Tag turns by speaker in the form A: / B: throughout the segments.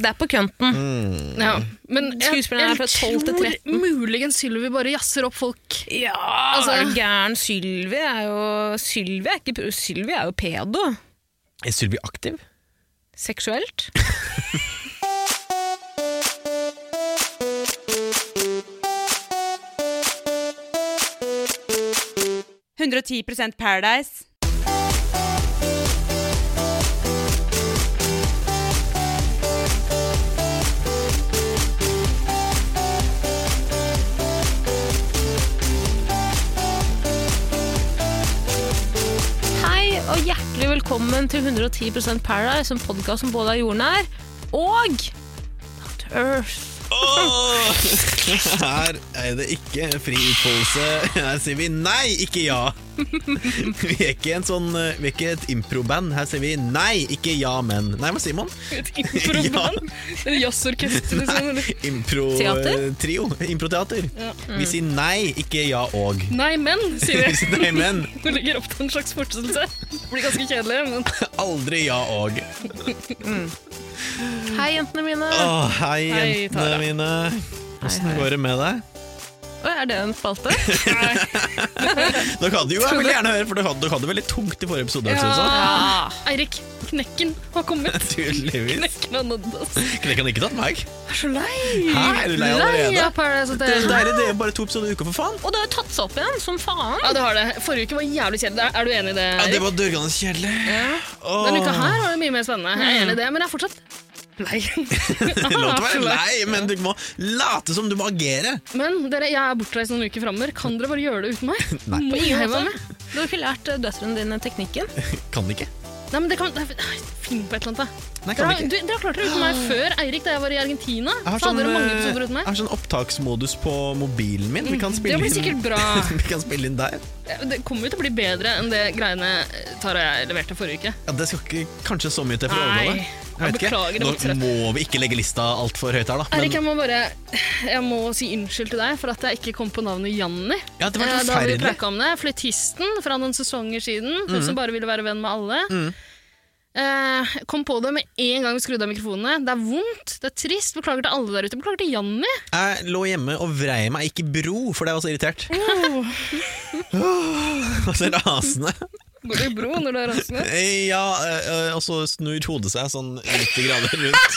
A: Det er på kønten.
B: Ja. Men jeg,
A: Mm. Skuespilleren er fra 12 til 13.
B: tror muligens Sylvi bare jazzer opp folk.
A: Ja,
B: altså-
A: er du gæren? Sylvi er jo Sylvi er, ikke, pro- Sylvi er jo pedo.
C: Er Sylvi aktiv?
A: Seksuelt.
D: Paradise.
A: Hei og hjertelig velkommen til 110 Paradise, en podkast som både er jordnær og Not Earth.
C: Her er det ikke fri utfoldelse. Her sier vi nei, ikke ja. Vi er ikke, en sånn, eh, vi er ikke et improband. Her sier vi nei, ikke ja, men. Nei, hva sier man?
B: Et improband? Eller jazzorkester, liksom. eller-
A: Teater?
C: Impro-trio. Improteater. Vi sier nei, ikke ja og.
B: Nei, men, sier
C: Vi
B: vi.
C: sier nei, men
B: Du legger opp til en slags fortsettelse. Det Blir ganske kjedelig, men
C: aldri ja og.
A: Hei, jentene mine.
C: Å, hei,
B: Hei,
C: jentene
B: Tara.
C: mine. Åssen
A: hei.
C: går det med deg?
A: Oi, er det en spalte?
C: Dere hadde jo, jeg vil gjerne høre, for dere hadde, dere hadde det veldig tungt i forrige episode.
B: Ja.
C: synes jeg.
A: Ja.
B: Eirik Knekken har kommet.
C: Naturligvis.
B: Knekken har nådd oss.
C: Knekken har ikke tatt meg.
B: Jeg er så lei.
C: Hæ, er du lei allerede?
B: av Paradise
C: Det er
B: Hotel.
C: deilig, det er bare to episoder i uka, for faen.
A: Og det har tatt seg opp igjen, som faen.
B: Ja, det har det. Forrige uke var jævlig kjedelig. Er- Er du enig i det?
C: Ja, det
B: Eirik?
C: var dørgende kjedelig. Åh.
B: Denne uka her var det mye mer spennende. Jeg
A: Mm.
B: er enig i det, men jeg er fortsatt lei.
C: Det er lov til å være
B: Absolutt.
C: lei, men du må late som du må agere.
B: Men dere, jeg er bortreist noen uker framover. Kan dere bare gjøre det uten meg?
C: Nei.
B: Må jeg være med?
A: Du har ikke lært eh, døtrene dine teknikken.
C: Kan ikke.
B: Nei, men det kan, det er- Finn på et eller annet, da.
C: Nei,
B: Dere
C: kan
B: har,
C: ikke.
B: du, dere har klart dere uten meg før, Eirik, da jeg var i Argentina.
C: Jeg har
B: så hadde dere mange
C: eh,
B: episoder uten
C: jeg
B: meg. Mm,
C: har sånn opptaksmodus på mobilen min. Vi kan
B: Det
C: spille
B: blir
C: inn
B: sikkert bra.
C: vi kan spille inn der.
B: Det kommer jo til å bli bedre enn det greiene eh, Tara og jeg leverte forrige uke.
C: Ja, det skal ikke kanskje så mye til for å
B: Nei.
C: overgå det. Jeg vet
B: Jeg beklager, det var
C: ikke.
B: ikke så
C: Nå må vi ikke legge lista altfor høyt her, da.
B: Eirik,
C: Men,
B: jeg må bare Jeg må si unnskyld til deg for at jeg ikke kom på navnet Janni.
C: ja, det var
B: Eh, Da hadde vi
C: forferdelig. Mm.
B: prata om det. Fløytisten fra noen sesonger siden, hun som bare ville være venn med alle. Eh, kom på det med en gang vi skrudde av mikrofonene. Det er vondt, det er trist. Beklager til alle der ute. Beklager til Janni.
C: Jeg lå hjemme og vrei meg ikke i bro, for det var så irritert. Og så rasende.
B: Går det i bro når du er rasende?
C: Ja, eh, eh, og så snur hodet seg sånn 90 grader rundt.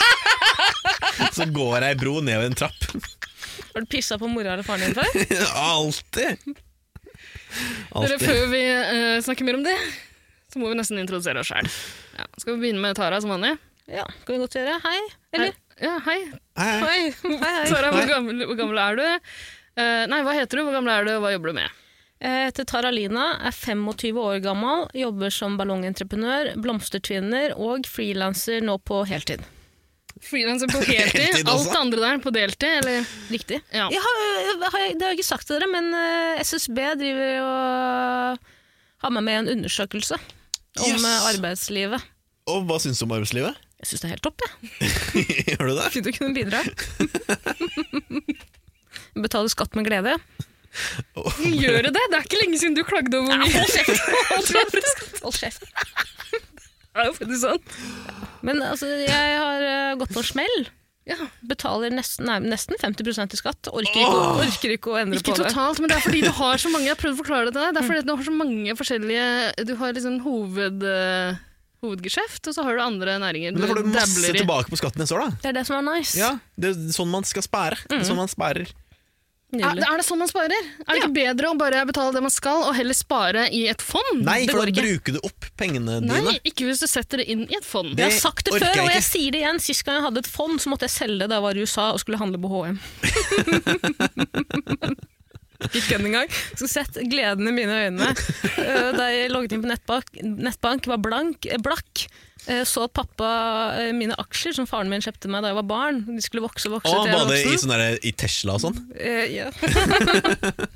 C: Så går jeg i bro nedover en trapp.
A: Har du pissa på mora eller faren din før?
C: Alltid!
B: Dere,
C: Alltid.
B: før vi eh, snakker mer om det, så må vi nesten introdusere oss sjøl. Ja. Skal vi begynne med Tara som vanlig?
A: Ja, kan vi godt gjøre. Hei. Eller?
B: Ja, hei.
C: Hei, hei.
B: Hei.
A: Hei, hei.
B: Tara,
C: Hei.
B: hvor gammel, hvor gammel er du? Eh, nei, hva heter du, hvor gammel er du, og hva jobber du med?
A: Jeg heter Tara Lina, Eh, er 25 år gammel, jobber som ballongentreprenør, blomstertvinner og frilanser nå på heltid.
B: Frilanser på heltid.
C: Heltid også.
B: Alt det andre der på deltid, eller?
A: Riktig.
B: Ja.
A: Jeg har, eh, har jeg, det har jeg ikke sagt til dere, men eh, SSB driver og har med meg en undersøkelse om
C: Yes!
A: eh, arbeidslivet.
C: Og hva syns du om arbeidslivet?
A: Jeg syns det er helt topp, jeg.
C: Gjør du det?
A: Fint å kunne bidra. Betaler skatt med glede.
B: Gjør det? Det er ikke lenge siden du klagde over hvor mye
A: Hold kjeft! Hold kjeft.
B: Det er jo faktisk sånn.
A: Men altså, jeg har eh, gått på en smell.
B: Ja.
A: Betaler nesten, nei, nesten 50 i skatt. Orker ikke, orker ikke å endre
B: Ikke
A: på det.
B: totalt, men det er fordi du har så mange Jeg har prøvd å forklare det til deg. Det er fordi at du har så mange forskjellige Du har liksom hoved, eh, hovedgeskjeft, og så har du andre næringer.
C: Men da får du masse
B: dabler i.
C: tilbake på skatten neste år, da.
A: Det er det som er nice.
C: Ja, Det er sånn man skal spare. Det
A: Mm.
C: er Sånn man sparer. Ah,
B: Er,
A: Nydelig.
B: er det sånn man sparer? Er det ikke bedre å bare betale det man skal, og heller spare i et fond?
C: Nei,
A: Det
C: for
A: går
C: da
A: ikke.
C: bruker du opp pengene dine.
B: Nei, ikke hvis du setter det inn i et fond.
C: Det-
A: Jeg har sagt det
C: orker
A: før,
C: jeg
A: og jeg
C: ikke.
A: sier det igjen. Sist gang jeg hadde et fond, så måtte jeg selge det da jeg var i USA og skulle handle på HM. Ikke kødd engang. Så sett gleden i mine øyne. Eh, Da jeg logget inn på nettbank, nettbank var blank, eh, blakk. Eh, Så at pappa eh, mine aksjer som faren min kjøpte meg da jeg var barn, de skulle vokse og vokse til
C: Og
A: jeg
C: var det i,
A: voksen.
C: sånn der, i Tesla og sånn?
A: Eh, ja.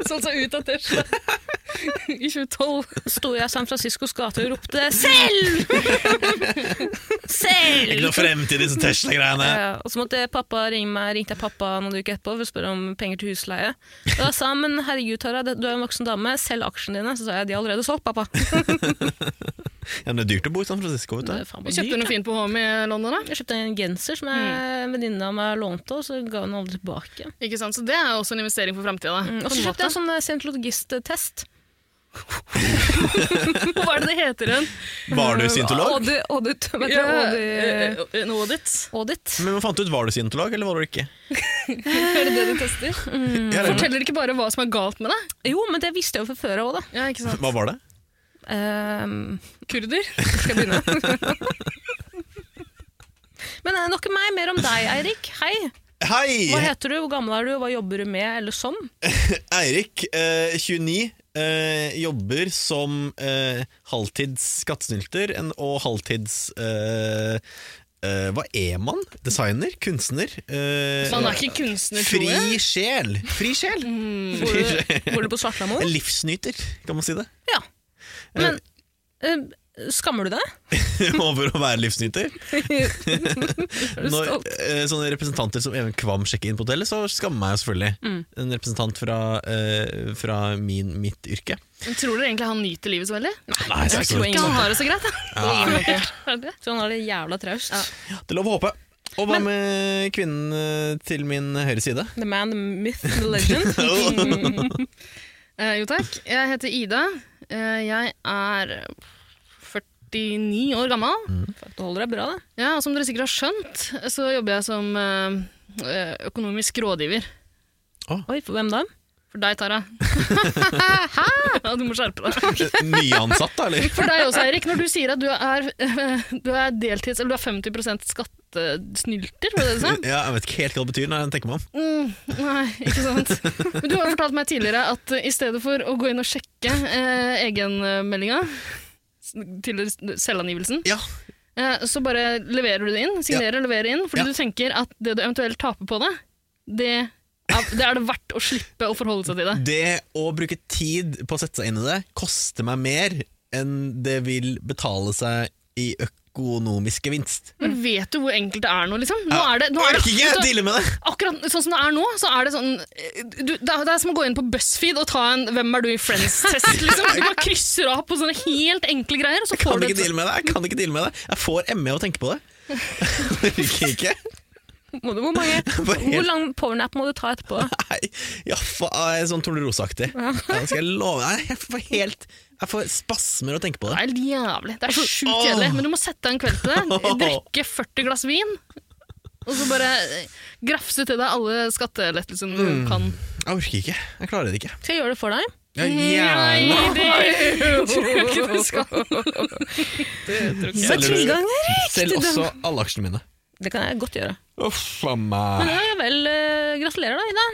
B: Sånn som ut av Tesla i 2012.
A: Sto jeg i San Franciscos gate og ropte 'Selv!'
C: Ikke
A: Selv!
C: noe fremtid i disse Tesla-greiene.
A: Ja, og så måtte pappa ringe meg, ringte jeg pappa noen uker etterpå for å spørre om penger til husleie. Og da sa han men herregud Tara, det- du er en voksen dame, selg aksjene dine. Så sa jeg de er allerede solgt, pappa.
C: Ja, men det er dyrt å bo i San Francisco, vet
A: Det er
C: du.
A: faen meg
B: Vi kjøpte
A: dyrt. Mm.
B: noe fint på HM i London, da.
A: Jeg kjøpte en genser som jeg- en venninne av meg lånte, og så ga hun den aldri tilbake.
B: Ikke sant? Så det er jo også en investering for framtida.
A: Mm, Og så kjøpte jeg en sånn eh, scientologist-test.
B: Hva er det det heter igjen?
C: Var du scientolog?
A: Audit, audit, vet du,
B: Ja,
A: audit,
B: eh, En audit.
A: audit.
C: Men man fant ut, var du scientolog, eller var du ikke?
B: Er det det de tester?
C: Jeg regner med-
B: Forteller ikke bare hva som er galt med deg?
A: Jo, men det visste jeg jo fra før av òg, da.
B: Ja, ikke sant?
C: Hva var det?
A: Ehm,
B: Kurder?
A: skal jeg begynne? men eh, nok om meg, mer om deg, Eirik. Hei. Hva
C: Hei!
A: heter du, hvor gammel er du, hva jobber du med, eller sånn?
C: Eirik, eh, 29, eh, jobber som eh, halvtids skattesnylter en- og halvtids eh, eh, Hva er man? Designer? Kunstner? Eh,
B: Man er ikke kunstner, tror jeg. Mm.
C: Fri sjel! Fri sjel! Mm.
A: Bor du, bor du på Svartlamoen?
C: En livsnyter, kan man si det.
A: Ja. Men eh, skammer du deg?
C: Over å være livsnyter.
A: Er du
C: Når
A: stolt?
C: eh, sånne representanter som Even Kvam sjekker inn på hotellet, så skammer jeg meg selvfølgelig. En representant fra, eh, fra min, mitt yrke.
B: Men tror dere egentlig han nyter livet så veldig?
C: Nei, altså,
A: det er
C: absolutt.
A: ikke
B: Ikke han har det så greit, da.
A: Ja.
B: Er det?
A: Så han Sånn er litt jævla traust.
C: Det er lov å håpe. Og hva med kvinnen eh, til min høyre side?
A: The man, the myth, the legend.
B: Eh, jo takk. Jeg heter Ida. Eh, jeg er 49 år gammel.
A: Fuck, Du holder deg bra, da.
B: Ja, og som dere sikkert har skjønt, så jobber jeg som eh, økonomisk rådgiver.
A: Oi, for hvem da?
B: For deg, Tara. Hæ? Du må skjerpe deg.
C: Eh, Nyansatt, da, eller?
B: For deg også, Eirik. Når du sier at du er, eh, du er deltids, eller du er 50 skattesnylter, var det det du sa?
C: Ja, jeg vet ikke helt hva det betyr når jeg tenker meg om.
B: Mm, nei, ikke sant. Men du har jo fortalt meg tidligere at eh, i stedet for å gå inn og sjekke eh, egenmeldinga s- til s- selvangivelsen,
C: Ja,
B: eh, så bare leverer du det inn. Signerer og leverer inn, fordi
C: Ja.
B: du tenker at det du eventuelt taper på det, det er det, er det verdt å slippe å forholde seg til det.
C: Det å bruke tid på å sette seg inn i det koster meg mer enn det vil betale seg i økonomisk gevinst.
B: Men vet du hvor enkelt det er nå, liksom? Nå
C: Ja,
B: er det, nå er det,
C: orker ikke
B: vet du,
C: deale med det!
B: akkurat sånn som det er nå, så er det sånn eh, du, det, er, det er som å gå inn på BuzzFeed og ta en 'Hvem er du i Friends?'-test, liksom. Du bare krysser av på sånne helt enkle greier, og så
C: Jeg kan
B: får du
C: ikke deale med det! Jeg kan ikke deale med det Jeg får ME av å tenke på det. Jeg orker ikke.
A: Må du, hvor, mange,
C: Bare helt-
A: hvor lang powernap må du ta etterpå?
C: Nei, ja, fa, jeg er sånn Tornerose-aktig. Ja, det skal jeg love Nei, jeg får helt Jeg får spasmer av å tenke på det.
B: Det er helt jævlig. Det er sjukt
C: Altså, Åh.
B: kjedelig. Men du må sette deg en kveld til det. Drikke 40 glass vin. Og så bare eh, grafse til deg alle skattelettelsene
C: Mm.
B: du kan.
C: Jeg orker ikke. Jeg klarer det ikke.
A: Skal jeg gjøre det for deg?
C: Jeg gjerne
B: det
A: Du har tilgang, Erik!
C: Selv
A: til
C: også
A: dem.
C: alle aksjene mine.
A: Det kan jeg godt gjøre.
C: Uff a
A: Men
C: meg.
A: ja, ja vel, eh, gratulerer da, Ida.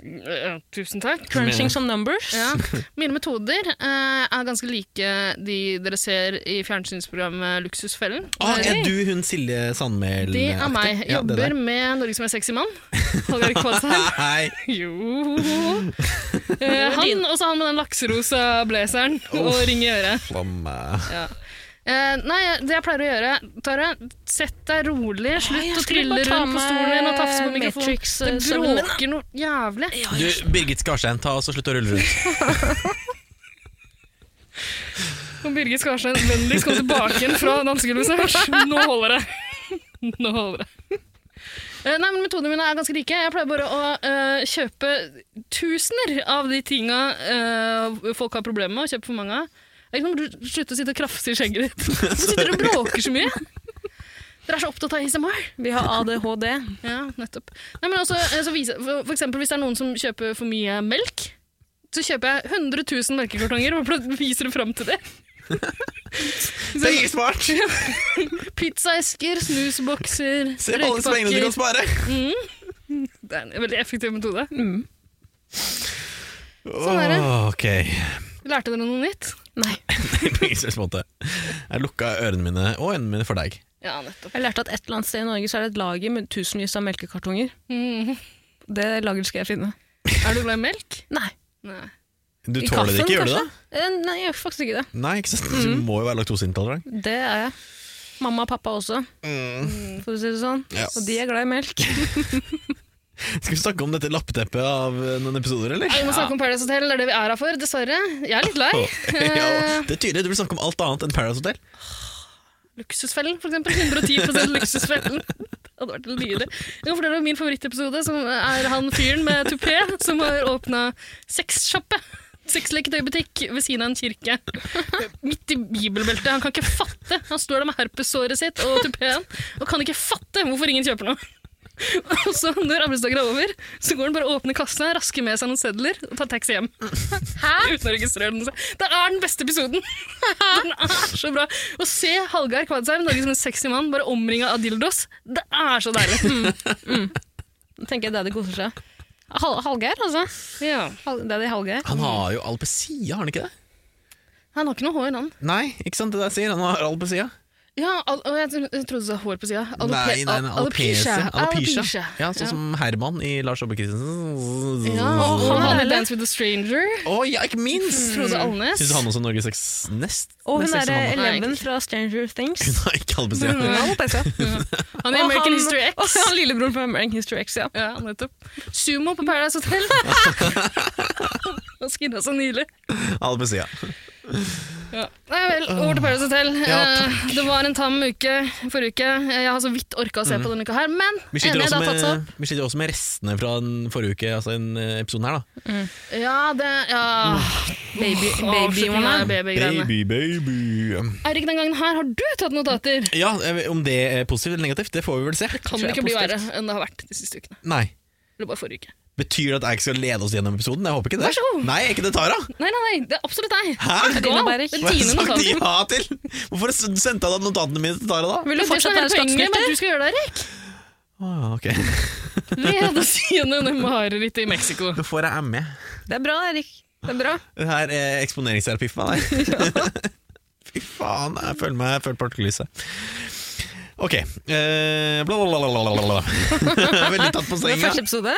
B: Eh, Tusen takk.
A: Crunching some numbers.
B: Ja. Mine metoder eh, er ganske like de dere ser i fjernsynsprogrammet Luksusfellen.
C: Ah, er du hun Silje Sandmæl?
B: Det er meg.
C: Ja, det
B: Jobber
C: der.
B: med Norge som er sexy mann. Hallgeir Kvadsheim.
C: Hei!
B: Jo Eh, Han og så han med den lakserosa blazeren og ring i øret.
C: Uff a meg.
B: Ja. Eh, nei, det jeg pleier å gjøre, Tara, sett deg rolig, slutt
A: jeg
B: å
A: skulle
B: trille
A: bare ta
B: rundt på stolen din og tafse på
A: med
B: mikrofonen. Det
A: Matrix-søvnen min, da.
B: bråker noe jævlig.
C: Du, Birgit Skarstein, ta oss og slutt å rulle rundt.
B: Kom Birgit Skarstein, vennligst kom tilbake igjen fra dansegulvet snart. sånn, Nå holder det. Nå holder det. Eh, Nei, men Metodene mine er ganske like. Jeg pleier bare å eh, kjøpe tusener av de tinga eh, folk har problemer med, og kjøpe for mange av. Jeg kan du slutte å sitte og krafse i skjegget ditt. Hvorfor sitter du og bråker så mye? Dere er så opptatt av ASMR.
A: Vi har ADHD.
B: Ja, nettopp. Nei, men også, eh, så viser, for, for eksempel hvis det er noen som kjøper for mye melk, så kjøper jeg 100 000 melkekartonger og pl- viser det fram til det.
C: Det er ikke smart!
B: Pizzaesker, snusbokser,
C: Se på alle pengene du kan
B: røykepakker. Mm.
C: spare!
B: Det er en veldig effektiv metode.
A: Mm.
B: er det.
C: Åh, ok.
B: Lærte dere noe nytt?
A: Nei.
C: På ingen slags måte. Jeg lukka ørene mine og øynene mine for deg.
B: Ja, nettopp.
A: Jeg lærte at et eller annet sted i Norge så er det et lager med tusenvis av melkekartonger.
B: Mhm.
A: Det lageret skal jeg finne.
B: Er du glad i melk?
A: Nei.
B: Nei.
C: Du
A: I
C: tåler
A: kaffen,
C: det ikke, gjør du det?
A: kanskje? Eh, Nei, jeg gjør faktisk ikke det.
C: Nei, ikke sant? Du må jo være laktoseintolerant.
A: Det er jeg. Mamma og pappa også, for å si det sånn.
C: Mm. Ja.
A: Og de er glad i melk.
C: Skal vi snakke om dette lappeteppet av eh, noen episoder, eller?
B: Nei, Vi må snakke om Paradise Hotel, det er det vi er her for, dessverre. Jeg er litt lei.
C: ja, det er tydelig, du vil snakke om alt annet enn Paradise Hotel.
B: Luksusfellen, for eksempel. 110 Luksusfellen. Det hadde vært lyder. Jeg kan fortelle om min favorittepisode, som er han fyren med tupé som har åpna sexsjappe. Sexleketøybutikk ved siden av en kirke. Midt i bibelbeltet. Han kan ikke fatte. Han står der med herpessåret sitt og tupéen og kan ikke fatte hvorfor ingen kjøper noe. Og så Når arbeidsdagen er over, så går han bare og åpner kassa, rasker med seg noen sedler og tar taxi hjem. Hæ? Uten å registrere den. Det er den beste episoden! Den er så bra. Å se Hallgeir Kvadsheim, Norge som en sexy mann, bare omringa av dildos, det er så deilig.
A: Tenker jeg Daddy koser seg. Hal Hallgeir, altså.
B: Ja.
A: Hal Daddy Hallgeir.
C: Han har jo alt på sida, har han ikke det?
B: Han har ikke noe hår, han.
C: Nei, ikke sant det der sier, han har alt på sida.
B: Ja, al og jeg tro- jeg trodde du sa hår på sida.
C: Nei, nei, nei, alopecia. Alopecia. Ja, sånn
B: Ja.
C: som Herman i Lars Jobbe Christensen.
B: Ja, og han hadde
A: Herlig.
B: Dance with a Stranger.
C: Å, ja, ikke minst!
B: Frode Alnes.
C: Syns du han også er Norges seks nest?
A: Og hun
C: nest
A: er eh,
C: sexy mann, da?
B: Nei,
A: Eleven
B: egentlig.
A: fra Stranger Things.
C: Hun har ikke alt på sida.
B: Mm.
A: Hun har alopecia.
B: Han er i
A: Og
B: American
A: han-
B: History X.
A: Og han lillebroren fra American History X, ja.
B: Ja, nettopp. Sumo på Paradise Hotel. Han skinna så nydelig.
C: Alt på sida.
B: Ja. Nei vel, over til Paradise Hotel.
C: Ja,
B: Eh,
C: takk.
B: det var en tam uke forrige uke. Jeg har så vidt orka å se på denne uka her, men
C: Mm.
B: NE,
C: Vi sitter,
B: det
C: også
B: har tatt seg
C: med,
B: opp.
C: vi sitter også med restene fra den forrige uke, altså den eh, episoden her, da.
B: Ja, det ja.
A: Baby,
B: Avslutningen
A: babyene.
B: av babygreiene.
C: baby.
B: Eirik, den gangen her har du tatt notater.
C: Ja, eh, om det er positivt eller negativt, det får vi vel se.
B: Kan
A: tror
B: det
A: jeg er
B: ikke bli verre
A: positivt.
B: enn det har vært de siste ukene.
C: Nei.
B: Eller bare forrige uke.
C: Betyr det at jeg ikke skal lede oss gjennom episoden? Jeg håper ikke det.
B: Vær så god.
C: Nei, er ikke det Tara?
B: Nei, nei, nei, det er absolutt deg.
C: Hæ?
B: Er du
A: Dine
B: gal?
A: bærer.
B: Den
C: Hva har jeg
B: tiende
C: sagt
B: notaten.
C: ja til? Hvorfor s- sendte jeg da notatene mine til Tara, da?
A: Vil du
B: Det er fortsatt
A: fortsette her
B: hele poenget
A: slagsnøtter?
B: med at du skal gjøre det, Eirik.
C: Å ja, ok.
B: Lede siden marerittet i Mexico.
C: Nå får jeg ME.
A: Det er bra, Erik. Det er bra.
C: Det her er eksponeringsterapi for meg. det. Fy faen, jeg føler meg jeg føler partikkellyset. Ok. eh, bla, bla, bla, bla, bla, bla, bla. Jeg er Veldig tatt på
A: Det er
C: senga.
A: første episode.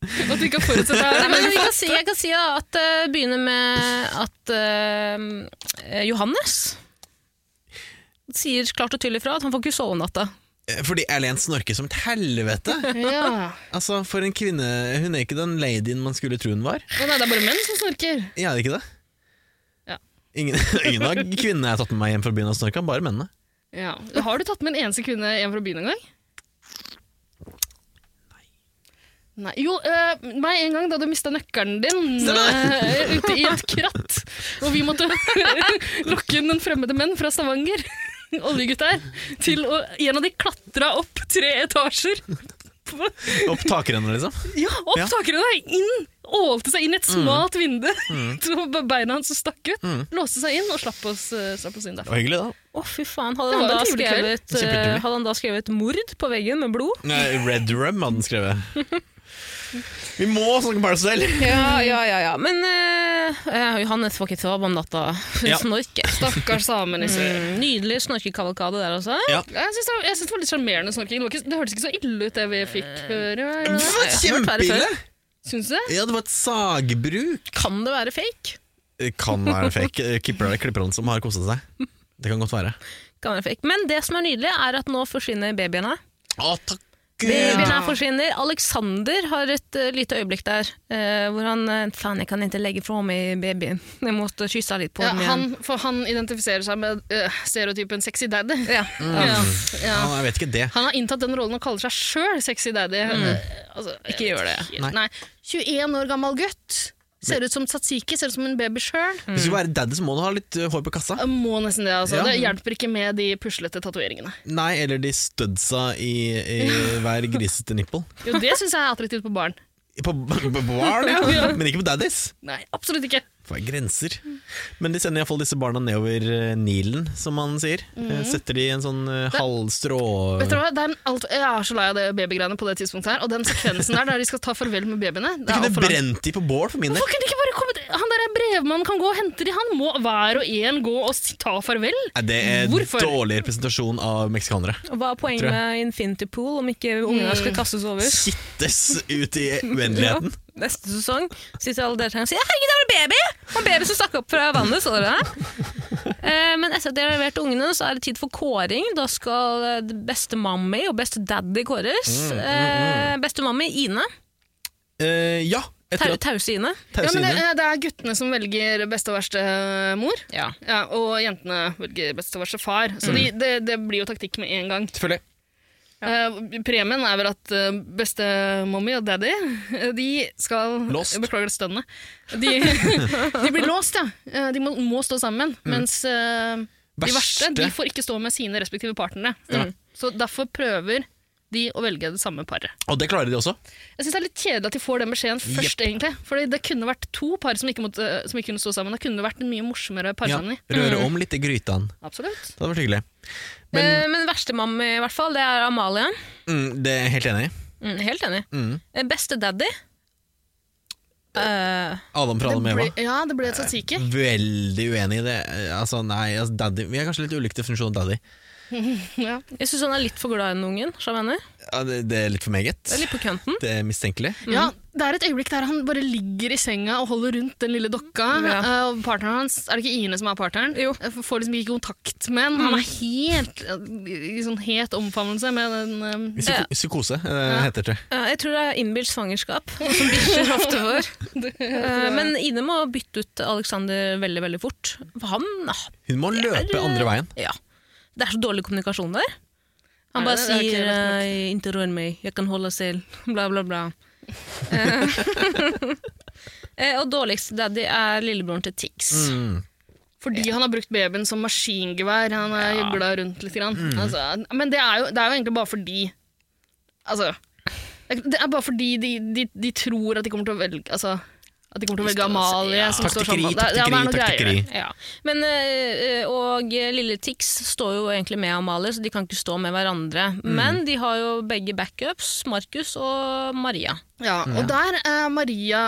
B: At du ikke har forutsett det
A: Nei,
B: her.
A: men jeg, kan si, jeg kan si at det begynner med at eh, Johannes sier klart og tydelig fra at han får ikke sove om natta.
C: Eh, Fordi Erlend snorker som et helvete.
B: Ja.
C: Altså, For en kvinne Hun er ikke den ladyen man skulle tro hun var.
B: Å nei, det er bare menn som snorker.
C: Er det ikke det?
B: Ja.
C: Ingen, ingen av kvinnene jeg har tatt med meg hjem fra byen og snorka, bare mennene.
B: Ja. Har du tatt med en eneste kvinne hjem fra byen en gang? Nei. Jo, eh, meg en gang da du mista nøkkelen din eh, ute i et kratt. Og vi måtte lokke noen fremmede menn fra Stavanger, oljegutter, til å En av de klatra opp tre etasjer. På,
C: Opp takrenna, liksom.
B: ja, Mm. opp
C: Ja.
B: takrenna! Inn! Ålte seg inn i et smalt vindu.
C: Mm.
B: Så beina hans stakk ut. Låste seg inn og slapp oss, eh, slapp oss inn
C: Det
B: derfra.
C: var hyggelig, da.
A: Å, fy faen. Hadde
B: Det
A: han,
B: var
A: da
B: en trivelig kveld.
A: skrevet, eh,
C: Kjempetrivelig.
A: hadde han da skrevet 'mord' på veggen med blod?
C: Nei, Red Rum hadde den skrevet. Vi må snakke om Paradise Hotel!
A: Ja, ja, ja. ja. Men eh, eh, Johannes får ikke sove om natta. Hun
C: Ja.
A: snorker.
B: Stakkars samen i sør.
A: Mm, nydelig snorkekavalkade der altså. også.
B: Jeg syns det, var- jeg synes det var litt sjarmerende snorking. Det, var ikke- det hørtes ikke så ille ut, det vi fikk høre.
C: Det var
A: Jeg har hørt verre før.
C: kjempeille!
B: Syns du det?
C: Ja, det var et sagbruk.
A: Kan det være fake?
C: Kan være fake. Klipper det klipperne som har kosa seg. Det kan godt være.
A: Kan være fake. Men det som er nydelig, er at nå forsvinner babyene.
C: Å, takk
A: Babyen
C: Gud!
A: her forsvinner. Alexander har et eh, lite øyeblikk der eh, hvor han eh, Faen, jeg kan ikke legge fra meg babyen. Jeg måtte kysse litt på
B: Ja,
A: den igjen.
B: han, for han identifiserer seg med øh, stereotypen sexy daddy.
A: Ja. Mm.
B: Ja, ja.
C: Ja, jeg vet ikke det.
B: Han har inntatt den rollen og kaller seg sjøl sexy daddy. Eh, Altså, jeg
A: Mm. Ikke gjør
B: vet
A: det.
B: ikke.
C: Nei.
B: Nei. 21 år gammel gutt. Ser ut som tzatziki, ser ut som en baby sjøl.
C: Hvis du skal være daddy, så må du ha litt eh, hår på kassa.
B: Må nesten det, altså.
C: Ja.
B: Det hjelper ikke med de puslete tatoveringene.
C: Nei, eller de studsa i, i hver grisete nipple.
B: Jo, det syns jeg er attraktivt på barn.
C: På, på barn, ja. Men ikke på daddies.
B: Nei, absolutt ikke.
C: For grenser. Men de sender iallfall disse barna nedover eh, Nilen, som man sier. Eh, Setter de i en sånn eh, halvstrå
B: Mm. Vet dere hva? Det er en alt, jeg er så lei av det babygreiene på det tidspunktet her. Og den sekvensen der der de skal ta farvel med babyene det er
C: Jeg
B: alt
C: kunne
B: for langt.
C: brent de på bål for min del.
B: Hvorfor kunne de ikke bare kommet Han der brevmannen kan gå og hente de. Han må hver og en gå og si- ta farvel.
C: Nei, Det er
B: Hvorfor?
C: dårlig representasjon av meksikanere.
A: Og Hva er poenget
C: Tror jeg.
A: med Infinity Pool om ikke ungene skal kastes over?
C: Sittes ut i uendeligheten.
A: Neste sesong sitter alle deltakerne og sier 'herregud, det var en baby!' Og en baby som stakk opp fra vannet. Så dere det? Eh, Men etter at jeg har levert ungene, så er det tid for kåring. Da skal eh, det beste mammi og beste daddy kåres. Eh, Beste mammi Ine.
C: Eh, ja,
A: Tau,
C: etter at
A: tause Ine.
B: Ja,
C: Tause
B: men det,
C: Ine.
B: er- det er guttene som velger beste og verste eh, mor,
A: Ja.
B: ja, og jentene velger beste og verste far. Så de, det, det blir jo taktikk med en gang.
C: Selvfølgelig.
B: Eh, premien er vel at eh, beste mommy og daddy eh, De skal
C: Låst.
B: Jeg Beklager det stønnet. De, de blir låst, ja. Eh, de må, må stå sammen. Mens eh, de verste
C: Mm. Verste.
B: de får ikke stå med sine respektive partnere. Mm. Så derfor prøver de å velge det samme paret.
C: Og det klarer de også.
B: Jeg synes Det er litt kjedelig at de får den beskjeden først. egentlig Fordi Det kunne vært to par som ikke, måtte, eh, som ikke kunne stå sammen. Det kunne vært en mye morsommere
C: Ja,
B: parsamling.
C: røre om litt i grytene.
B: Absolutt.
C: Det hadde vært hyggelig.
A: Men,
C: Men
A: Eh, men verste mammi, i hvert fall, det er Amalie.
C: mm, det er jeg helt enig i.
A: Mm, helt enig.
C: Mm.
A: Eh, Beste daddy Eh,
C: Adam prater med Mm. Eva.
B: ble, ja, det ble et satike.
C: Veldig uenig i det. Eh, Altså, nei, altså, daddy. Vi er kanskje litt ulik definisjon av daddy.
B: Ja.
A: Jeg syns han er litt for glad i den ungen. skjønner du hva jeg mener?
C: Ja, det, det er litt for meget.
A: Det er litt på kønten.
C: Det er mistenkelig.
B: Ja, det er et øyeblikk der han bare ligger i senga og holder rundt den lille dokka.
A: Ja.
B: eh, Og partneren hans, er det ikke Ine som er partneren?
A: Jo.
B: Eh, Får liksom ikke kontakt med han. Han er helt eh, i sånn het omfavnelse med den eh,
C: Psyko psykose eh, heter det.
A: Eh, jeg tror det er innbilt svangerskap, sånn som bikkjer ofte får. Eh, men Ine må bytte ut Alexander veldig veldig fort. For han ah,
C: Hun må
A: er,
C: løpe
A: eh,
C: andre veien.
A: Ja. Det er så dårlig kommunikasjon der. Han
B: Nei,
A: bare
B: det er ikke
A: sier
B: helt
A: eh, 'ikke rør meg, jeg kan holde selv', bla, bla, bla. Eh, eh, og dårligst daddy er lillebroren til Tix.
C: Mm.
B: Fordi han har brukt babyen som maskingevær. Han har
A: Ja.
B: jugla rundt litt. Grann. Altså, men det er, jo, det er jo egentlig bare fordi Altså Det er bare fordi de, de, de tror at de kommer til å velge altså, At de kommer til å velge Amalie.
A: Ja.
B: Som står
C: Taktikkeri,
B: sammen. Det er- ja, det er
C: taktikkeri,
B: noe greier.
C: taktikkeri.
A: Ja. Men, eh, eh, og eh, lille Tix står jo egentlig med Amalie, så de kan ikke stå med hverandre.
C: Mm.
A: Men de har jo begge backups, Markus og Maria.
B: Ja,
C: Mm,
B: og der er Maria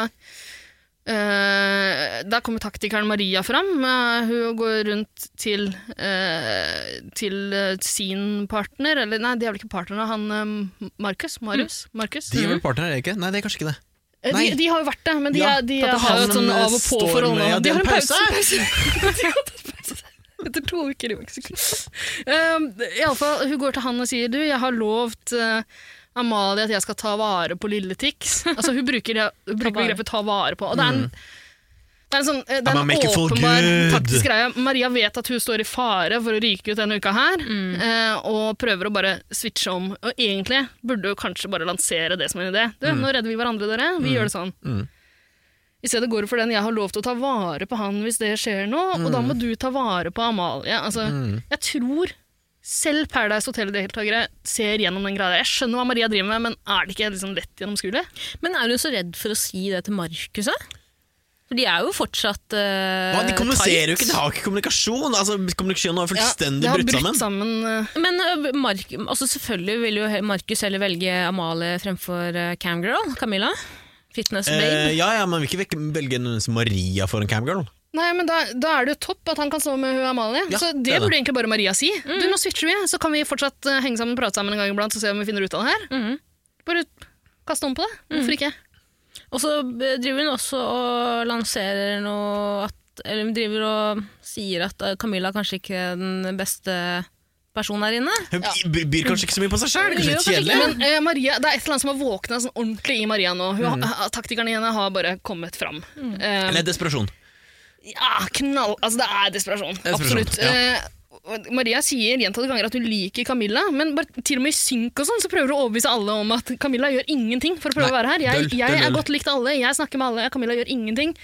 B: eh, Der kommer taktikeren Maria fram. Eh, hun går rundt til, eh, til eh, sin partner Eller nei, de er vel ikke partnere. Han eh, Markus. Marius. Markus.
C: Mm. De er vel partnere, er de ikke? Nei, det er kanskje ikke det.
B: Eh, De,
C: Nei.
B: de har jo vært det, men de,
C: Ja,
B: er, de
C: tatt
B: har jo
C: han
B: et sånn
C: som, eh,
B: av og
C: står
B: på-forhold nå.
C: med- ja, de
B: de
C: har
B: har
C: en
B: en pause! De har tatt pause. Etter to uker i Mexico. Um, Iallfall, hun går til han og sier du, jeg har lovt eh, Amalie at jeg skal ta vare på lille Tix. Altså, hun bruker, det- hun bruker
A: vare.
B: begrepet 'ta vare på'. Og det er
C: Mm.
B: en, det er en, sånn, eh, det er
C: I'm gonna
B: en
C: make you feel
B: åpenbar
C: good.
B: taktisk greie. Maria vet at hun står i fare for å ryke ut denne uka her, eh, og prøver å bare switche om. Og egentlig burde hun kanskje bare lansere det som en idé. Du, nå redder vi hverandre, dere. Vi gjør det sånn.
C: Mm.
B: I stedet går det for den 'jeg har lov til å ta vare på han hvis det skjer noe', og
C: Mm.
B: da må du ta vare på Amalie. Altså, Jeg tror selv Paradise Hotel-deltakere ser gjennom den greia. der. Jeg skjønner hva Maria driver med, men er det ikke liksom lett gjennomskuelig?
A: Men er hun så redd for å si det til Markus? da? For de er jo fortsatt eh,
C: Hva, de kommuniserer jo
A: tight.
C: ikke, de har ikke kommunikasjon! Altså, Kommunikasjonen har fullstendig
B: det har
C: brutt sammen.
B: eh,
A: Men eh, Mark, altså selvfølgelig vil jo he- Markus heller velge Amalie fremfor eh, Camgirl, Camilla. Fitness
C: Eh,
A: babe.
C: ja, ja, men vi vil ikke vek- velge nødvendigvis Maria foran Camgirl.
B: Nei, men da, da er det jo topp at han kan stå med hun Amalie.
C: Ja,
B: så det,
C: det er det.
B: burde egentlig bare Maria si. Du, nå switcher vi, så kan vi fortsatt eh, henge sammen og prate sammen en gang iblant og se om vi finner ut av det her.
A: Mhm.
B: Bare kaste om på det. Hvorfor ikke?
A: Og så eh, driver hun også og lanserer noe at Eller hun driver og sier at eh, Camilla kanskje ikke er den beste personen her inne.
C: Hun by- byr kanskje ikke så mye på seg sjøl,
A: Hun
C: kanskje
A: gjør
C: litt
A: kanskje
C: kjedelig.
A: ikke
B: Men eh, Maria, det er et eller annet som har våkna sånn ordentlig i Maria nå. Hun, har- Taktikerne henne har bare kommet fram. Eh,
C: Mm. Eller desperasjon.
B: ja, knall... Altså, det er desperasjon.
C: Desperasjon,
B: Absolutt.
C: ja.
B: Eh, og Maria sier gjentatte ganger at hun liker Camilla, men bare, til og med i synk og sånn, så prøver hun å overbevise alle om at Camilla gjør ingenting for å prøve å
C: Nei,
B: være her. Jeg,
C: døll, døll,
B: jeg er
C: døll.
B: godt likt av alle, jeg snakker med alle, Camilla gjør ingenting.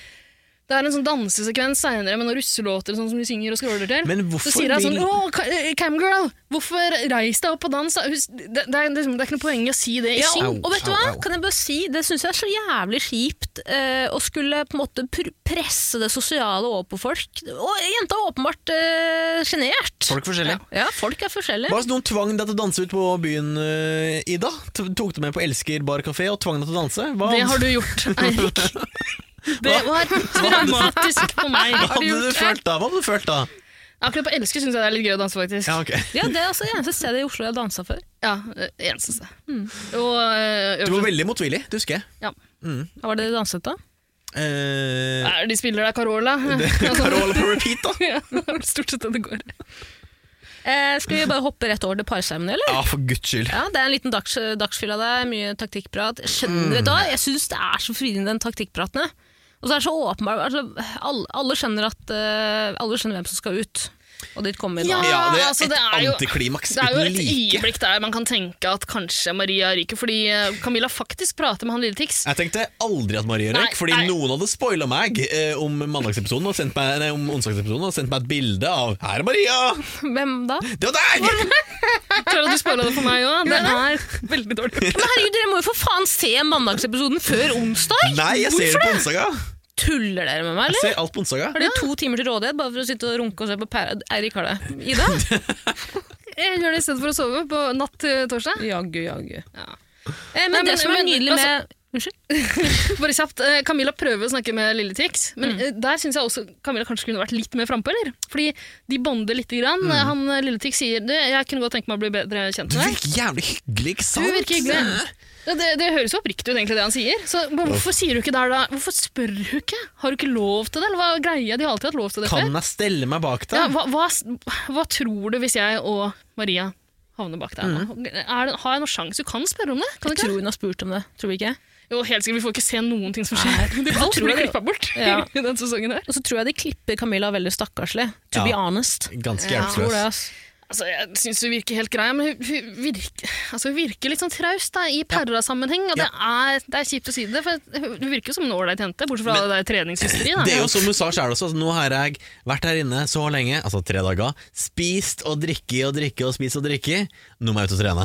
B: Det er en sånn dansesekvens seinere med noen russelåter og sånn som de synger og skråler til.
C: Men hvorfor
B: så sier hun sånn
C: vil-
B: Å, Ka- eh, Camgirl, hvorfor reis deg opp og dans? da?» Hun s- Det, det, er, liksom, det er ikke noe poeng i å si det i
A: Ja,
B: synk.
A: og, og vet du
C: Au,
A: hva?
C: au, au.
A: Kan jeg bare si, Det syns jeg er så jævlig kjipt eh, å skulle på en måte pr presse det sosiale over på folk. Og jenta er åpenbart eh, sjenert.
C: Folk forskjellige.
A: ja, folk er forskjellige.
C: Hva hvis noen tvang deg til å danse ut på byen, eh, Ida? T tok deg med på Elsker bar kafé og tvang deg til å danse? Hva,
B: Det har du gjort, Eirik. Det var dramatisk for meg.
C: hva hadde du
B: gjort?
C: følt da? Hva hadde du følt da?
B: Akkurat på Elsker syns jeg det er litt gøy å danse, faktisk.
C: Ja, ok.
A: Ja, Det er altså eneste stedet i Oslo jeg har dansa før.
B: Ja, eh, eneste sted. Og eh,
C: Du var veldig motvillig, det husker jeg.
B: ja.
A: Hva var det du danset da?
C: Eh, Eh,
B: Nei, de spiller deg Carola. Altså,
C: det, Carola på repeat, da!
B: Ja, det er vel stort sett det det går.
A: Eh, skal vi bare hoppe rett over til parskjermen, eller?
C: Ja, for guds skyld.
A: Ja, Det er en liten dags, dagsfyll av deg, mye taktikkprat.
B: Mm.
A: Skjønner du da? Jeg syns det er så forvirrende, den taktikkpraten. Og så er det så åpenbart altså, alle, alle skjønner at eh, Alle skjønner hvem som skal ut, og dit kommer vi da.
B: Ja,
C: Ja, det er
B: altså,
C: et
B: det er jo-
C: antiklimaks
B: Det er jo
C: uten
B: et
C: like.
B: øyeblikk der man kan tenke at kanskje Maria ryker, fordi eh, Camilla faktisk prater med han lille Tix.
C: Jeg tenkte aldri at Marie
B: Nei,
C: røyk, fordi
B: nei.
C: noen hadde spoila meg eh, om mandagsepisoden og sendt meg, nei, om onsdagsepisoden og sendt meg et bilde av 'Her er Maria!
A: Hvem da?
C: Det var deg!'
B: Klarer du å spoile det for meg òg? Det er veldig dårlig.
A: Men herregud, Dere må jo for faen se mandagsepisoden før onsdag!
C: Nei, jeg ser det på onsdaga.
A: Tuller dere med meg,
C: Jeg
A: eller?
C: ser alt på onsdaga.
A: Har dere to timer til rådighet bare for å sitte og runke og se på Per Eirik har det? Ida?
B: Jeg gjør det i stedet for å sove på natt til torsdag.
A: Jaggu, jaggu.
B: Ja.
A: Eh, men,
B: Nei, men-
A: det som er
B: men- altså-
A: nydelig med Unnskyld?
B: Bare kjapt, eh, Camilla prøver å snakke med lille Tix, men eh, der syns jeg også Camilla kanskje kunne vært litt mer frampå, eller? Fordi de bonder lite grann.
C: Hmm.
B: Eh, Han eh, lille Tix sier du, jeg kunne godt tenke meg å bli bedre kjent
C: Du
B: med deg.
C: virker jævlig hyggelig, ikke
B: Du
C: sant?
B: virker hyggelig. Ja, det, det høres jo oppriktig ut, egentlig, det han sier. Så men hvorfor sier du ikke der, da? Hvorfor spør du ikke? Har du ikke lov til det? Eller hva er greia? De har alltid hatt lov til det før.
C: Kan jeg stelle meg bak
B: Ja,
C: deg?
B: hva, hva, hva tror du hvis jeg og Maria havner bak der nå? Er det, har jeg noen sjanse? Du kan spørre om det? Kan
A: Mm. Jeg
B: du ikke?
A: tror hun har spurt om det. Tror vi ikke?
B: Jo, helt sikkert, Vi får ikke se noen ting som skjer. Det alt
A: tror
B: blir
A: jeg det-
B: klippa bort
A: Ja.
B: i den sesongen her.
A: Og så tror jeg de klipper Camilla veldig stakkarslig. To
C: Ja.
A: be honest.
C: Ganske
B: Ja.
A: Tror
C: hjelpeløs.
A: det, ass.
B: Altså, Jeg syns hun virker helt grei, men hun- hun virker, altså, hun virker litt sånn traust da, i Perra-sammenheng. Og det, er, det er kjipt å si det, for hun virker jo som en ålreit jente, bortsett fra
C: Men-
B: det der treningshysteriet. da.
C: Det er jo som hun sa sjøl også, altså, nå har jeg vært her inne så lenge, altså tre dager, spist og drikke og drikke og spist og drikke, nå må jeg ut og trene.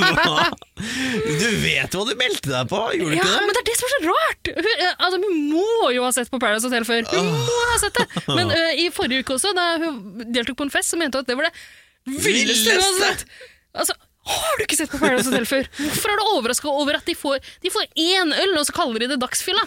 C: Hva? du vet hva du meldte deg på, gjorde
B: Ja,
C: du ikke
B: men
C: det?
B: det er det som er så rart! Hun, eh, altså, hun må jo ha sett på Paradise Hotel før. Hun må ha sett det! Men eh, i forrige uke også, da hun deltok på en fest, så mente hun at det var det villeste hun hadde
C: Villeste!
B: sett! Altså, har du ikke sett på Paradise Hotel før? Hvorfor er du overraska over at de får, de får én øl, og så kaller de det dagsfylla?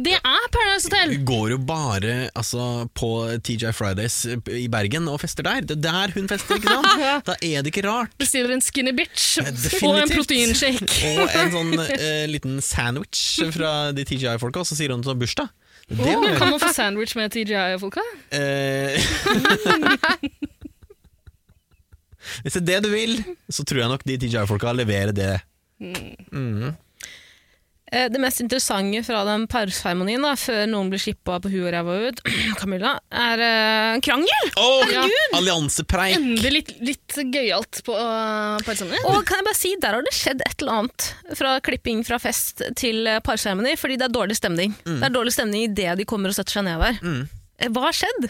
B: Det er Paradise Hotel!
C: Hun går jo bare altså, på TJ Fridays eh, i Bergen og fester der. Det er der hun fester, ikke sant? Da er det ikke rart.
B: Bestiller en skinny bitch
C: Definitivt.
B: og en proteinshake.
C: Og en sånn eh, liten sandwich fra de TGI-folka, og så sier hun at hun har bursdag. Det må
B: Åh,
C: hun
B: kan man få sandwich med TGI-folka?
C: Eh, Hvis det er det du vil, så tror jeg nok de TGI-folka leverer det.
A: Eh, Det mest interessante fra den parseremonien, da, før noen blir slippa på huet og ræva ut, Camilla, er eh, en krangel!
C: Oh,
B: Herregud!
C: Alliansepreik!
B: Endelig litt, litt gøyalt på uh, parsammenheng.
A: Og kan jeg bare si, der har det skjedd et eller annet. Fra klipping fra fest til eh, parseremoni, fordi det er dårlig stemning. Det er dårlig stemning idet de kommer og setter seg ned der. Eh, Hva har skjedd?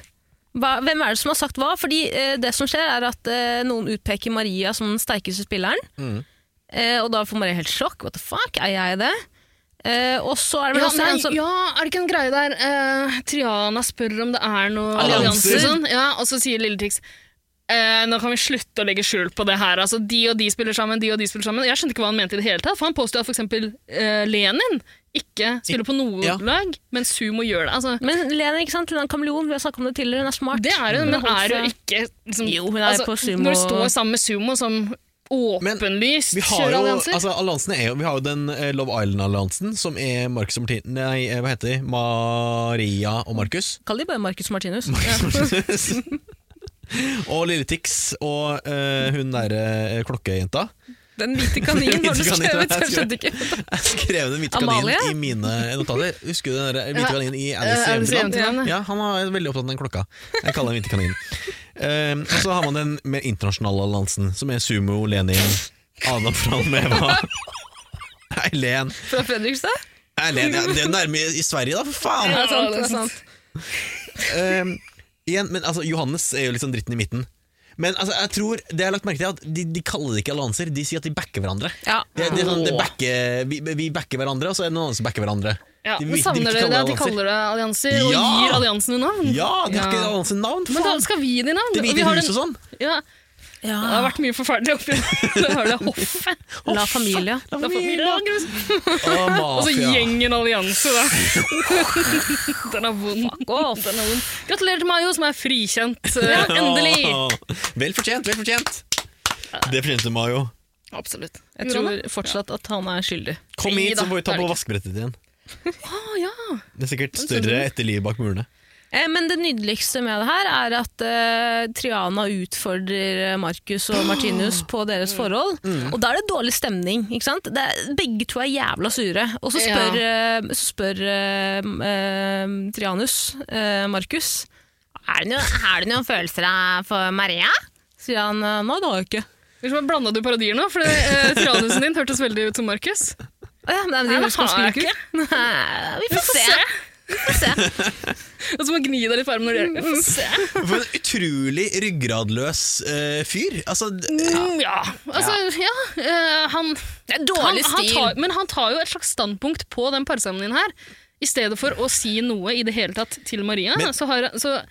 A: Hva, hvem er det som har sagt hva? Fordi eh, det som skjer er at eh, noen utpeker Maria som den sterkeste spilleren. Eh, og da får Maria helt sjokk. What the fuck, er jeg det? Eh, og så er det vel
B: Ja,
A: også
B: nei,
A: en som
B: ja, er det ikke en greie der eh, Triana spør om det er noe allianser?
C: Allianser.
B: og Sånn? Ja, og så sier Lille Tix eh, nå kan vi slutte å legge skjul på det her. Altså, de og de spiller sammen, de og de spiller sammen. Jeg skjønte ikke hva han mente i det hele tatt, for han påstod at for eksempel eh, Lenin ikke spiller på noe
C: Ja.
B: lag, men Sumo gjør det. Altså,
A: Men Lene, ikke sant? Hun er en kameleon, vi har snakket om det tidligere, hun er smart.
B: det er hun, men
A: holder
B: er hun
A: seg-
B: ikke liksom,
A: Mm. Jo, hun er på Sumo-
B: Når du står sammen med Sumo som åpenlyst
C: Vi har
B: kjører
C: jo,
B: allianser
C: altså, alliansen er jo, vi har jo den eh, Love Island-alliansen, som er Marcus og Martin Nei, eh, hva heter de? Maria og Markus.
A: Kall de bare Marcus Martinus.
C: og Lille Tix og eh, hun derre eh, klokkejenta.
A: Den hvite kaninen har du
C: Hvite kaninen,
A: skrevet,
C: jeg
A: jeg skjønte ikke.
C: Jeg skrev den hvite
A: Amalie?
C: kaninen i mine notater. Husker du den der hvite
B: Ja.
C: kaninen i
B: Eh,
C: Alice i
B: Alice i
C: Eventyrland?
B: Eventyrland, ja.
C: Ja, han er veldig opptatt av den klokka. Jeg kaller den hvite kaninen. Eh, og så har man den mer internasjonale alliansen, som er Sumo, Lenin, Adam Frann Meva Eileen
A: Fra Fredrikstad?
C: Eileen, ja, det er nærme i Sverige, da, for faen!
A: Ja,
B: Ja,
A: sant,
B: det er
A: det er sant.
C: Ehm, igjen, men altså, Johannes er jo liksom dritten i midten. Men altså, jeg tror, det jeg har lagt merke til er at de, de kaller det ikke allianser, de sier at de backer hverandre.
A: Ja.
C: Det, det er sånn, det backer, vi, vi backer hverandre, og så er det noen andre som backer hverandre.
B: ja,
C: De vil-
B: men
C: de vil
B: Savner
C: ikke
B: dere
C: kalle
B: det at de
C: allianser.
B: kaller det allianser, og
C: Ja!
B: gir alliansene navn?
C: Ja, de har ikke
B: Ja.
C: alliansenavn!
B: Men da
C: faen.
B: skal vi gi dem navn.
C: Det
B: og vi
C: hvite
B: har
C: huset
B: den-
C: og sånn.
B: Ja,
A: Ja.
B: det har vært mye forferdelig oppi det. Har det hoffet.
A: La familia.
B: Da får vi lager- Og så
C: mafia.
B: gjengen allianse, da. Den er vond. Den er vond. Gratulerer til Mayo, som er frikjent. eh, Endelig!
C: Åh, Vel fortjent, vel fortjent. Det fortjente Mayo.
B: Absolutt.
A: Jeg tror fortsatt at han er skyldig.
C: Kom
B: Nei
C: hit,
B: da,
C: så får vi
B: det
C: ta
B: er det
C: på
B: ikke.
C: vaskebrettet igjen.
B: Å, ja.
C: Det er sikkert
B: Den
C: større
B: skjønner
C: etter livet bak murene.
A: Eh, Men det nydeligste med det her er at eh, Triana utfordrer eh, Markus og Martinus på deres forhold. Og da er det dårlig stemning. ikke sant? Det er, begge to er jævla sure. Og så spør, eh, så spør eh, m- eh, Trianus eh, Markus «Er det noe- Har du noen følelser av- for Maria? Sier han eh, nei, det har jeg ikke.
B: Liksom, Blanda du parodier nå? For eh, Trianusen din hørtes veldig ut som Markus.
A: Å ja, nei, men
B: Nei,
A: de
B: det har jeg
A: husker ikke. Nei, vi får se. Vi får se.
B: Og så må gni deg litt på armen når du gjør det. Få se.
C: For en utrolig ryggradløs eh, fyr. Altså, d-
B: Mm, Ja. Altså, ja. eh, han,
A: Det er dårlig
B: han, han
A: stil.
B: tar, men han tar jo et slags standpunkt på den parseremonien her. I stedet for å si noe i det hele tatt til Maria.
C: Men-
B: så har, så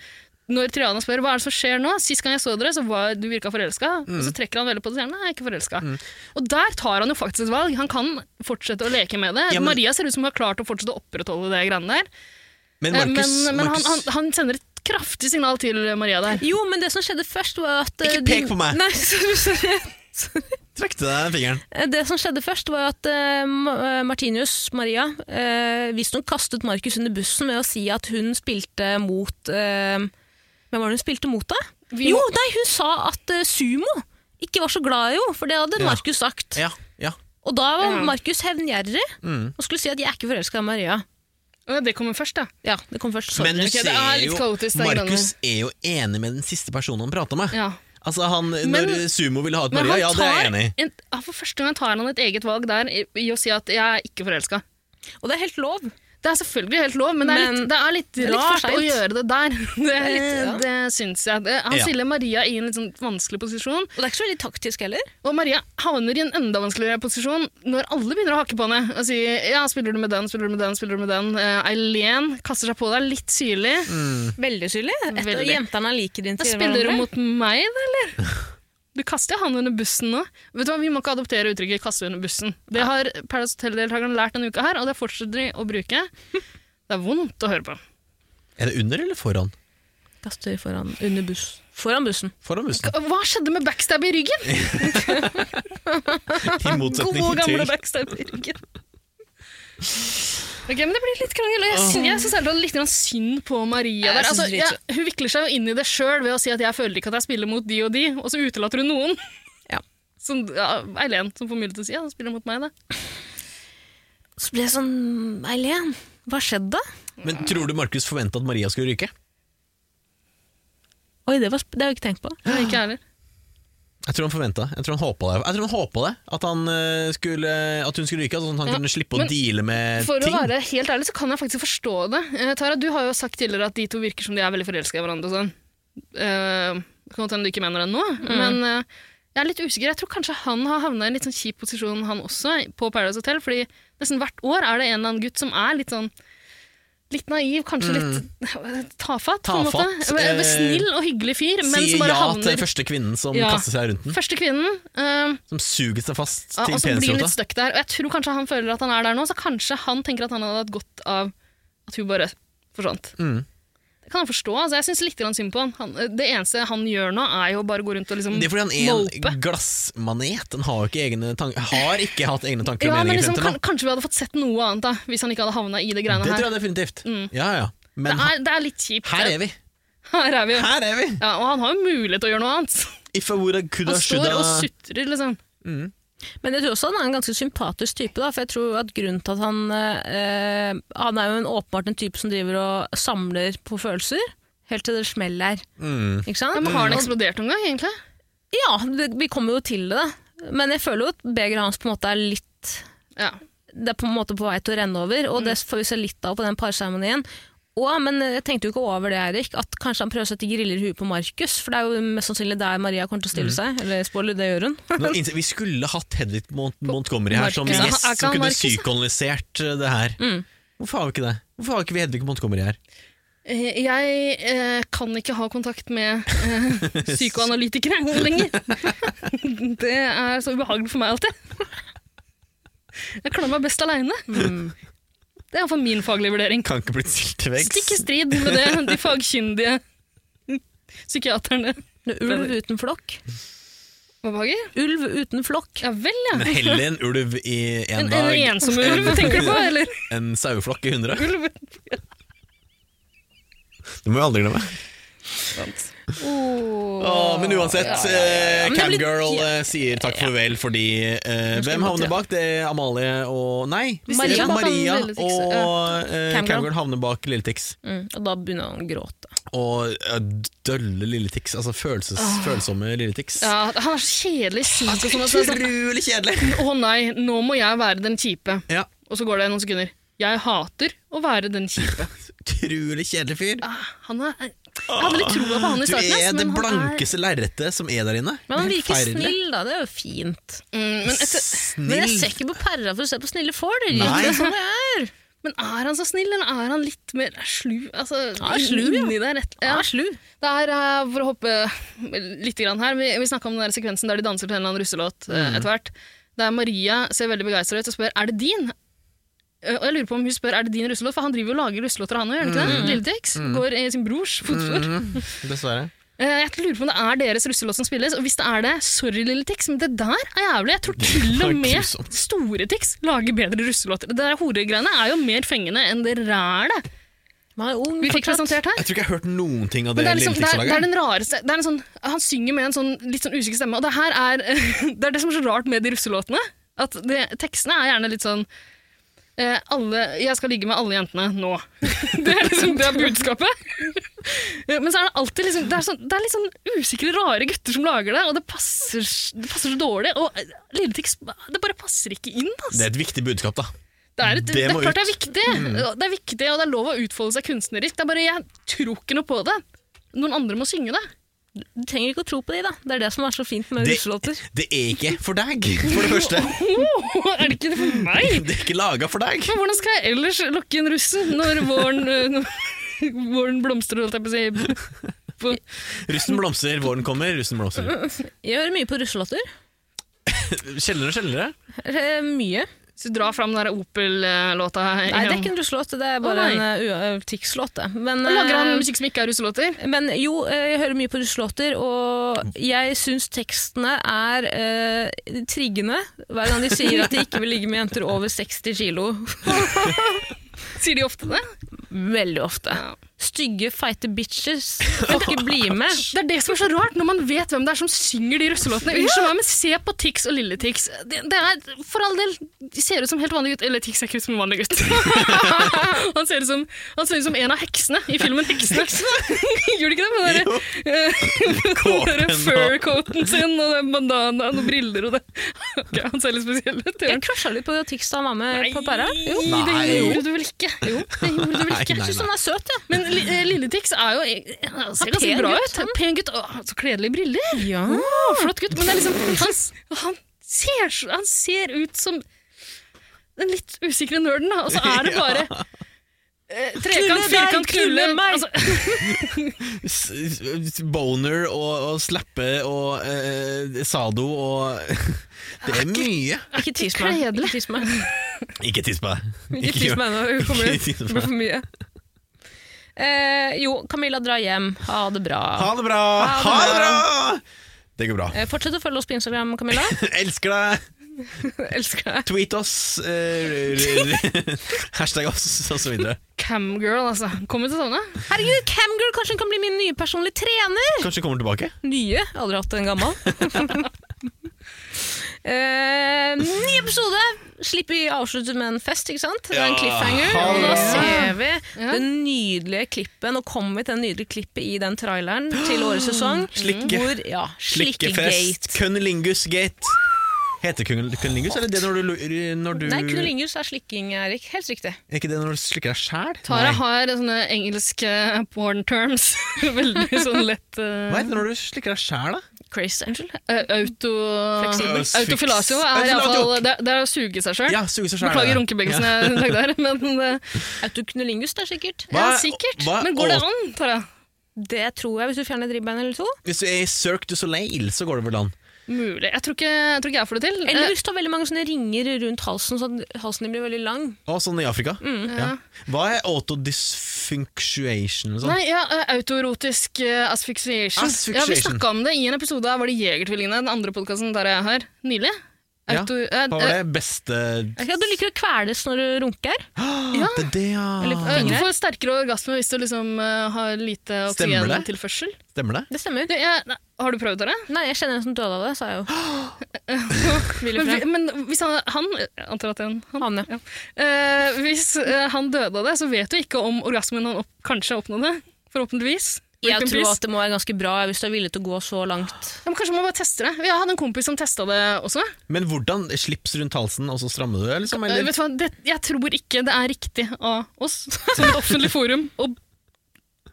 B: når Triana spør hva er det som skjer nå, sist gang jeg så dere, så var du virka forelska. Og
C: Mm.
B: så trekker han veldig på det og sier nei, jeg er ikke forelska. Og der tar han jo faktisk et valg. Han kan fortsette å leke med det.
C: Ja, men-
B: Maria ser ut som hun har klart å fortsette å opprettholde det greiene der.
C: men
B: Eh,
C: Markus,
B: men men han,
C: Markus
B: han, han sender et kraftig signal til Maria der.
A: Jo, men det som skjedde først var at eh,
C: Ikke pek
A: de-
C: på meg.
A: Nei, sorry, sorry.
C: trakk til deg fingeren.
A: Det som skjedde først var at eh, Ma- eh, Martinus, Maria, uh, visstnok kastet Markus under bussen ved å si at hun spilte mot eh, Hvem var det hun spilte mot, da?
B: Vi
A: jo,
B: må-
A: nei, hun sa at eh, sumo ikke var så glad i henne, for det hadde
C: Ja.
A: Markus sagt.
C: Ja, ja. Mm.
A: Og da var
B: Ja.
A: Markus hevngjerrig og skulle si at 'jeg er ikke forelska i Maria'.
B: Å, Eh, Det kommer først, da.
A: Ja, det kom først. Sorry.
C: Men du
B: Ok, det
C: ser
B: er litt
C: jo
B: kaotisk, det greiene.
C: Markus er jo enig med den siste personen han prata med.
B: Ja.
C: Altså han,
B: Men-
C: Når sumo ville ha ut
B: Men
C: Maria,
B: han
C: ja, det er jeg
B: tar
C: enig i.
B: En, ja, for første gang tar han et eget valg der i, i å si at 'jeg er ikke forelska'.
A: Og det er helt lov.
B: Det er selvfølgelig helt lov, men det er
A: Men-
B: litt, det er litt
A: er litt for
B: rart
A: sent.
B: å gjøre det der. Det, er litt,
A: litt- ja.
B: det syns jeg. Det, han
C: Ja.
B: stiller Maria i en litt sånn vanskelig posisjon,
A: Og det er ikke så veldig taktisk heller.
B: og Maria havner i en enda vanskeligere posisjon når alle begynner å hakke på henne og si 'ja, spiller du med den, spiller du med den, spiller du med den'. Eh, Eileen kaster seg på deg litt syrlig.
C: Mm.
A: Veldig syrlig. Et-
B: Veldig.
A: Jentene liker din
B: Da spiller hun mot meg, da, eller? Du kaster jo han under bussen nå. Vet du hva, Vi må ikke adoptere uttrykket 'kaste under bussen'. Det har Paradise Hotel-deltakerne lært denne uka, her, og det fortsetter de å bruke. Det er vondt å høre på.
C: Er det under eller foran?
A: Kaster foran, under buss. Foran bussen.
C: Foran bussen.
B: Hva skjedde med backstab i ryggen?
C: I motsetning
A: Gode
C: til
A: gamle backstab i ryggen.
B: Ok, men Det blir litt krangel. og Jeg, syn- jeg syns ærlig talt litt grann synd på Maria. der.
A: Jeg synes
B: Altså,
A: det er
B: jeg, hun vikler seg jo inn i det sjøl ved å si at 'jeg føler ikke at jeg spiller mot de og de', og så utelater hun noen.
A: Ja.
B: Som ja, Eileen, som får mulighet til å si 'ja, han spiller mot meg', da.
A: Så ble jeg sånn Eileen, hva skjedde?
C: Men tror du Markus forventa at Maria skulle ryke?
A: Oi, det, var, sp- det har jeg ikke tenkt på.
B: Men Ikke jeg heller.
C: Jeg tror han forventa det. Jeg tror han håpa det. Jeg tror han håpet det. At, han eh, skulle, at hun skulle ryke, sånn at han
B: Ja,
C: kunne slippe å
B: men
C: deale med
B: For
C: ting.
B: å være helt ærlig, så kan jeg faktisk forstå det. Eh, Tara, du har jo sagt tidligere at de to virker som de er veldig forelska i hverandre og sånn. Eh, det kan godt hende du ikke mener det nå,
C: Mm.
B: men eh, jeg er litt usikker. Jeg tror kanskje han har havna i en litt sånn kjip posisjon, han også, på Paradise Hotel. Fordi nesten hvert år er det en eller annen gutt som er litt sånn Litt naiv, kanskje litt eh, tafatt, på en måte.
C: Mm. Tafatt,
B: Men- men
C: eh,
B: Snill og hyggelig fyr, men
C: Sier
B: som bare
C: ja til den
B: havner
C: første kvinnen som
B: Ja.
C: kaster seg rundt den.
B: Første kvinnen. eh,
C: Som suger seg fast
B: ja,
C: til
B: og så blir han litt
C: penisrota.
B: støkk der. Og jeg tror kanskje han føler at han er der nå, så kanskje han tenker at han hadde hatt godt av at hun bare forsvant.
C: Mm.
B: Det kan han forstå. altså Jeg syns litt grann synd på han. han. eh, Det eneste han gjør nå, er jo bare å gå rundt og liksom
C: Det er fordi han er
B: Måpe.
C: en glassmanet. Han har, jo ikke egne tank har ikke hatt egne tanker
B: ja, men
C: og meninger
B: liksom,
C: frem til
B: kan,
C: nå.
B: Kanskje vi hadde fått sett noe annet da, hvis han ikke hadde havna i det greiene
C: Det
B: her. Mm.
C: tror jeg definitivt. Ja, ja.
B: Det
C: Men ha-
B: er, det er litt kjipt.
C: her er vi!
B: Her er vi. jo.
C: Her er vi!
B: Ja, og han har jo mulighet til å gjøre noe annet.
C: If I would have could
B: Han
C: have should
B: står og
C: have-
B: sutrer, liksom.
A: Men jeg tror også han er en ganske sympatisk type, da, for jeg tror at grunnen til at han eh, Han er jo en åpenbart en type som driver og samler på følelser, helt til det smeller.
C: mm.
A: Ikke
B: Ja,
A: sant?
B: men har han eksplodert noen gang, egentlig?
A: Ja, det- vi kommer jo til det, da. Men jeg føler jo at begeret hans på en måte er litt
B: Ja.
A: det er på en måte på vei til å renne over, og det får vi se litt av på den parseremonien. Og, men jeg tenkte jo ikke over det, Erik, at kanskje han prøver å sette griller i huet på Markus, for det er jo mest sannsynlig der Maria kommer til å stille seg. Eller spoiler, det gjør hun.
C: Nå innser- Vi skulle hatt Hedvig Mont Montgomery her som
B: Markus.
C: gjest,
B: Er ikke
C: som
B: han
C: kunne
B: Markus, da?
C: psykoanalysert uh, det her.
A: Mm.
C: Hvorfor har vi ikke det? Hvorfor har ikke vi Hedvig Montgomery her?
B: Eh, Jeg eh, kan ikke ha kontakt med eh, psykoanalytikere lenger. Det er så ubehagelig for meg alltid. Jeg klarer meg best aleine.
A: Mm.
B: Det er iallfall min faglige vurdering.
C: Kan ikke bli stilt til veggs.
B: Stikk i strid med det de fagkyndige psykiaterne
A: Det er ulv uten flokk.
B: Vabehager?
A: Ulv uten flokk.
B: Ja vel, ja.
C: Men heller en ulv i en,
B: En, en
C: dag.
B: ensom ulv, tenker du på? Eller
C: En saueflokk i hundre.
B: ulv?
C: Det må vi aldri glemme.
B: Oh.
C: Åh, men uansett,
B: Ja, ja, ja.
C: eh,
A: Men det blir-
C: Camgirl eh, sier takk for vel fordi eh,
B: skal
C: Hvem
B: vi
C: havner
B: måtte-
C: bak? Det er Amalie og Nei,
A: Vi
C: Maria,
A: sier bak
C: Maria
B: han lille Tix,
C: og eh,
A: Camgirl.
C: Camgirl havner bak Lille Tix.
A: Mm, og da begynner han å gråte.
C: Og eh, dølle Lille Tix, altså følelses, følsomme Lille Tix.
B: Ja, han er så kjedelig sint og sånn. og så er det sånn,
C: Utrolig kjedelig!
B: Å nei, nå må jeg være den kjipe.
C: Ja,
B: Og så går det noen sekunder. Jeg hater å være den kjipe.
C: Utrolig kjedelig fyr.
B: Ah, Han er, jeg hadde litt
A: Ah,
B: troa på han i
C: Du
B: starten. ass,
C: er det
B: men han er-
C: blankeste lerretet som er der inne.
A: Men han virker
C: Forferdelig.
A: snill, da. Det er jo fint.
B: Mm, men, etter,
C: Snill.
A: Men jeg ser ikke på pæra for å se på snille folk.
C: Nei.
A: Det er sånn det er.
B: men er han så snill, eller er han litt mer slu? Altså,
A: Han er slu, ja.
B: inni der, rett,
A: Ja.
B: ja.
A: er slu.
B: Det er, eh, for å hoppe litt grann her, vi, vi snakka om den der sekvensen der de danser til en eller annen russelåt
A: Mm.
B: eh, etter hvert. Der Maria ser veldig begeistra ut og spør er det din. Eh, Og jeg lurer på om hun spør er det din russelåt, for han driver jo og lager russelåter, han òg, gjør han ikke
A: Mm.
B: det? Lille Tix går i sin brors fotspor.
C: Dessverre.
B: Eh, Jeg lurer på om det er deres russelåt som spilles, og hvis det er det, sorry Lille Tix, men det der er jævlig. Jeg tror til
C: var
B: og med
C: grusomt.
B: Store Tix lager bedre russelåter. Det der horegreiene er jo mer fengende enn det rælet
A: Man er ung
B: vi fikk
A: fortsatt.
B: presentert her.
C: Jeg tror ikke jeg har hørt noen ting av det,
B: Men det er, liksom,
C: Lille
B: det,
C: Tix
B: er, det er
C: lager.
B: den rareste det er en sånn, Han synger med en sånn litt sånn usikker stemme, og det her er det er det som er så rart med de russelåtene. At det, tekstene er gjerne litt sånn eh, alle, 'Jeg skal ligge med alle jentene nå'. Det er liksom det er budskapet. Men så er det alltid liksom Det er, sånn, det er litt sånn usikre, rare gutter som lager det, og det passer, s- det passer så dårlig. Og eh, Lille Tix Det bare passer ikke inn,
C: Det
B: altså.
C: er et viktig budskap, da.
B: Det er, et,
C: det
B: det er
C: må
B: klart det
C: ut. Mm.
B: er viktig, Det er viktig, og det er lov å utfolde seg kunstnerisk. Det er bare Jeg tror ikke noe på det. Noen andre må synge det.
A: Du trenger ikke å tro på de, da. Det er det som er så fint med
C: Det-
A: russelåter.
C: Det er ikke for deg, for det første.
B: Åh, Oh, er det ikke det for meg?
C: Det er ikke laga for deg.
B: Men hvordan skal jeg ellers lokke inn russen når våren, øh, når våren blomstrer, holdt jeg på å si? På,
C: Russen blomstrer, våren kommer, russen blomstrer.
A: Jeg hører mye på russelåter.
C: Sjeldnere og sjeldnere.
A: Eh, Mye.
B: så dra fram den der Opel-låta igjen.
A: Nei, det er ikke en russelåt, det er bare
B: Å, nei.
A: en uh, uh, Tix-låt. det. Men,
B: Og lager han
A: eh,
B: musikk som ikke er russelåter?
A: men jo, eh, jeg hører mye på russelåter,
C: Mm.
A: og jeg syns tekstene er eh, triggende hver gang de sier at de ikke vil ligge med jenter over 60 kilo.
B: Sier de ofte det?
A: Veldig ofte.
B: Ja.
A: Stygge, feite bitches får ikke bli med.
B: Det er det som er så rart, når man vet hvem det er som synger de russelåtene. Unnskyld meg, men se på Tix og Lille Tix. Det, det er, for all del, de ser ut som helt vanlige gutt. Eller Tix ser ikke ut som en vanlig gutt. han, ser ut som, han ser ut som en av heksene i filmen Heksene. Gjør de ikke det? Med den
C: Jo.
B: der,
C: Kåpen
B: den der
C: og-
B: fur-coaten sin, og den bandanaen og briller og det. Ok, han ser litt spesiell ut. gjør
A: Jeg
B: han ikke?
A: crusha litt på Tix da han var med på pæra.
B: Nei,
A: Jo.
B: det
C: Nei.
B: gjorde du vel ikke. Jo, det gjorde du vel
C: Nei,
B: ikke.
C: nei,
A: Jeg syns han er søt, jeg.
B: Men Li- eh, Lille Tix er jo eh, han ser
A: Ja,
B: ganske
A: pen
B: bra
A: gutt,
B: ut. Pen gutt. Å, så kledelige briller.
A: Ja.
B: Å, flott gutt. Men det er liksom, han, s- han, ser, så- han ser ut som den litt usikre nerden, da. Og så er det bare eh, trekant,
A: Knulle deg,
B: firkant, knulle
A: knulle meg.
B: altså,
C: S- s- Boner og, og slappe og eh, sado og Det er mye.
A: Ikke tiss meg.
B: Kledelig.
A: Ikke tiss meg.
C: Ikke tiss på deg.
A: Ikke tiss meg nå, det kommer
C: Ikke tiss
A: det
C: meg.
A: blir for mye. Eh, jo, Camilla, dra hjem. Ha det bra.
C: Ha det bra! Ha det bra! Det går bra.
A: Eh, fortsett å følge oss på Instagram, Camilla.
C: Elsker deg!
A: Elsker deg.
C: Tweet oss. eh, r- r- hashtag oss, og så videre.
B: Camgirl, altså. Kommer til å savne.
A: Herregud, Camgirl kanskje hun kan bli min nye personlige trener!
C: Kanskje kommer tilbake.
A: Nye? Aldri hatt en gammel. eh, ny episode! Slipper vi avslutte med en fest, ikke sant? Det er en
C: Ja,
A: cliffhanger.
C: ha
A: Og da
C: det.
A: ser vi
B: Ja.
A: det nydelige klippet. Nå kommer vi til det nydelige klippet i den traileren til årets sesong.
C: Ah. Slikke.
A: Hvor, ja, slikkegate.
C: Slikkefest. Kunnilingus-gate. Heter kun- kunnilingus, eller det når du, lu- når du
A: Nei, knulingus er slikking, Erik. Helt riktig.
C: Er ikke det når du slikker deg sjæl?
B: Tara har sånne engelske eh, porn terms. Veldig sånn lett eh,
C: Hva heter det når du slikker deg sjæl, da?
A: Crazy. Unnskyld.
B: eh, Auto...
A: Fleksibel.
B: Autofilasio er
C: Autofilasio.
B: iallfall det, det er å suge seg sjøl.
C: Ja, suge seg sjæl.
B: Beklager runkebevegelsen jeg lagde her, men eh,
A: Autoknulingus, det er sikkert.
C: Hva-
B: ja, sikkert.
C: hva-
B: Men går det
C: å-
B: an, Tara?
A: Det tror jeg, hvis du fjerner dribbein eller to.
C: Hvis du er i Cirque du Soleil, så går det vel an.
B: Mulig. Jeg tror ikke jeg, tror ikke jeg får det til.
A: Eller hvis du har veldig mange sånne ringer rundt halsen, så at halsen din blir veldig lang.
C: Å, sånn i Afrika.
B: Eh,
C: Ja. Hva er autodysfunctuation? og sånn?
B: Nei, ja, eh, autoerotisk eh, asphyxiation.
C: Asphyxiation.
B: Ja, Vi snakka om det i en episode av Var det Jegertvillingene, den andre podkasten der jeg er her, nylig.
C: Ja,
B: Auto, eh,
C: Hva var det beste Ah,
A: Er ikke at du liker å kveles når du runker?
B: ja.
C: Det er det,
A: Eller-
B: eh, eh,
C: ja.
B: Du får sterkere orgasme hvis du liksom eh, har lite
C: Stemmer det?
B: oksygentilførsel.
C: Stemmer det?
A: Det stemmer.
B: Det er- nei, Har du prøvd det?
A: Nei, jeg kjenner en som døde av det, sa jeg jo.
B: Men, vi- men hvis han, han jeg antar at det er en han,
A: Hanne.
B: Eh, Hvis eh, han døde av det, så vet du ikke om orgasmen han opp, kanskje oppnådde. Forhåpentligvis. Rip
A: Jeg
B: in
A: tror
B: peace.
A: at det må være ganske bra hvis du er villig til å gå så langt.
B: ja, men kanskje man bare tester det. Jeg hadde en kompis som testa det også.
C: Men hvordan slips rundt halsen, og så strammer du det? Liksom,
B: Eh,
C: eller?
B: vet du hva, det, jeg tror ikke det er riktig av oss som et offentlig forum å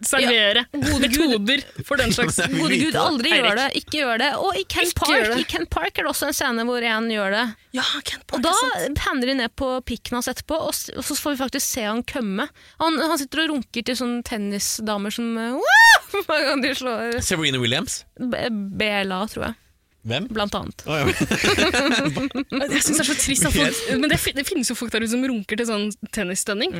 B: servere metoder for den slags.
C: Jeg vil
A: Gode
C: vite
A: gud,
C: det.
A: aldri
B: Eirik.
A: gjør det. Ikke gjør det. Og i Ken
B: Ikke gjør
A: Park
B: det.
A: I Ken Park er det også en scene hvor en gjør det.
B: Ja, Ken
A: Og da
B: altså.
A: panner de ned på pikken hans etterpå, og s- og så får vi faktisk se han kømme. Han, han sitter og runker til sånne tennisdamer som eh, «Wow!» Hver gang de slår
C: Serena Williams?
A: B- BLA, tror jeg.
C: Hvem?
A: Blant annet.
C: Å, ja.
B: Jeg synes det er så trist at folk, Men det, fi- det finnes jo folk der ute som runker til sånn tennisstønning.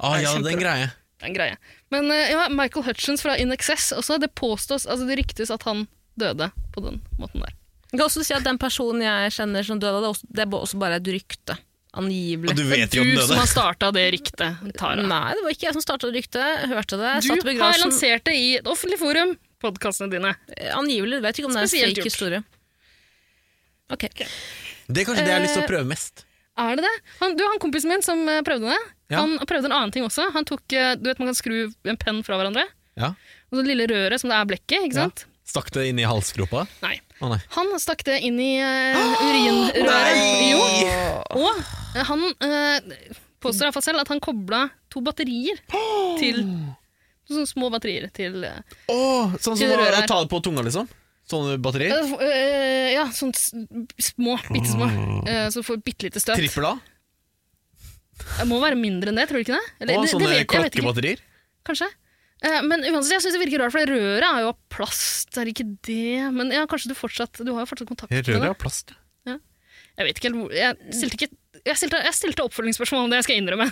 C: Ah, ja, det er en greie.
B: Det er en greie. Men eh, ja, Michael Hutchins fra In Excess også, det påstås, altså det ryktes at han døde på den måten der.
A: Jeg kan også si at den personen jeg kjenner som døde av det, også- det er også bare et rykte. Angivelig.
C: Og du vet jo
B: du
C: om den
B: som
C: døde.
B: har starta det ryktet, Tara.
A: Nei, det var ikke jeg som starta ryktet. Hørte det.
B: Du
A: satt i
B: har
A: begravelsen.
B: lansert det i et offentlig forum, podkastene dine.
A: Angivelig. Vet ikke om det er en
B: Spesielt
A: fake
B: gjort.
A: historie. Ok.
C: Det er kanskje det jeg har lyst til å
B: Eh,
C: prøve mest.
B: Er det det? Han, du, han kompisen min som eh, prøvde det,
C: Ja.
B: han prøvde en annen ting også. Han tok, eh, du vet Man kan skru en penn fra hverandre,
C: Ja.
B: og det lille røret som det er blekket. ikke
C: Ja.
B: sant?
C: Stakk det inn i halsgropa?
B: Nei.
C: Å nei.
B: Han stakk det inn i eh, urinrøret. Jo. Og eh, han eh, påstår iallfall selv at han kobla to batterier til Sånne små batterier til eh,
C: Åh, sånn som
B: Til
C: å
B: røret.
C: ta det på tunga, liksom? Sånne batterier?
B: eh, eh, Ja, sånne s- små, bitte små. eh, Så du får bitte lite støt.
C: Trippel A?
B: Det må være mindre enn det, tror du ikke det? Eller, det-
C: Og
B: det
C: sånne
B: vet- jeg vet ikke.
C: klokkebatterier?
B: Kanskje. Eh, Men uansett, jeg synes det virker rart, for det røret er jo av plast. Er det ikke det? Men ja, kanskje du fortsatt Du har jo fortsatt kontakt med
C: Røret
B: det.
C: av plast.
B: Jeg vet ikke helt hvor Jeg stilte, ikke, jeg stilte, jeg stilte oppfølgingsspørsmål om det, jeg skal innrømme.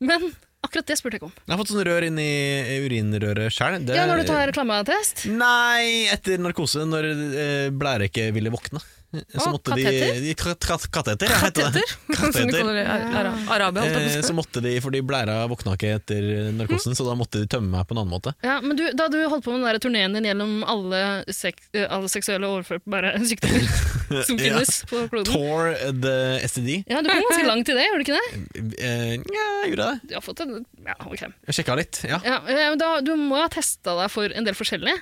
B: Men akkurat det spurte jeg ikke om.
C: Jeg har fått sånn rør inn i urinrøret sjøl.
B: Ja, Når du tar reklameattest?
C: Nei, etter narkose, når eh, blære ikke ville våkne. Så
A: Å,
C: måtte de,
A: kateter?
C: de tra- tra- Kateter? ja, heter det.
A: Kateter? Som de kaller det i Ar- Ara- Arabia, holdt jeg på å
C: Eh,
A: si.
C: Så måtte de, fordi blæra våkna ikke etter
B: Mm.
C: narkosen, så da måtte de tømme meg på en annen måte.
B: Ja, men du, Da du holdt på med den der turneen din gjennom alle, sek, eh, alle seksuelle overførbare sykdommer som
C: Ja.
B: finnes på kloden
C: Tore the STD.
B: Ja, Du kom ganske langt i det, gjorde du ikke det?
C: Eh, ja, jeg gjorde det.
B: Du har fått en, ja, ok.
C: Jeg sjekka litt. Ja.
B: Ja, eh, men da, du må ha testa deg for en del forskjellig.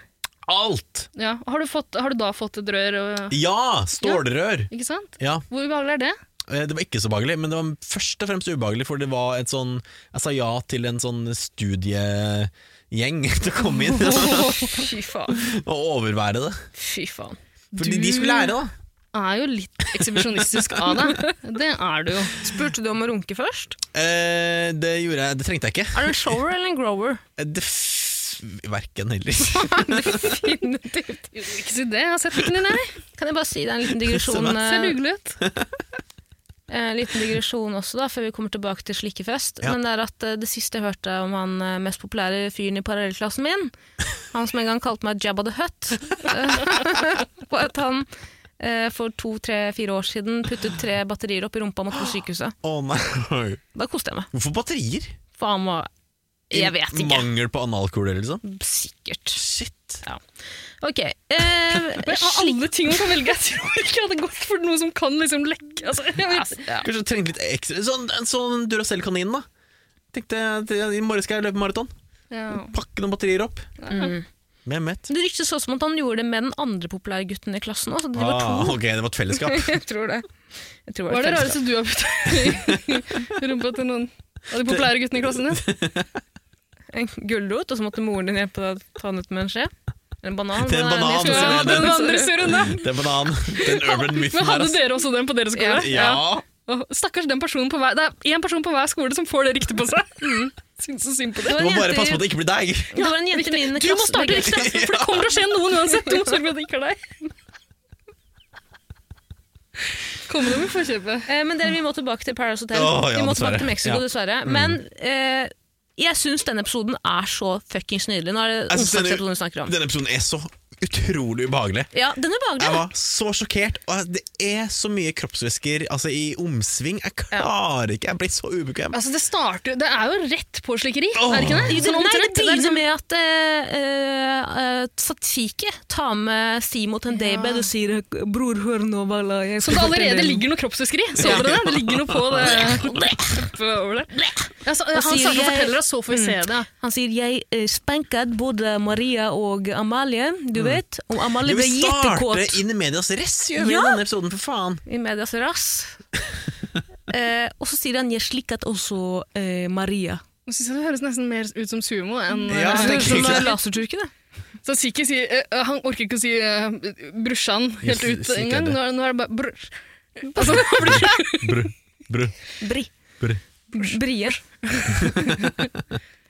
C: Alt!
B: Ja. Har, du fått, har du da fått et rør? Og,
C: Ja! Stålrør!
B: ikke sant?
C: Ja,
B: Hvor ubehagelig er det?
C: eh, Det var ikke så behagelig, men det var først og fremst ubehagelig, for det var et sånn Jeg sa ja til en sånn studiegjeng til å komme inn
A: Åh, Fy faen.
C: og overvære det.
A: Fy faen.
C: Fordi
B: Du-
C: de skulle lære, da.
B: Er jo litt ekshibisjonistisk av deg. Det er du jo.
A: Spurte du om å runke først?
C: Eh, det gjorde jeg, det trengte jeg ikke.
A: Er du en shower eller en grower?
C: Eh, Det f verken heller.
A: Definitivt.
B: Jo, Ikke si det. Jeg har sett pikken din, jeg.
A: Kan jeg bare si det er en liten digresjon,
C: Sånn,
B: Ser
A: eh,
B: dugelig ut.
A: eh, liten digresjon også, da, før vi kommer tilbake til slikkefest.
C: Ja.
A: Men det er at eh, det siste jeg hørte om han eh, mest populære fyren i parallellklassen min, han som en gang kalte meg Jabba the Hutt, eh, var at han eh, for to, tre, fire år siden puttet tre batterier opp i rumpa og måtte på sykehuset.
C: Å nei.
A: Da koste jeg meg.
C: Hvorfor batterier?
A: For han var Jeg vet ikke.
C: Mangel på analkule, liksom?
A: Sikkert.
C: Shit.
A: Ok. Eh,
B: Men av alle ting man kan velge, jeg tror ikke jeg hadde gått for noe som kan liksom lekke. Altså, jeg vet.
A: slik- ja.
C: Kanskje du trengte litt ekstra Sånn, en sånn Duracell-kanin, da. Tenkte jeg at I morgen skal jeg løpe maraton.
B: Ja.
C: Pakke noen batterier opp.
A: Mm.
C: Mehmet.
A: Det ryktes også om at han gjorde det med den andre populære gutten i klassen òg, så de var
C: Ah,
A: to.
C: ok, det var et fellesskap.
A: Jeg tror det. Jeg tror
B: Hva er det
A: et
B: rareste du har puttet i rumpa til noen av de populære guttene i klassen din?
A: fellesskap. En gulrot, og så måtte moren din hjelpe deg å ta den ut med en skje. Eller en banan.
C: Det er en
A: men
C: banan,
A: det er en historie.
C: altså, det er
B: den andre ser unna.
C: Det er banan. Den urban
B: Men
C: mythen her,
B: hadde
C: ass.
B: dere også den på deres skole?
A: Ja.
C: Ja.
B: Åh, Stakkars den personen på hver Det er én person på hver skole som får det riktig på seg. Syns så synd på
A: Det
B: Mm. det.
A: var
C: Du
A: en
C: må bare
A: jente i-
C: passe på at det ikke blir deg.
A: Det var en jente i min
B: Du må
A: klasse
B: starte riktig, for det kommer til å skje noen uansett. Du må sørge for at det ikke er deg. Komme deg med forkjøpet.
A: Eh, men dere, vi må tilbake til Paradise Hotel.
C: Å, ja,
A: vi må
C: dessverre.
A: tilbake til Mexico,
C: Ja. Mm.
A: dessverre. Men eh, jeg syns denne episoden er så fuckings nydelig. Nå er det
C: Jeg synes
A: onsdagsepisoden vi snakker om.
C: denne episoden er så utrolig ubehagelig.
A: Ja, den er
C: Jeg
A: behagelig.
C: var så sjokkert. Og det er så mye kroppsvæsker altså, i omsving. Jeg klarer ikke, jeg blir så ubekvem.
B: Altså, det starter Det er jo rett på slikkeri,
C: Åh.
B: er det ikke det?
A: Nei,
B: Sånn
A: det
B: omtrent. Det er
A: begynner
B: liksom-
A: med at eh, eh, Satiki tar med Simo til en daybed og sier 'Bror, hør nå, Bala'. jeg
B: Så det
A: skal
B: allerede
A: fortelle
B: ligger noe kroppsvæskeri. Så dere det? Det ligger noe på det. På over det. Ja, så, han
A: sier
B: starter å
A: jeg-
B: fortelle oss, så får vi se det.
A: Han sier 'jeg eh, spanket både Maria og Amalie',
B: Mm.
A: du vet. Og
C: Ja,
A: Amalie ble
C: Vi
A: gjettekåt.
C: starter inn i medias ress, gjør vi
A: Ja.
C: i denne episoden, for faen.
A: I medias rass. eh, og så sier han 'jeg slikket også eh, Maria'.
B: Nå synes jeg Det høres nesten mer ut som sumo enn
C: Ja,
B: eh,
C: det er
B: som
C: kult.
B: er la-
A: laserturken, det.
B: Så Siki sier eh, Han orker ikke å si uh, brorsan helt
C: Yes,
B: ut
C: Siki er
B: engang.
C: det.
B: Nå, er- nå er det bare bror. Altså, det blir-
C: Bru, bru,
A: Bri.
C: bru.
A: Brie.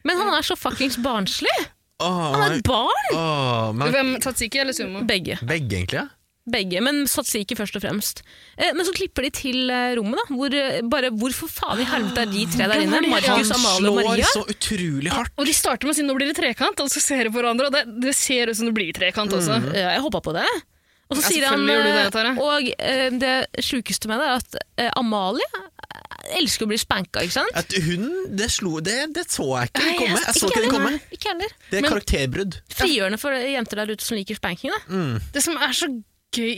A: Men han er så fuckings barnslig!
C: Åh,
A: Han er et barn!
C: åh, men
B: Hvem Tatsiki eller sumo?
A: Begge.
C: begge, egentlig. Ja.
A: Begge, men Satsiki først og fremst. Eh, men så klipper de til eh, rommet, da. Hvor, eh, bare, hvorfor faen i helvete er de
B: Ah,
A: tre der inne? Markus, Amalie og
C: slår
A: Maria?
C: så utrolig hardt.
B: Og De starter med å si nå blir det trekant, og så ser de på hverandre. Og det, det ser ut som det blir trekant også.
A: Ja, jeg håpa på det. Og så
B: Ja,
A: sier han
B: selvfølgelig gjorde du det, Tara.
A: eh, Og eh, det sjukeste med det er at eh, Amalie eh, elsker å bli spanka, ikke sant?
C: At hun, det, slo, det, det så jeg ikke
B: Nei,
C: komme.
B: jeg-
C: Jeg så ikke det komme.
A: heller. Ikke heller.
C: Det er
A: Men- Mm.
C: karakterbrudd.
A: Frigjørende for jenter der ute som liker spanking,
C: Mm.
A: da.
B: Det som er så gøy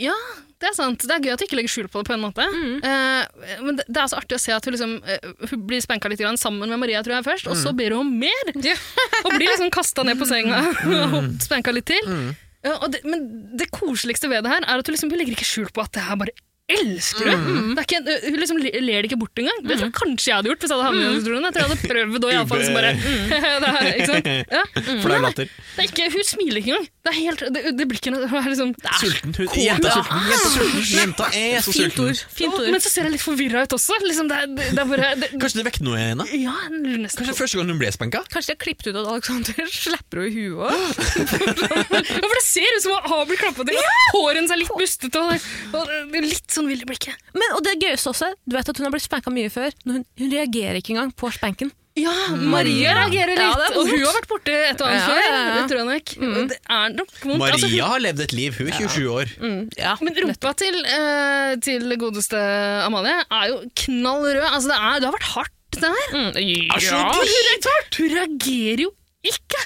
B: Ja, det er sant. Det er gøy at du ikke legger skjul på det. på en måte. Eh, men det, det er så artig å se at hun, liksom, eh, hun blir spenka litt grann sammen med Maria tror jeg først, og så blir hun mer! og blir liksom kasta ned på senga og spenka litt til. Eh, og det, men det koseligste ved det her er at hun liksom, hun legger ikke skjul på at det her bare elsker du! Det er ikke, en- hun liksom le- ler det ikke bort engang. Det tror jeg kanskje jeg hadde gjort hvis jeg hadde havnet i den situasjonen. Jeg tror jeg hadde prøvd å i alle fall, liksom bare, det her, ikke sant? Ja.
C: Flau latter.
B: Det er ikke, hun smiler ikke engang. Det er helt, det, det blikkene hun er liksom det er
C: Sulten. Hun, jenta, er sulten. jenta er sulten. Jenta er så
A: Fint
C: sulten.
A: ord. Fint
B: Å,
A: ord.
B: Men så ser jeg litt forvirra ut også. Liksom det, er- det, det er bare det,
C: Kanskje det vekket noe i henne?
B: Ja, jeg lurer nesten
C: Kanskje
B: på
C: det er første gang hun ble spenka?
A: Kanskje de har klippet ut at Alexander slipper henne i huet òg.
B: ja, For det ser ut som hun har blitt klappa til. Håret hennes er litt bustete og, og det er litt sånn vill i blikket.
A: Men, og det gøyeste også, du vet at hun har blitt spanka mye før. men Hun, hun reagerer ikke engang på spanken.
B: Ja, Maria reagerer litt,
A: Ja, det er
B: og hun
A: vondt.
B: har vært borti et og annet
A: Ja,
B: før.
A: ja, ja.
B: Det tror jeg nok. Det er nok vondt.
C: Maria
B: Altså, hun,
C: har levd et liv. Hun er 27 år.
A: Mm, Ja.
B: men rumpa til, eh, til godeste Amalie er jo knall rød. Altså, det, er, det har vært hardt, det her.
A: Mm,
B: Ja,
A: ja.
B: hun reagerer- Hun reagerer jo ikke!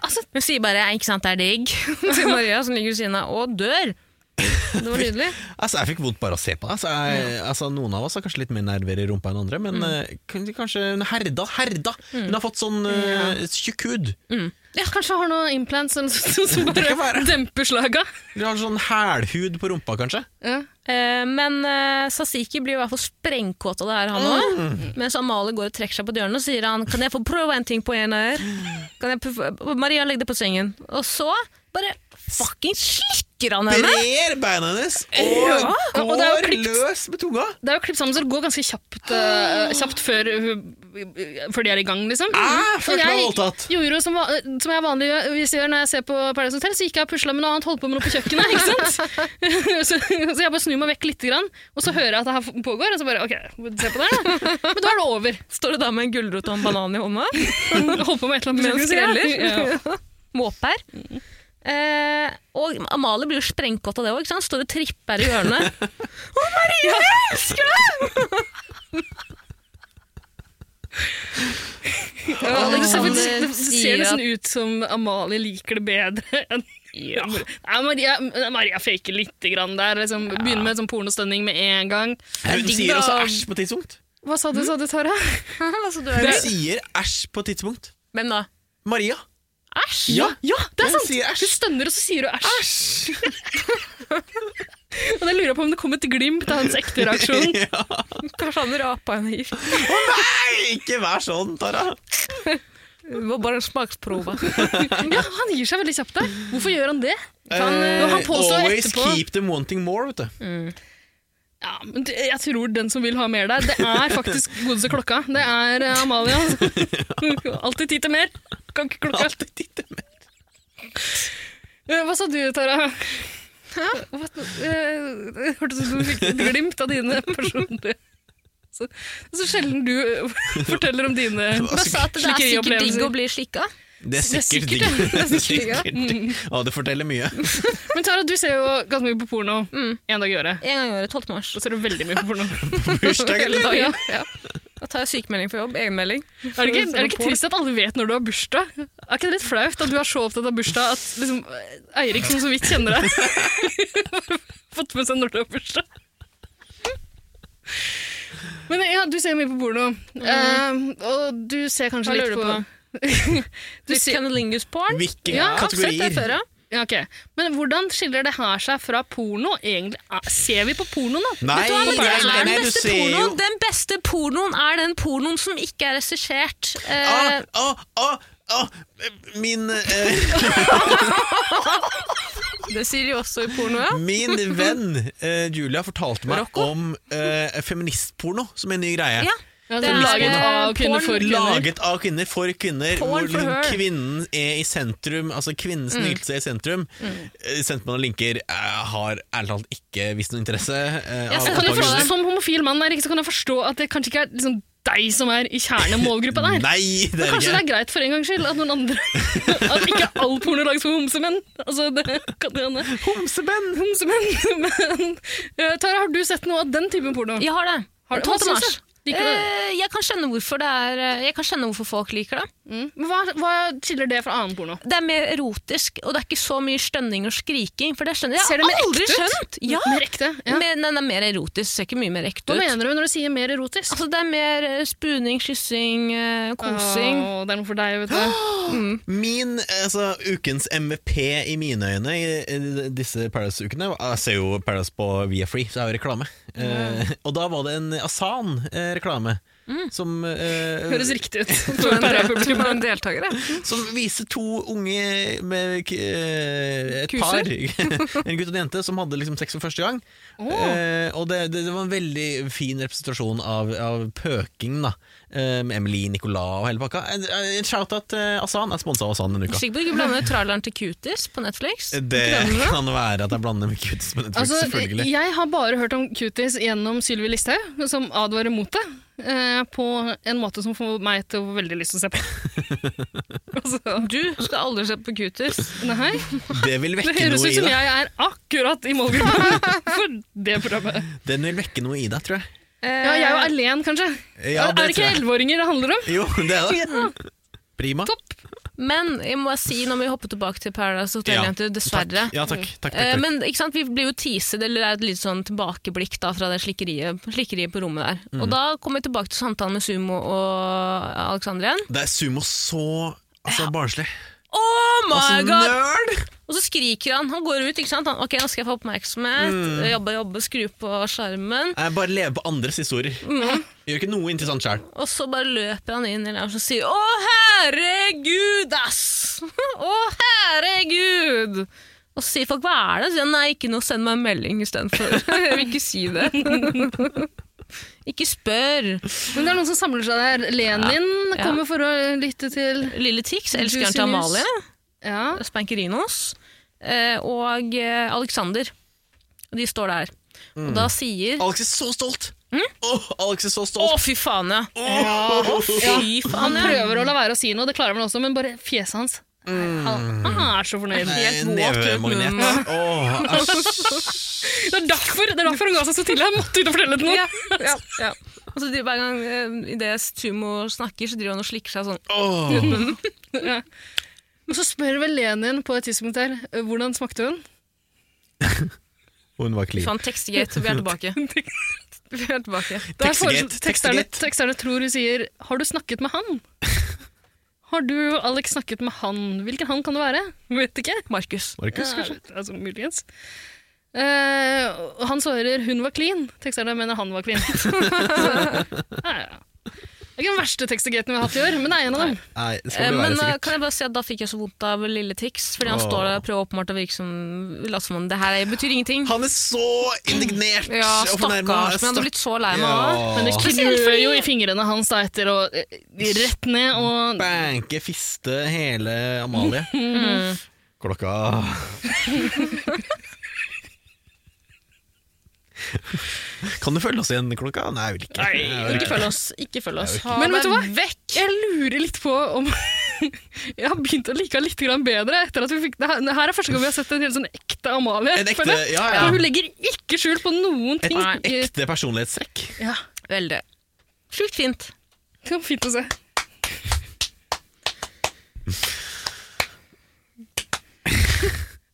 B: Altså,
A: Hun sier bare 'ikke sant, det er digg' til Maria, som ligger ved siden av og dør. Det var nydelig.
C: Altså, jeg fikk vondt bare av å se på det. Altså, jeg, altså, noen av oss har kanskje litt mer nerver i rumpa enn andre, men eh, kan- kanskje hun er herda. Herda! Hun har fått sånn eh, tjukk hud.
B: Ja, kanskje hun har noen implants eller noe sånt som
C: Det kan
B: bare
C: være.
B: demper slaga.
C: Hun har sånn hælhud på rumpa, kanskje.
B: Ja.
A: Eh, men eh, Sasiki blir i hvert fall sprengkåt av det her, han òg. Mens Amalie går og trekker seg på dørene og sier han 'kan jeg få prøve en ting på en her'? Kan jeg prøve? Maria legg det på sengen. Og så bare fucking slikker han henne!
C: Brer beina hennes
A: Ja.
C: og
B: Og- og det er jo Mhm.
C: går
B: klipt.
C: løs med tunga.
B: Det er jo klippet sammen, så det går ganske kjapt, eh, kjapt før, før de er i gang, liksom.
C: Ah,
B: Og
C: følte
B: jeg
C: meg voldtatt.
B: Gjorde jo som, va- som jeg vanligvis gjør når jeg ser på Paradise Hotel, så gikk jeg og pusla med noe annet, holdt på med noe på kjøkkenet, ikke sant? så, så jeg bare snur meg vekk litt, grann, og så hører jeg at det her pågår, og så bare OK, se på det her, da. Men da er det over.
A: Står det da med en gulrot og en banan i hånda?
B: Holdt på med et eller annet.
A: Mens
B: som jeg skulle si, ja. Ja.
A: skreller. Måper. Eh, og Amalie blir jo sprengkåt av det òg. Står og tripper i hjørnet. Å, Maria, jeg elsker deg!
B: Ja, det, ser,
A: Alexander
B: det, det ser
A: sier
B: nesten ut som Amalie liker det bedre enn
A: Ja.
B: Nei, Maria, Maria faker litt grann der. Liksom, Begynner med sånn pornostønning med en gang.
C: Hun
A: digg,
C: sier
A: da.
C: også æsj på tidspunkt.
B: Hva sa du, sa du, Tara?
A: altså, du
C: Hun
A: er
C: sier æsj på tidspunkt.
A: Hvem da?
C: Maria.
A: Æsj!
B: ja det er
C: Hun
B: sant!
C: sier
B: Du
C: æsj.
B: stønner, og så sier du æsj. Og da lurer jeg på om det kom et glimt av hans ekte reaksjon.
C: Ja.
A: Kanskje han rapa henne gift.
C: Nei, ikke vær sånn, Tara.
A: Det var bare en smaksprove.
B: Ja, Han gir seg veldig kjapt der. Hvorfor gjør han det?
A: Han,
B: eh, han påstår
C: always
B: etterpå-
C: keep them wanting more, vet du.
B: Ja, men det- Jeg tror den som vil ha mer der, det er faktisk godeste klokka. Det er eh, Amalie. altså. Alltid tid til mer. Kan ikke klokka
C: Alltid titte med.
B: Eh, Hva sa du, Tara? Hva- eh, Hørtes ut som du fikk et glimt av dine personlige så, så sjelden du forteller om dine
A: Bare sa at det er sikkert digg å
B: slikkeri-opplevelser.
A: bli slikka.
C: Det er sikkert digg.
B: sikkert, ja. Mm.
C: Det er sikkert
A: digg,
C: digg. Å, det forteller mye.
B: Men Tara, du ser jo ganske mye på porno
A: Mm.
B: en dag i året.
A: En gang i året, 12. mars.
B: Da ser du veldig mye på porno.
C: Bursdag,
A: Hele
C: eller?
A: dagen.
B: Ja.
A: Da tar jeg sykemelding for jobb, egenmelding.
B: Er det, ikke, er det ikke trist at alle vet når du har bursdag? Er ikke det litt flaut at du er så opptatt av bursdag at liksom, Eirik, som så vidt kjenner deg, har fått med seg når du har bursdag? Men ja, du ser mye på porno, Eh, og du ser kanskje
A: Mhm. Hva
B: litt
A: lurer du
B: på,
A: på?
B: du
A: Litt
B: ser,
A: cunnilingus-porn.
C: Hvilke
B: Ja,
A: Sett det
C: kategorier?
A: før, ja.
B: ja, ok. Men hvordan skiller det her seg fra porno? Egentlig, Er- ser vi på porno nå?
C: Nei,
A: Ja, men det
C: nei,
A: er
C: nei, nei,
A: den
C: du
A: beste
C: ser jo
A: pornoen. Den beste pornoen er den pornoen som ikke er regissert. Eh,
C: Å, å, å, å, ah, Min, eh,
A: det sier de også i porno, ja.
C: min venn eh, Julia fortalte meg
A: Rocco?
C: om eh, feministporno som en ny greie.
A: ja.
B: Ja,
A: Det
B: det er
A: er,
B: laget
A: eh,
B: av kvinner for
A: porn
B: kvinner.
C: Laget av kvinner for kvinner,
A: Porn
C: hvor
A: for
C: liksom
A: her.
C: kvinnen er i sentrum. Altså kvinnens nytelse er i sentrum. Eh, Sendte meg noen linker. Jeg har ærlig talt ikke vist noen interesse. eh,
A: Jeg
C: av
A: skal
B: Kan jeg
C: oppdraget.
B: forstå, som homofil mann Eirik, så kan jeg forstå at det kanskje ikke er liksom, deg som er i kjernemålgruppa der.
C: Nei, det er
B: Kanskje det
C: ikke
B: er greit for en gangs skyld at noen andre At ikke all porno lages for homsemenn. Altså, det kan det hende.
C: homsemenn!
B: Homsemenn. Men eh, Tara, har du sett noe av den typen porno?
A: Jeg har det.
B: Har du-
A: 12.
B: Hva syns
A: mars.
B: du? Liker du det?
A: Eh, jeg kan skjønne hvorfor det er eh, Jeg kan skjønne hvorfor folk liker det.
B: Mm. Men Hva, hva skiller det fra annen porno?
A: Det er mer erotisk, og det er ikke så mye stønning og skriking. For det skjønner jeg.
B: Ser det
A: jeg
B: mer
A: har aldri
B: ekte ut?
A: skjønt! Ja.
B: Mer ekte? Ja.
A: Men den er mer erotisk, ser ikke mye mer ekte
B: Hva
A: ut.
B: mener du når du sier mer erotisk?
A: Altså, det er mer eh, spuning, kyssing, eh, kosing.
B: Åh, det er noe for deg, vet du.
C: Min, altså ukens MVP i mine øyne i, i disse Paradise-ukene Jeg ser jo Paradise på Via Free, så jeg har jo reklame. Eh,
B: Mm.
C: og da var det en Asan-reklame. Som, eh,
B: Høres riktig ut.
A: deltakere.
C: som viser to unge med k- eh, et par, en gutt og en jente, som hadde liksom sex for første gang.
B: Åh.
C: Eh, og det, det, det var en veldig fin representasjon av, av pøking, da. Eh, med Emily, Nicolas og hele pakka. En, en shout-out til Asan. Jeg er sponsa av Asan denne uka.
A: Sikker på at du ikke blander traileren til Cuties på Netflix?
C: Det
A: Glemmer du?
C: kan være at jeg blander med Cuties på Netflix,
B: Altså,
C: selvfølgelig.
B: jeg har bare hørt om cuties gjennom Sylvi Listhaug, som advarer mot det. Eh, på en måte som får meg til å få veldig lyst til å se på. altså,
A: Du skal aldri se på Cuties.
B: nei.
C: Det vil
B: Det
C: vekke
B: høres ut
C: noe i
B: som
C: deg.
B: jeg er akkurat i målgruppa for det programmet.
C: Den vil vekke noe i deg, tror jeg.
B: Ja, jeg
A: Eh,
B: og Erlen, kanskje.
C: Ja,
B: er det
C: tror
B: ikke
C: jeg.
B: elleveåringer det handler om?
C: Jo, det er det. Prima.
B: Topp.
A: Men jeg må si, når vi hopper tilbake til Paradise Hotel,
C: Ja.
A: jenter, dessverre
C: Ja, takk. takk, takk,
A: Eh,
C: takk.
A: Men ikke sant, vi blir jo teaset, eller det er et litt sånn tilbakeblikk da, fra det slikkeriet, slikkeriet på rommet der.
C: Mm.
A: Og da kommer vi tilbake til samtalen med Sumo og Alexander igjen.
C: Det er sumo så altså, barnslig.
A: Oh my
C: Altså,
A: god!
C: nerd!
A: Og så skriker han. Han går ut, ikke sant? Han, ok, nå skal jeg få oppmerksomhet. Jobbe, jobbe, skru på skjermen.
C: Jeg bare lever på andres historier. Gjør ikke noe interessant sjøl.
A: Og så bare løper han inn i loungen og sier 'Å, herregud, ass!' 'Å, herregud!' Og så sier folk 'Hva er det?' Så sier han 'Nei, ikke noe, send meg en melding istedenfor'. jeg vil ikke si det. ikke spør.
B: Men det er noen som samler seg der. Lenin
A: Ja.
B: kommer for å lytte til
A: Lille Tix, elskeren
B: Juicy
A: til
B: news.
A: Amalie,
B: Ja.
A: Spankerinos, eh, og eh, Alexander. De står der. Og da sier
C: Alex er så stolt! Åh, Alex er så
A: Å,
C: stolt!
A: fy faen, ja!
C: Åh.
A: Fy
B: Han
A: faen, ja!
B: prøver å la være å si noe, det klarer han også, men bare fjeset hans
C: Mm.
B: Han han er så fornøyd.
C: Nei,
A: helt våt rundt munnen.
C: Eh, Nevemagnet. Åh, æsj.
B: Det er derfor, det er derfor hun ga seg så til. Jeg måtte ut og fortelle det til noen.
A: ja, ja, ja. Og så driver hver gang eh, i det Sumo snakker, så driver han og slikker seg sånn.
C: Åh.
B: Ja. Og så spør vel Lenin på et tidspunkt her eh, hvordan smakte hun.
C: Hun var clean.
A: Faen, Textegate, vi er tilbake. Vi er tilbake.
B: Det er
C: Tekstgate,
B: for- teksterne,
C: tekstgate.
B: teksterne tror hun sier 'Har du snakket med han?' Har du, Alex, snakket med han? Hvilken han kan det være? Vet ikke.
A: Markus.
C: Markus, kanskje?
B: Ja, altså, muligens. Eh, og han svarer 'hun var clean'. Teksterne mener han var clean. ja, ja. Det er ikke den verste tekstegaten vi har hatt i år, men det er en av dem.
C: Nei,
A: Eh,
C: det skal det
A: men
C: være,
A: eh,
C: sikkert.
A: kan jeg bare si at da fikk jeg så vondt av lille Tix, fordi han
C: Åh.
A: står der og prøver åpenbart å virke som Later som om det her betyr ingenting.
C: Han er så indignert
A: Ja,
C: og fornærmet. altså.
A: stakkars, men jeg hadde blitt så lei meg òg.
B: Men det
C: Ja.
B: klør jo i fingrene hans da etter å eh, rett ned og
C: Banke, fiste
A: Mhm.
C: hele Amalie. Klokka Kan du følge oss igjen, klokka? Nei, jeg vil ikke.
B: Nei,
C: Jeg
A: Ikke
C: vil ikke.
A: følg oss. Ikke følg oss. Ha
B: Men
A: deg
B: vet du hva?
A: vekk!
B: Jeg lurer litt på om Jeg har begynt å like henne litt grann bedre etter at vi fikk det her. det her er første gang vi har sett en helt sånn ekte Amalie.
C: En ekte,
B: føler jeg.
C: ja,
B: For Hun
C: ja.
B: legger ikke skjul på noen
C: Et
B: ting.
C: ekte personlighetstrekk.
B: Ja,
A: Veldig. Sjukt fint.
B: det var fint å se.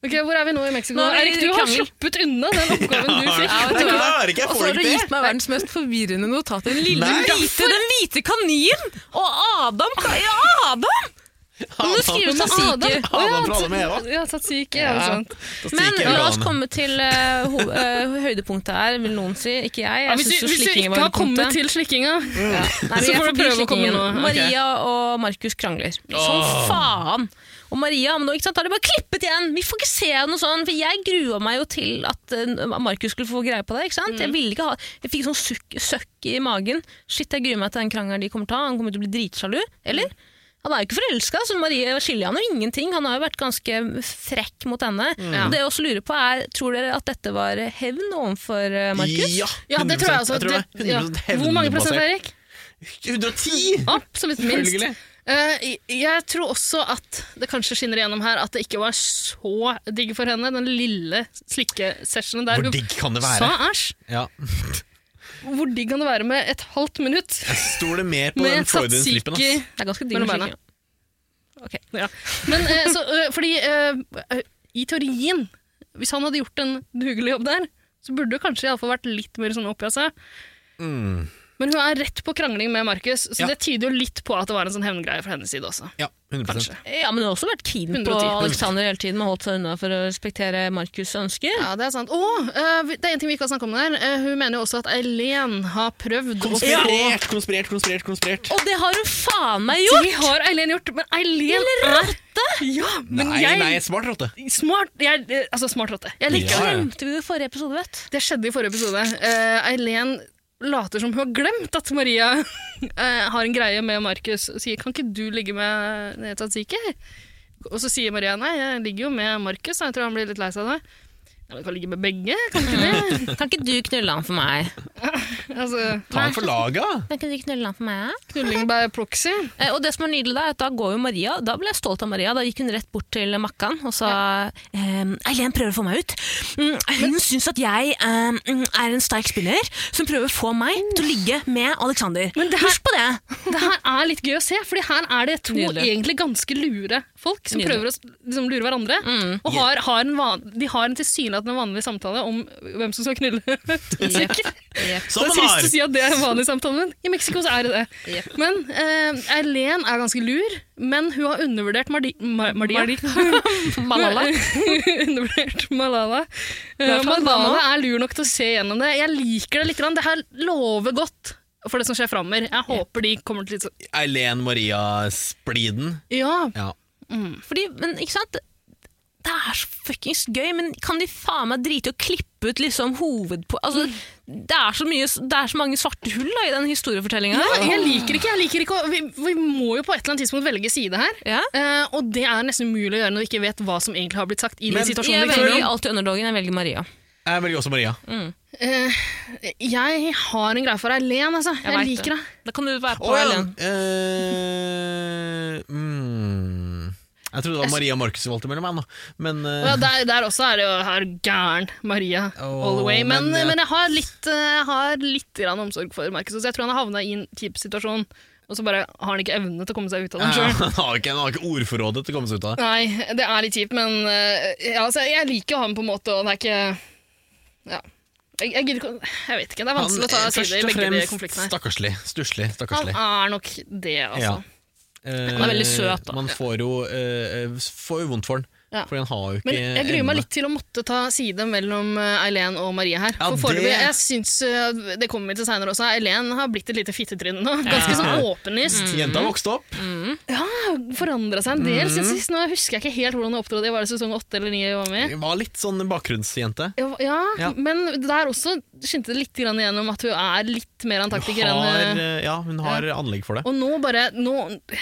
B: Ok, Hvor er vi nå i Mexico?
A: Nå er vi
B: Erik, du
A: i
B: har
A: krangel.
B: sluppet unna den oppgaven du fikk.
A: Ja, vet du hva?
C: klarer ikke, jeg
A: Og så
C: får
A: har du
C: ikke til.
A: gitt meg verdens mest forvirrende notat. Den lille
C: Nei.
A: hvite, den hvite kaninen! Og Adam! ka- Ja, Adam! Men du skriver
B: Men
A: tzatziki.
B: Å ja,
C: Adam fra Adam og Eva.
B: Ja, tzatziki er
C: Ja.
B: jo sant.
A: sånn. Men
C: Tzatziki er
A: la oss
C: veganer.
A: komme til eh, ho- eh, høydepunktet her, vil noen si. Ikke jeg. jeg
B: Ja, hvis,
A: synes
B: du,
A: jo
B: hvis du
A: slikkingen
B: ikke
A: var
B: har kommet
A: høydepunktet.
B: til slikkinga
C: Mm.
A: Ja. Nei,
B: Så
A: men jeg
B: får du
A: forbi
B: prøve å komme
A: slikkingen.
B: nå, ok.
A: Maria og Markus krangler. Som faen! Og Maria men nå ikke sant, da har de bare klippet igjen! Vi får ikke se noe sånn, for jeg grua meg jo til at eh, Markus skulle få greie på det. ikke sant?
B: Mm.
A: Jeg ville ikke ha, jeg fikk sånn sukk, søkk i magen. Shit, jeg gruer meg til den krangelen de kommer til å ha. Han kommer til å bli dritsjalu.
B: Mm.
A: Eller? Han er jo ikke forelska, så Marie skylder han jo ingenting. Han har jo vært ganske frekk mot henne.
B: Mm.
A: Og Det jeg også lurer på er, Tror dere at dette var hevn overfor eh, Markus?
C: Ja,
B: Ja, det tror jeg også.
C: det var
B: Det- ja.
C: 100
B: Hvor mange prosent, Erik?
C: hevnbasert. 110!
B: Absolutt minst.
C: Selvfølgelig.
B: Eh, jeg- jeg tror også at det kanskje skinner igjennom her at det ikke var så digg for henne, den lille slikkesessionen der.
C: Hvor digg kan det være?
B: Sa æsj!
C: Ja.
B: Hvor digg kan det være med et halvt minutt
C: Jeg stoler mer på
B: med
C: den Freudian slippen. ass.
B: tzatziki?
A: Det er ganske digg
B: Mellom
A: med
B: beina.
A: slikking. Ok.
B: Ja. Men eh, så, eh, fordi eh, eh, i teorien, hvis han hadde gjort en dugelig jobb der, så burde det kanskje i alle fall vært litt mer sånn oppi av seg.
C: Mm.
B: Men hun er rett på krangling med Markus, så
C: Ja.
B: det tyder jo litt på at det var en sånn hevngreie fra hennes side også.
C: Ja, 100
B: Kanskje.
A: Ja, men du har også vært keen
B: 110.
A: på Alexander hele tiden, men holdt seg unna for å respektere Markus' ønsker.
B: Ja, det er sant. Å, eh, vi- det er en ting vi ikke har snakket om der. Eh, hun mener jo også at Eileen har prøvd å få-
C: Konspirert, konspirert, konspirert. konspirert
A: Og det har hun faen meg
B: Det
A: gjort!
B: har Eileen gjort, men Eileen er Ja, men
C: Nei,
B: jeg
C: nei, smart rotte.
B: Smart, jeg, eh, altså smart rotte. Jeg liker
C: Ja,
B: det.
C: ja.
A: Glemte vi det i forrige episode, vet
B: Det skjedde i forrige episode. Eh, Eileen later som hun har glemt at Maria eh, har en greie med Markus og sier 'kan ikke du ligge med eh, Tatsiki?' Og så sier Maria 'nei, jeg ligger jo med Markus, jeg tror han blir litt lei seg av det'. Ja, men du kan ligge med begge, kan du ikke det?
A: Kan ikke du knulle han for meg?
B: altså,
C: Ta den for laga!
A: Kan ikke du knulle han for meg?
B: knulling by proxy.
A: Eh, og det som er nydelig da, er at da går jo Maria, da ble jeg stolt av Maria, da gikk hun rett bort til Makkan og sa ehm, Eileen prøver å få meg ut. Mm, hun syns at jeg ehm, er en sterk spiller som prøver å få meg til å ligge med Alexander.
B: Men det her-
A: Husk på det!
B: Det her er litt gøy å se, Fordi her er det to
A: Nydelig. egentlig
B: egentlig ganske lure folk som
A: Nydelig. Mm. prøver
B: prøver å liksom lure hverandre. Og har, en de har en tilsynelatende vanlig samtale om hvem som skal knulle.
C: Som
B: det er trist
C: man Sånn har!
B: å si at det er en vanlig samtale, men i Mexico så er det det. Men eh, Erlen er ganske lur, men hun har undervurdert Mardi, Ma, Mardia.
A: Malala.
B: undervurdert Malala. Eh,
A: er fra
B: Malala
A: Ghana.
B: er lur nok til å se gjennom det. Jeg liker det litt. grann. Det her lover godt for det som skjer framover. Jeg håper de kommer til litt sånn
C: Eileen Maria-spliden.
B: Ja,
C: Ja.
A: Fordi, men ikke sant Det er så fuckings gøy Men kan de faen meg drite og klippe ut liksom hovedpo... Altså, det, er så mye, det er så mange svarte hull da, i den historiefortellingen her.
B: Ja, jeg liker ikke, jeg liker ikke å, vi, vi må jo på et eller annet tidspunkt velge side her.
A: Ja.
B: Eh, og det er nesten umulig å gjøre når du ikke vet hva som egentlig har blitt sagt. i
C: Men-
B: den situasjonen
A: Jeg
B: vi krangler
A: velger
B: om.
A: alltid underdogen, jeg velger Maria
C: Jeg velger også Maria.
B: Mm. Jeg har en greie for Eileen, altså. Jeg,
A: vet
B: liker det.
A: Da kan du være på
C: Å, ja.
A: Ellen
C: Eh, mm. Jeg trodde det var Maria og Markus som valgte mellom meg, nå. men eh,
B: Ja, der, der også er det jo her gæren Maria
C: Åh,
B: all the way. Men,
C: men,
B: men,
C: eh,
B: jeg har litt, eh, jeg har litt grann omsorg for Markus. også. Jeg tror han har havna i en kjip situasjon, og så bare har han ikke evne til å komme seg ut av den sjøl.
C: Han har ikke, han har ikke ordforrådet til å komme seg ut av det.
B: Nei, det er litt kjipt, men eh, ja, altså, jeg liker jo han på en måte, og det er ikke Ja. Jeg, jeg, gidder ikke å- jeg vet ikke, det er vanskelig å ta
C: eh,
B: sider i
C: først og
B: begge de
C: fremst
B: konfliktene. her.
C: Stakkarslig. Stusslig.
B: Han
C: Stakkarslig.
B: er nok det, altså.
C: Ja. Eh,
A: Han er veldig søt, da.
C: Man får jo, eh, eh, får jo vondt for den,
B: Ja.
C: Fordi han har jo ikke
B: Men jeg gruer meg
C: evne.
B: litt til å måtte ta side mellom eh, Eileen og Marie her.
C: Ja,
B: For foreløpig,
C: det-
B: jeg synes, eh, Det kommer vi til seinere også. Eileen har blitt et lite fittetrinn nå. Ganske sånn åpenlyst.
C: Jenta vokste opp.
B: Forandra seg en del
C: Mm.
B: siden sist. Nå husker jeg ikke helt hvordan hun opptrådte. Var det sesong åtte eller ni jeg var med? i?
C: Var litt sånn bakgrunnsjente.
B: Ja, ja,
C: Ja.
B: men der også skinte det litt grann igjennom at hun er litt mer
C: Hun
B: antaktiker
C: har,
B: enn eh,
C: eh, ja, hun har anlegg for det.
B: og nå bare nå, Du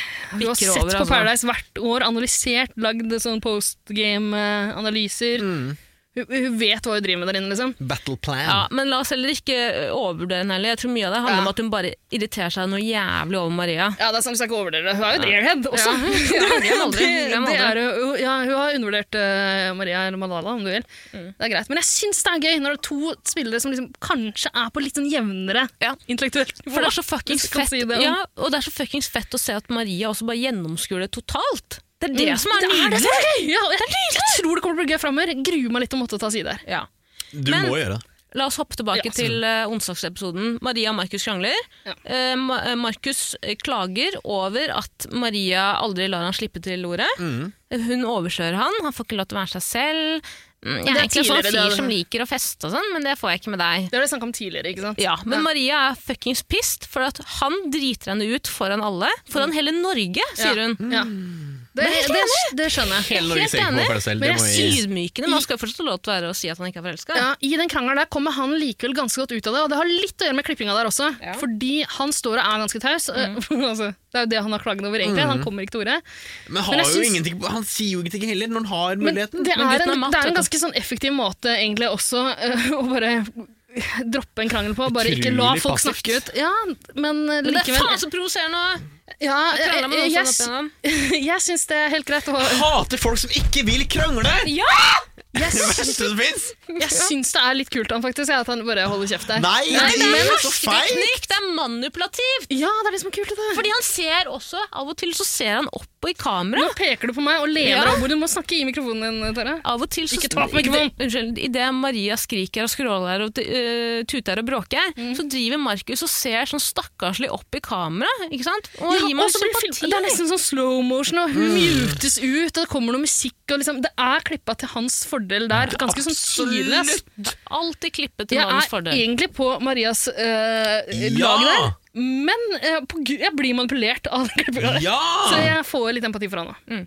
B: har
A: Bikker
B: sett
A: over,
B: på
A: altså.
C: Mm.
B: Paradise hvert år, analysert, lagd sånn postgame-analyser. eh, Hun, hun vet hva hun driver med der inne, liksom.
C: Battle plan.
A: Ja, men la oss heller ikke overvurdere henne heller. Jeg tror mye av det handler
B: Ja.
A: om at hun bare irriterer seg noe jævlig over Maria.
B: Ja, det er sant, vi skal ikke overvurdere det. Hun er jo et airhead også.
A: Ja, ja, glem aldri, glem
B: det
A: aldri.
B: er, jo- ja, hun har undervurdert eh, Maria eller Malala, om du vil.
A: Mm.
B: Det er greit. Men jeg syns det er gøy når det er to spillere som liksom kanskje er på litt sånn jevnere
A: Ja.
B: intellektuelt nivå.
A: For det er så fuckings
B: Hvis du kan
A: fett
B: si det om-
A: Ja, og det er så fuckings fett å se at Maria også bare gjennomskuer det totalt. Det er det
B: Mm,
A: som er
B: det
A: nydelig!
B: som er gøy! Ja, og jeg, jeg tror det kommer til å bli gøy framover. Gruer meg litt til å måtte ta side her.
A: Ja.
C: Du
A: men-
C: må gjøre det.
A: La oss hoppe tilbake
B: Ja.
A: til eh, onsdagsepisoden. Maria og Markus krangler.
B: Ja.
A: Eh, Ma- eh, Markus eh, klager over at Maria aldri lar han slippe til ordet.
B: Mm.
A: Hun overkjører han, han får ikke lov til å være seg selv. Mm, Jeg
B: Det
A: er egentlig
B: er
A: en sånn
B: tidligere, det er
A: fyr
B: det.
A: som liker å feste og sånn, men det får jeg ikke med deg.
B: Det var det jeg snakka om tidligere. ikke sant?
A: Ja, Men Maria er fuckings pissed, for at han driter henne ut foran alle. Foran hele Norge, sier hun.
B: Mm. Ja.
A: Mm.
B: Det, det, det skjønner jeg.
A: Helt
C: Norge ser ikke
A: enig.
C: på selv,
A: Men
C: det
A: jeg
C: må
A: er
C: jeg-
A: ydmykende. Man skal fortsatt ha lov til å være og si at han ikke er forelska.
B: Ja, I den krangelen der kommer han likevel ganske godt ut av det, og det har litt å gjøre med klippinga der også.
A: Ja. Mm.
B: Fordi han står og er ganske taus. altså, det er jo det han har klagen over, egentlig.
C: Mm.
B: Han kommer ikke til orde.
C: Men, har
B: Men jeg
C: jo
B: syns-
C: ingenting, han sier jo ingenting heller når han har
B: Men
C: muligheten.
B: det
A: Men
B: er,
A: gutten er
B: en,
A: matt,
B: det er
A: vet
B: en
A: du.
B: ganske sånn effektiv måte egentlig også eh, å bare droppe en krangel på. Bare ikke la
C: Utrolig
B: folk
C: passivt.
B: snakke ut. Ja, men eh,
A: Men det er
B: likevel eh,
A: faen så provoserende! å
B: ja, jeg,
A: krangle med noen
B: jeg,
A: sånn opp
B: jeg,
A: igjennom.
B: jeg syns det er helt greit. å
C: Jeg hater folk som ikke vil krangle!
A: Ja!
B: jeg,
C: Det
B: syns-
C: verste som fins!
B: jeg syns det er litt kult av han faktisk, jeg, at han bare holder kjeft der.
C: Nei,
A: Nei,
C: det
A: det er
C: er jo så feil!
A: hersketeknikk! Det er manipulativt!
B: Ja, det er det som er kult. i Det.
A: Fordi han ser også Av og til så ser han opp i kamera.
B: Nå peker du på meg og lener
A: Ja.
B: deg over. Du må snakke i mikrofonen din, Tara.
A: Av og til så
B: Ikke ta på
A: i
B: mikrofonen!
A: det- Unnskyld. Idet Maria skriker og skråler og eh, tuter og bråker,
B: Mm.
A: så driver Markus og ser sånn stakkarslig opp i kamera. Ikke sant? Og
B: Ja,
A: gir meg
B: og så blir det
A: sympati.
B: film- Det er nesten sånn slow motion, og
C: Mm.
B: hun mutes ut, og det kommer noe musikk. Og liksom, det er klippa til hans fordel der. Ganske sånn tydelig. ass.
A: Alltid klippet til
B: Jeg
A: mannens
B: er
A: fordel.
B: egentlig på Marias øh,
C: Ja!
B: lag der, men øh, på, gru- jeg blir manipulert av den klippinga der. Så
C: Ja!
B: jeg får litt empati for han nå.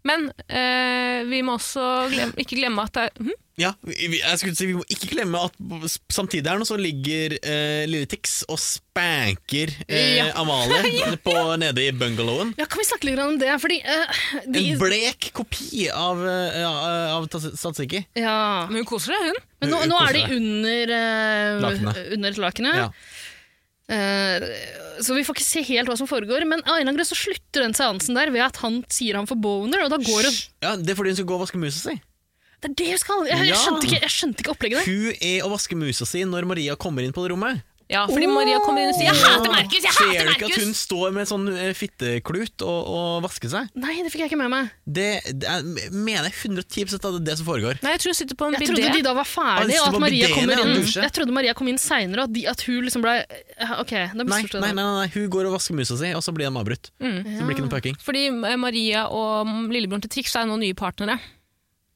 A: Men eh, vi må også glem, ikke glemme at det er hm?
C: ja vi- vi- jeg skulle si, vi må ikke glemme at s- samtidig her nå så ligger eh, lille Tix og spanker eh,
A: Ja.
C: Amalie på, nede i bungalowen.
B: Ja, kan vi snakke litt grann om det? Fordi øh, de,
C: En blek kopi av, eh, ja, av Tas- Tatsiki.
B: ja.
A: Men hun koser seg, hun.
B: Men nå,
C: Hun- hun
B: nå er de
C: koser
B: under øh,
C: Lakenet.
B: Under lakenet.
C: Ja.
B: Eh, så vi får ikke se helt hva som foregår, men av en eller annen grunn så slutter den seansen der ved at han sier han får boner, og da går hun.
C: ja, Det er fordi hun skal gå og vaske musa si.
B: Det er det hun skal! Jeg, jeg,
C: Ja.
B: skjønte, ikke, jeg skjønte ikke opplegget der.
C: Hun er og vasker musa si når Maria kommer inn på det rommet.
A: Ja, fordi Maria kommer inn og sier 'jeg hater Markus', jeg
C: Ser
A: hater
C: du ikke at hun
A: Markus!
C: står med sånn eh, fitteklut og, og vasker seg?
B: Nei, det fikk jeg ikke med meg.
C: Det, det er, mener jeg 110 at det er det som foregår.
A: Nei, jeg tror hun sitter på en
B: Jeg trodde de
A: bidé.
B: da var
C: Ah,
B: ferdig,
C: så
B: og
C: det
B: at
C: var
B: Maria
C: bidéene,
B: kommer
C: ja,
B: inn
C: dusje.
B: Jeg trodde Maria kom inn seinere, og at, de, at hun liksom ble Ok, da
C: Nei,
B: misforstår jeg.
C: nei, nei,
B: det.
C: nei, hun går og vasker musa si, og så blir de avbrutt.
A: Mm.
C: Så blir det ikke noe pucking.
A: Fordi eh, Maria og lillebroren til Trix er nå nye partnere.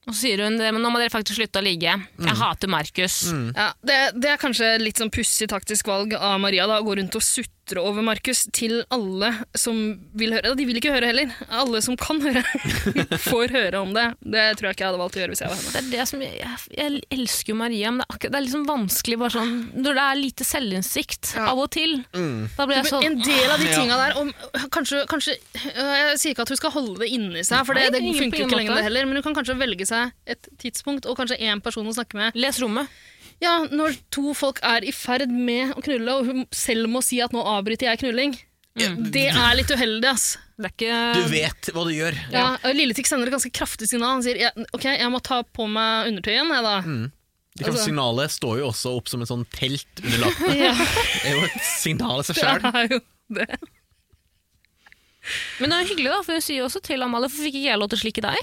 A: Og så sier hun det, men nå må dere faktisk slutte å ligge.
B: Mm.
A: Jeg hater Markus.
B: Ja, det, det er kanskje litt sånn pussig taktisk valg av Maria da, å gå rundt og sutre over Markus til alle som vil høre. De vil ikke høre heller. Alle som kan høre, får høre om det. Det tror jeg ikke jeg hadde valgt å gjøre hvis jeg var henne.
A: Det er det som, jeg, jeg elsker jo Maria, men det er, akkurat, det er liksom vanskelig bare sånn, når det er lite selvinnsikt
B: Ja. Mm.
A: av og til. Da blir jeg
B: Men
A: sånn
B: en del av de
C: Ja.
B: tinga der om, kanskje, kanskje, øh, Jeg sier ikke at hun skal holde det inni seg, for det,
A: Nei,
B: det
A: ingen- på
B: funker jo
A: ingen
B: ikke lenger
A: måte.
B: det heller, men hun kan kanskje velge seg et tidspunkt og kanskje én person å snakke med.
A: Les rommet.
B: Ja, Når to folk er i ferd med å knulle, og hun selv må si at 'nå avbryter jeg knulling', det er litt uheldig. ass.
A: Det er ikke
C: Du vet hva du gjør.
B: Um, Ja, og Lilletik sender et ganske kraftig signal. Han sier ja, 'ok, jeg må ta på meg undertøyen', jeg da.
C: Det kan,
B: Altså-
C: signalet står jo også opp som et sånn telt under laken.
B: Ja,
C: Det er jo et signal i seg sjøl.
B: det er jo det.
A: Men det er jo hyggelig, da, for hun sier jo også til Amalie hvorfor fikk ikke jeg lov til å slikke deg?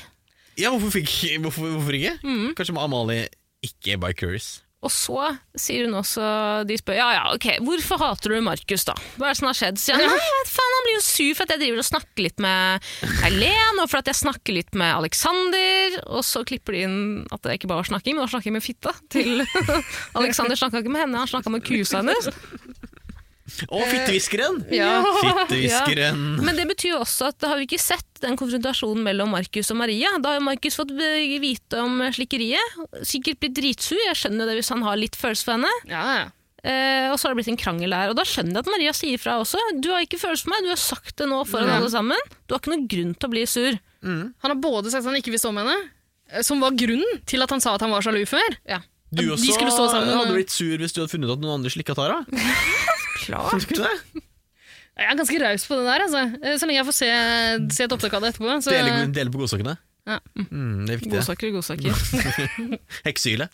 C: Ja, hvorfor, fikk- hvorfor, hvorfor ikke?
B: Mm.
C: Kanskje Amalie ikke er by curious.
A: Og så sier hun også De spør ja, ja, ok, hvorfor hater du Markus, da? Hva er det som har skjedd? Sier han nei, jeg vet faen, han blir jo sur for at jeg driver og snakker litt med Eileen, og for at jeg snakker litt med Alexander. Og så klipper de inn at det ikke bare var snakking, men det var snakking med fitta. Til Alexander snakka ikke med henne, han snakka med kusa hennes.
C: Å,
B: Eh,
C: fittehviskeren!
A: Ja.
C: Fittehviskeren.
A: Men det betyr jo også at har vi ikke sett den konfrontasjonen mellom Markus og Maria. Da har jo Markus fått be- vite om slikkeriet. Sikkert blitt dritsur, jeg skjønner jo det hvis han har litt følelse for henne.
B: Ja, ja.
A: Eh, og så har det blitt en krangel der. Og da skjønner jeg at Maria sier fra også. Du har ikke følelse for meg, du har sagt det nå foran
B: Ja.
A: alle sammen. Du har ikke noen grunn til å bli sur.
B: Han har både sagt at han ikke vil stå med henne, eh, som var grunnen til at han sa at han var sjalu før.
A: Ja.
C: Du
B: De
C: også
B: skulle stå sammen.
C: hadde blitt sur hvis du hadde funnet ut at noen andre slikka Tara.
A: Klart.
C: Skulle du ikke det?
B: Jeg er ganske raus på det der, altså. Eh, Så lenge jeg får se, se et opptak av det etterpå. Så,
C: Dele, dele på godsakkene.
B: Ja.
C: Mm, det er viktig. det.
A: Godsaker, godsaker.
C: Heksehylet.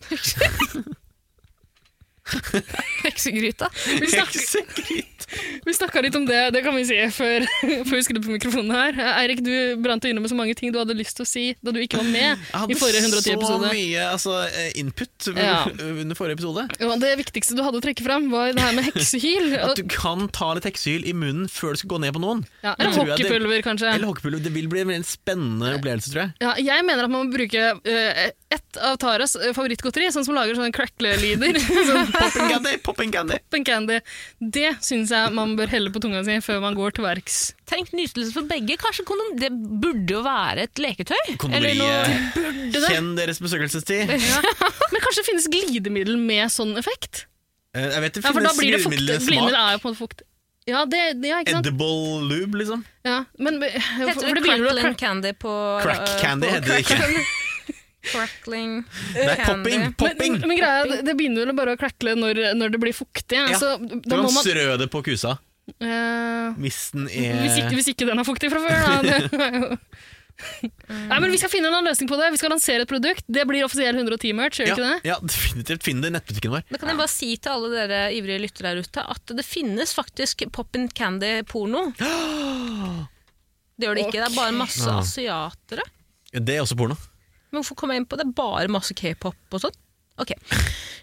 A: Heksegryta.
B: vi, snakka,
C: Heksekrit.
B: vi snakka litt om det, det kan vi si før, før vi skrudde på mikrofonen her. Eh, Eirik, du brant inne med så mange ting du hadde lyst til å si da du ikke var med
C: Jeg hadde
B: i forrige 110
C: så
B: episode.
C: mye altså, eh, input
B: Ja.
C: under forrige episode.
B: Og det viktigste du hadde å trekke fram, var det her med heksehyl.
C: At
B: Og,
C: du kan ta litt heksehyl i munnen før du skal gå ned på noen.
B: ja, eller
C: tror jeg det-
B: hockeypulver, kanskje.
C: Eller hockeypulver. Det vil bli en veldig spennende opplevelse, tror jeg.
B: Ja, jeg mener at man må bruke eh, ett av Taras eh, favorittgodteri, sånn som lager sånne crackle-lyder. sånn
C: Popping candy, popping candy.
B: pop and candy. Det syns jeg man bør helle på tunga si før man går til verks.
A: Tenk nytelse for begge. Kanskje kondom Det burde jo være et leketøy? Eller noe-
C: Kondomeriet. eh, Kjenn deres besøkelsestid.
B: Men kanskje det finnes glidemiddel med sånn effekt?
C: Eh, Jeg vet det
B: Ja, for da
C: finnes
B: blir det fukt.
C: glidemiddel
B: Glidemiddel
C: smak.
B: er jo på en måte fukt. Ja, det, ja ikke sant?
C: Edible lube, liksom.
B: Ja, men, eh, for,
A: Heter
B: for
A: det
B: det begynner
A: crackling
B: jo å
A: candy på
C: Crack
A: eh,
C: candy
A: på-
C: heter det ikke.
A: Crackling
C: Det er
A: candy.
C: popping, popping.
B: Men, men greia, er, det, det begynner vel bare å crackle når, når det blir fuktig.
C: Ja.
B: Så
C: Du
B: da
C: kan
B: må man
C: strø det på kusa
B: eh,
C: hvis den er
B: Hvis ikke, hvis ikke den er fuktig fra før, da. Det er jo- Nei, men Vi skal finne en annen løsning på det. Vi skal lansere et produkt. Det blir offisiell 110-merch, gjør det
C: ja,
B: ikke det?
C: ja, definitivt. Finn det i nettbutikken vår.
A: Da kan jeg bare si til alle dere ivrige lyttere der ute at det finnes faktisk poppin candy-porno. Det gjør det ikke. Det er bare masse
C: Ja.
A: asiatere.
C: Det er også porno.
A: Men hvorfor kom jeg inn på det? Bare masse k-pop og sånn? Ok.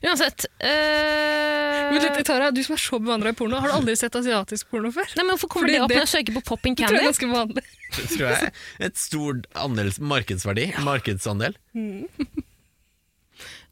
A: Uansett eh,
B: Men dette, Tara, du som er så bevandra i porno, har du aldri sett asiatisk porno før?
A: Nei, men Hvorfor kommer
B: Fordi
A: det opp
B: det-
A: når jeg søker på popping
B: Det tror jeg er
A: candy?
B: ganske vanlig.
C: Det tror jeg er et stor andels markedsverdi. Markedsandel.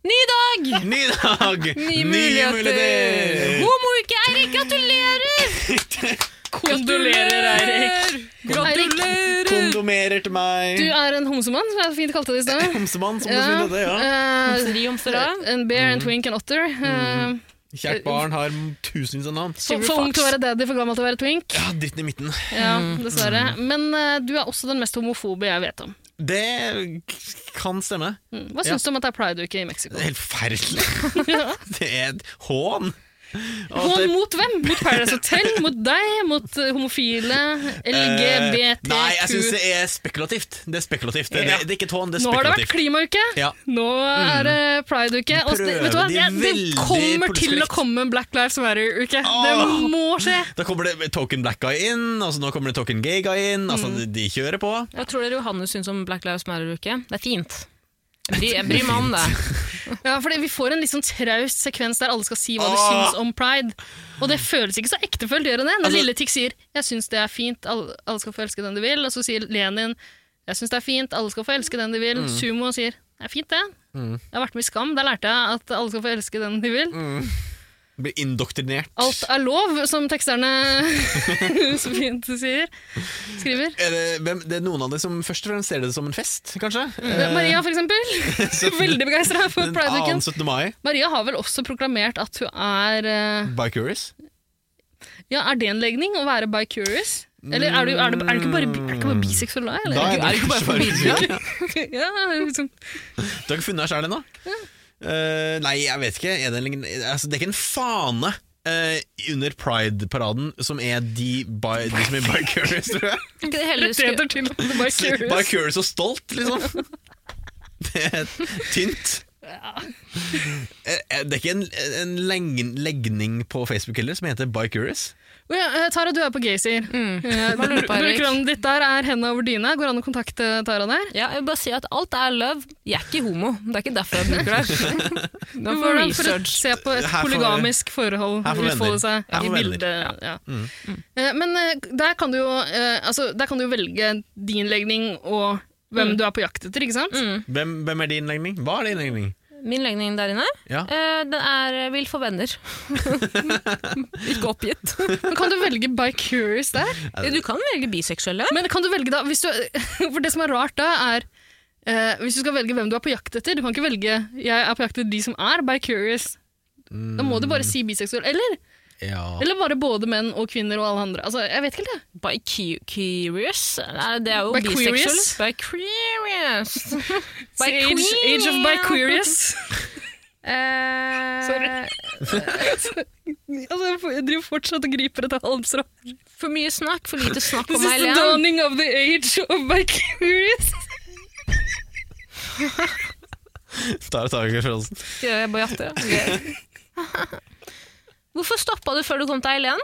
A: Ny dag!
C: Ny dag!
A: Nye muligheter! Homouke, Eirik, gratulerer!
B: Kondolerer, Eirik.
A: Gratulerer!
C: Kondomerer til
B: Du
C: meg.
B: er en homsemann, som jeg fint kalte det i stad.
C: Homsemann, som det
B: Ja,
C: heter. Ja. Mm.
B: eh,
A: Fri om fra.
B: en bear, en twink, en otter. Eh,
C: Kjært barn har tusenvis av navn.
B: for, for ung til å være daddy, for gammel til å være twink.
C: Ja, Dritten i midten.
B: Ja,
C: Mm.
B: dessverre. Men eh, du er også den mest homofobe jeg vet om.
C: Det kan stemme.
B: Mm. Hva
C: Ja.
B: syns du om at det er prideuke i Mexico?
C: Det er helt forferdelig. Det er et hån. Og at
B: Hån
C: det-
B: mot hvem? Mot Paradise Hotel? Mot deg? Mot eh, homofile? LGBTQ?
C: Eh, Nei, jeg syns det er spekulativt. Det er spekulativt. Det,
B: Ja.
C: det, det er ikke et hån, det er
B: Nå har det vært
C: spekulativt.
B: klimauke,
C: Ja.
B: nå er det prideuke. og så-
C: Prøver
B: Vet du hva?
C: de
B: Det, det
C: veldig
B: kommer til å
C: politisk korrekt.
B: komme en Black Lives Matter-uke. Det
C: Åh.
B: må skje!
C: Da kommer det token black guy inn, altså nå kommer det token gay guy inn. Altså,
B: Mm.
C: de, de kjører på.
A: Hva tror dere Johannes syns om Black Lives Matter-uke? Det er fint. Jeg bryr, jeg bryr meg om det.
B: Ja, fordi Vi får en litt sånn traust sekvens der alle skal si hva de
C: Åh.
B: syns om pride. Og det føles ikke så ektefølt, gjør det det? Når
C: Altså-
B: Lille Tikk sier 'jeg syns det er fint, alle, alle skal få elske den de vil', og så sier Lenin 'jeg syns det er fint, alle skal få elske den de vil',
C: Mm.
B: Sumo sier 'det er fint, det'. Jeg har vært med i Skam, der lærte jeg at alle skal få elske den de vil.
C: Mm. Blir indoktrinert.
B: Alt er lov, som teksterne så fint sier. Skriver.
C: Er det, hvem, det er noen av dere som først og fremst ser det som en fest, kanskje?
B: Mm.
C: Eh,
B: Maria, for eksempel. Veldig begeistra for
C: Den annen
B: Pride-uken.
C: 17. mai,
B: Maria har vel også proklamert at hun er eh,
C: Bicurious.
B: Ja, er det en legning å være bi-curious? Eller er du, er du, er du ikke bare, bi- er du ikke bare biseksuell da? Eller?
C: Da
A: er det ikke bare for bildet?
C: Ja.
B: ja, liksom.
C: Du har ikke funnet deg sjæl ennå? Eh, nei, jeg vet ikke. Er det, en, lign- altså, det er ikke en fane eh, under Pride-paraden som er de, bi, de som er bicurious, tror jeg.
A: Kan ikke det heller
B: Det
A: skulle-
B: heter til og med bi-curious.
C: Bicurious og stolt, liksom. Det er tynt. Eh, eh, Det er ikke en, en leng- legning på Facebook heller som heter bicurious.
B: Å ja, eh, Tara, du er på Gaysir.
A: Mm.
B: Eh,
A: Hva lurer du på, Erik?
B: Brukernavnet ditt der er henda over dyna. Går det an å kontakte Tara der?
A: Ja, jeg vil bare si at alt er love. Jeg er ikke homo. Det er ikke derfor jeg bruker det. Nå får
B: Hvordan for å
A: research.
B: se på et
C: Her får-
B: polygamisk forhold
C: her får venner.
B: utfolde seg
C: Her
B: i
C: får venner. Mm.
B: bildet. Ja. Eh, Men eh, der kan, du jo, eh, altså, der kan du jo velge din legning og
C: Mm.
B: hvem du er på jakt etter, ikke sant?
A: Mm.
C: Hvem, hvem er din legning? Hva er din legning?
A: Min legning der inne,
C: Ja.
A: eh, den er eh, vil få venner. ikke oppgitt.
B: Men kan du velge bi-curious der?
A: Du kan velge biseksuelle.
B: Men kan du velge da hvis du, For det som er rart da, er eh, Hvis du skal velge hvem du er på jakt etter Du kan ikke velge Jeg er på jakt etter de som er bi-curious. Da må du bare si biseksuell. Eller,
C: Mm, Ja.
B: eller bare både menn og kvinner og alle andre. Altså, jeg vet ikke helt, jeg.
A: By curious? Nei, det er jo
B: By
A: biseksuelle.
B: queerous?
A: By queerous. Yes!
B: Så Age, age of Bicurious.
A: Eh,
B: Sorry. altså, jeg driver fortsatt og griper etter halmstrå.
A: For mye snakk, for lite snakk om
B: This is the
A: Eileen.
B: dawning of the age of Bicurious.
C: Tar tak i følelsen.
A: Jeg bare jatter. ja. Hvorfor stoppa du før du kom til Eileen?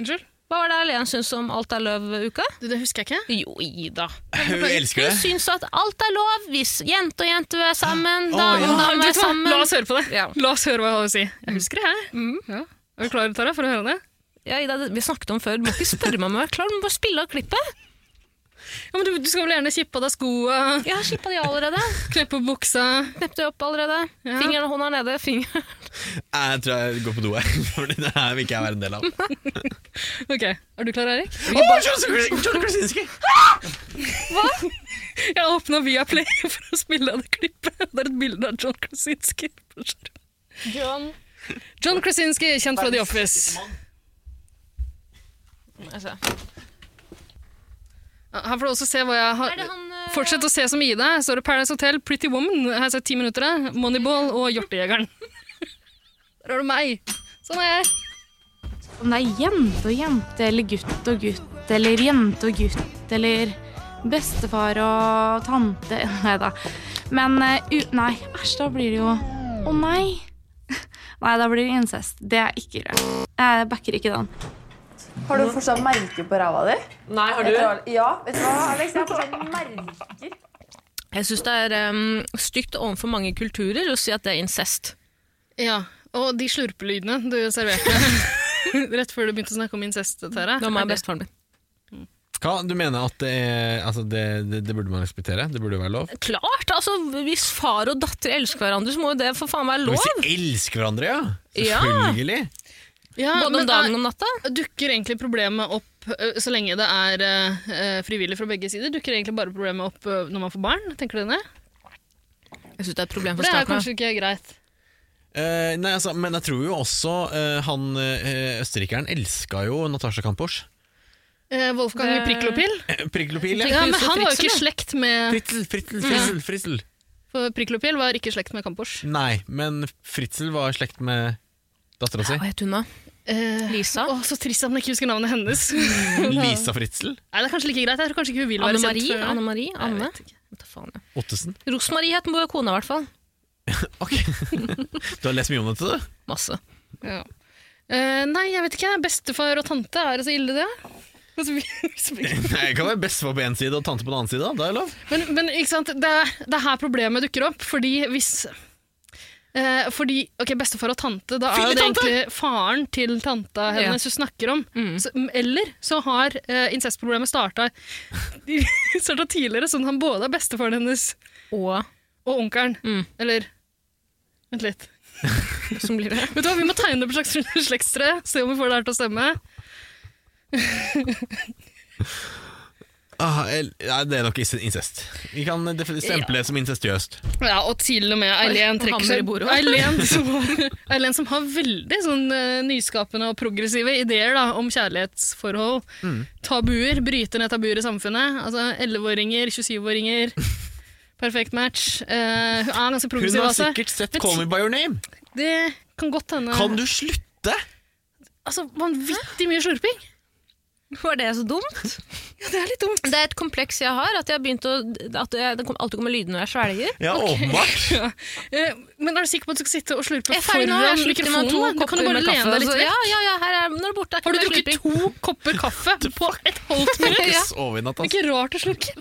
B: Unnskyld?
A: Hva var det Eileen syntes om Alt er løv-uka?
B: Du, det husker jeg ikke.
A: Jo, Ida.
C: Hun elsker
A: Hun
C: det.
A: syns at alt er lov hvis jente og jente er sammen,
C: Å,
A: dame
C: ja.
A: og dame er
B: Vet du hva? La
A: sammen.
B: oss høre på det.
A: Ja.
B: La oss høre hva jeg har å si. Jeg husker det her.
A: Mm.
B: Ja. Er du klar, Tara, for å høre det?
A: Ja, Ida, det, vi snakket om før, du må ikke spørre meg om jeg er klar, du må bare spille av klippet.
B: Ja, men du, du skal vel gjerne kippe av deg skoa,
A: Jeg har slippa de allerede.
B: kneppe opp buksa.
A: Knepp det opp allerede.
B: Ja.
A: Fingeren og hånda er nede. Finger.
C: Jeg tror jeg går på do, her, Fordi det her vil ikke jeg være en del av.
B: Ok, er du klar, Erik?
C: Åh, John Krasinski!
B: Jeg åpna via Play for å spille av det klippet. Det er et bilde av John Krasinski. på skjermen.
A: John.
B: John Krasinski, kjent fra The Office.
A: Altså.
B: Her får du også se hva jeg
A: Er
B: har
A: det han eh,
B: Fortsett å se som i deg. Står det Paradise Hotel, Pretty Woman, her ser ti minutter, da, Moneyball og Hjortejegeren. Der har du meg. Sånn er jeg.
D: Om det er jente og jente, eller gutt og gutt, eller jente og gutt, eller bestefar og tante Nei da. Men eh, u... Nei, æsj, da blir det jo Å nei! Nei, da blir det incest. Det er ikke greit. Jeg backer ikke den.
E: Har du fortsatt merker på ræva di?
F: Nei, har
E: Vet du
F: du?
E: hva- Ja, vet du hva, Alex? Jeg har fortsatt merker.
A: Jeg syns det er em, stygt overfor mange kulturer å si at det er incest.
B: Ja, og de slurpelydene du serverte rett før du begynte å snakke om incest, Tara.
A: Det var meg og bestefaren min.
C: Hva, du mener at det, er, altså det, det, det burde man respektere? Det burde jo være lov?
A: Klart! altså Hvis far og datter elsker hverandre, så må jo det for faen være
C: Hvis
A: lov.
C: de elsker hverandre, ja!
A: Ja.
C: Selvfølgelig!
B: Ja,
A: Både
B: men
A: om dagen og om natta.
B: er- Dukker egentlig problemet opp ø, så lenge det er ø, ø, frivillig fra begge sider? Dukker egentlig bare problemet opp ø, når man får barn? Tenker du det?
A: Jeg syns det er et problem
B: For
A: for
B: det er
A: staten.
B: kanskje ikke greit.
C: Eh, nei, altså, men jeg tror jo også eh, han eh, østerrikeren elska jo Natasja Kampusch.
B: Eh, Wolfgang
A: Det-
B: Priklopil?
C: Eh, Priklopil, ja.
A: Tenk-
B: Ja, men
A: Huset
B: han var jo
A: Fritzel,
B: ikke i slekt med
C: Fritzel, fritzel, fritzel, fritzel.
B: For Priklopil var ikke i slekt med Kampors.
C: Nei, men Fritzel var i slekt med dattera si.
A: Hva het hun da?
B: Eh,
A: Lisa?
B: å, så trist at man ikke husker navnet hennes.
C: Lisa Fritzel
B: Nei, det er kanskje like greit. Jeg tror kanskje ikke hun vil være
A: Anne
B: kjent
A: Marie?
B: for-
A: Anne Marie? Anne?
B: vet
A: Vet da faen, ja.
C: Ottesen.
A: Rosmarie het mo- kona, i hvert fall.
C: Ok, Du har lest mye om dette, du?
A: Masse.
B: Ja. Eh, nei, jeg vet ikke. Bestefar og tante, er det så ille det? Altså, vi- hvis vi-
C: Nei, Jeg kan være bestefar på én side og tante på den annen side. Da er det lov.
B: men men ikke sant? Det, er, det er her problemet dukker opp, fordi hvis eh, fordi, ok, Bestefar og tante, da er jo det
A: Filletante!
B: egentlig faren til tanta hennes hun snakker om. Så, eller så har eh, incestproblemet starta starta tidligere, sånn at han både er bestefaren hennes
A: Og
B: og onkelen.
A: Mm.
B: Eller Vent litt.
A: som blir det.
B: Vet du hva, Vi må tegne opp et slags slektstre, se om vi får det her til å stemme.
C: Ah, el- nei, det er nok is- incest. Vi kan def- stemple det som incestiøst.
B: Ja, og til og med Eileen
A: Oi,
B: trekker
A: hammer i
B: seg.
A: bordet.
B: Eileen som, Eileen som har veldig sånn eh, nyskapende og progressive ideer da, om kjærlighetsforhold.
C: Mm.
B: Tabuer, bryter ned tabuer i samfunnet. Altså 11-åringer, 27-åringer. Perfekt match. Eh, hun er ganske
C: Hun
B: progressiv.
C: har
B: altså.
C: sikkert sett
B: Men
C: 'Call Me By Your Name'.
B: Det kan godt hende.
C: Kan du slutte?
B: Altså, Vanvittig mye slurping.
A: Var det så dumt?
B: Ja, Det er litt dumt.
A: Det er et kompleks jeg har, at jeg har begynt å at jeg, det kom, alltid kommer lyder når jeg svelger.
C: Ja, åpenbart.
B: Ja. Eh, Men er du sikker på at du skal sitte og slurpe
A: Jeg er ferdig nå, jeg
B: foran
A: slukte meg to
B: mikrofonen? da? Du kan
A: kopper
B: jo bare
A: med
B: lene
A: kaffe.
B: deg
A: og
B: litt
A: så-
B: vekk.
A: ja, ja, ja, her er, nå er det borte.
B: Har du
A: Her er
B: drukket
A: slurping.
B: to kopper kaffe på et halvt minutt?
C: Ikke sove i natt,
B: Det er
C: altså.
B: ikke rart å slukke.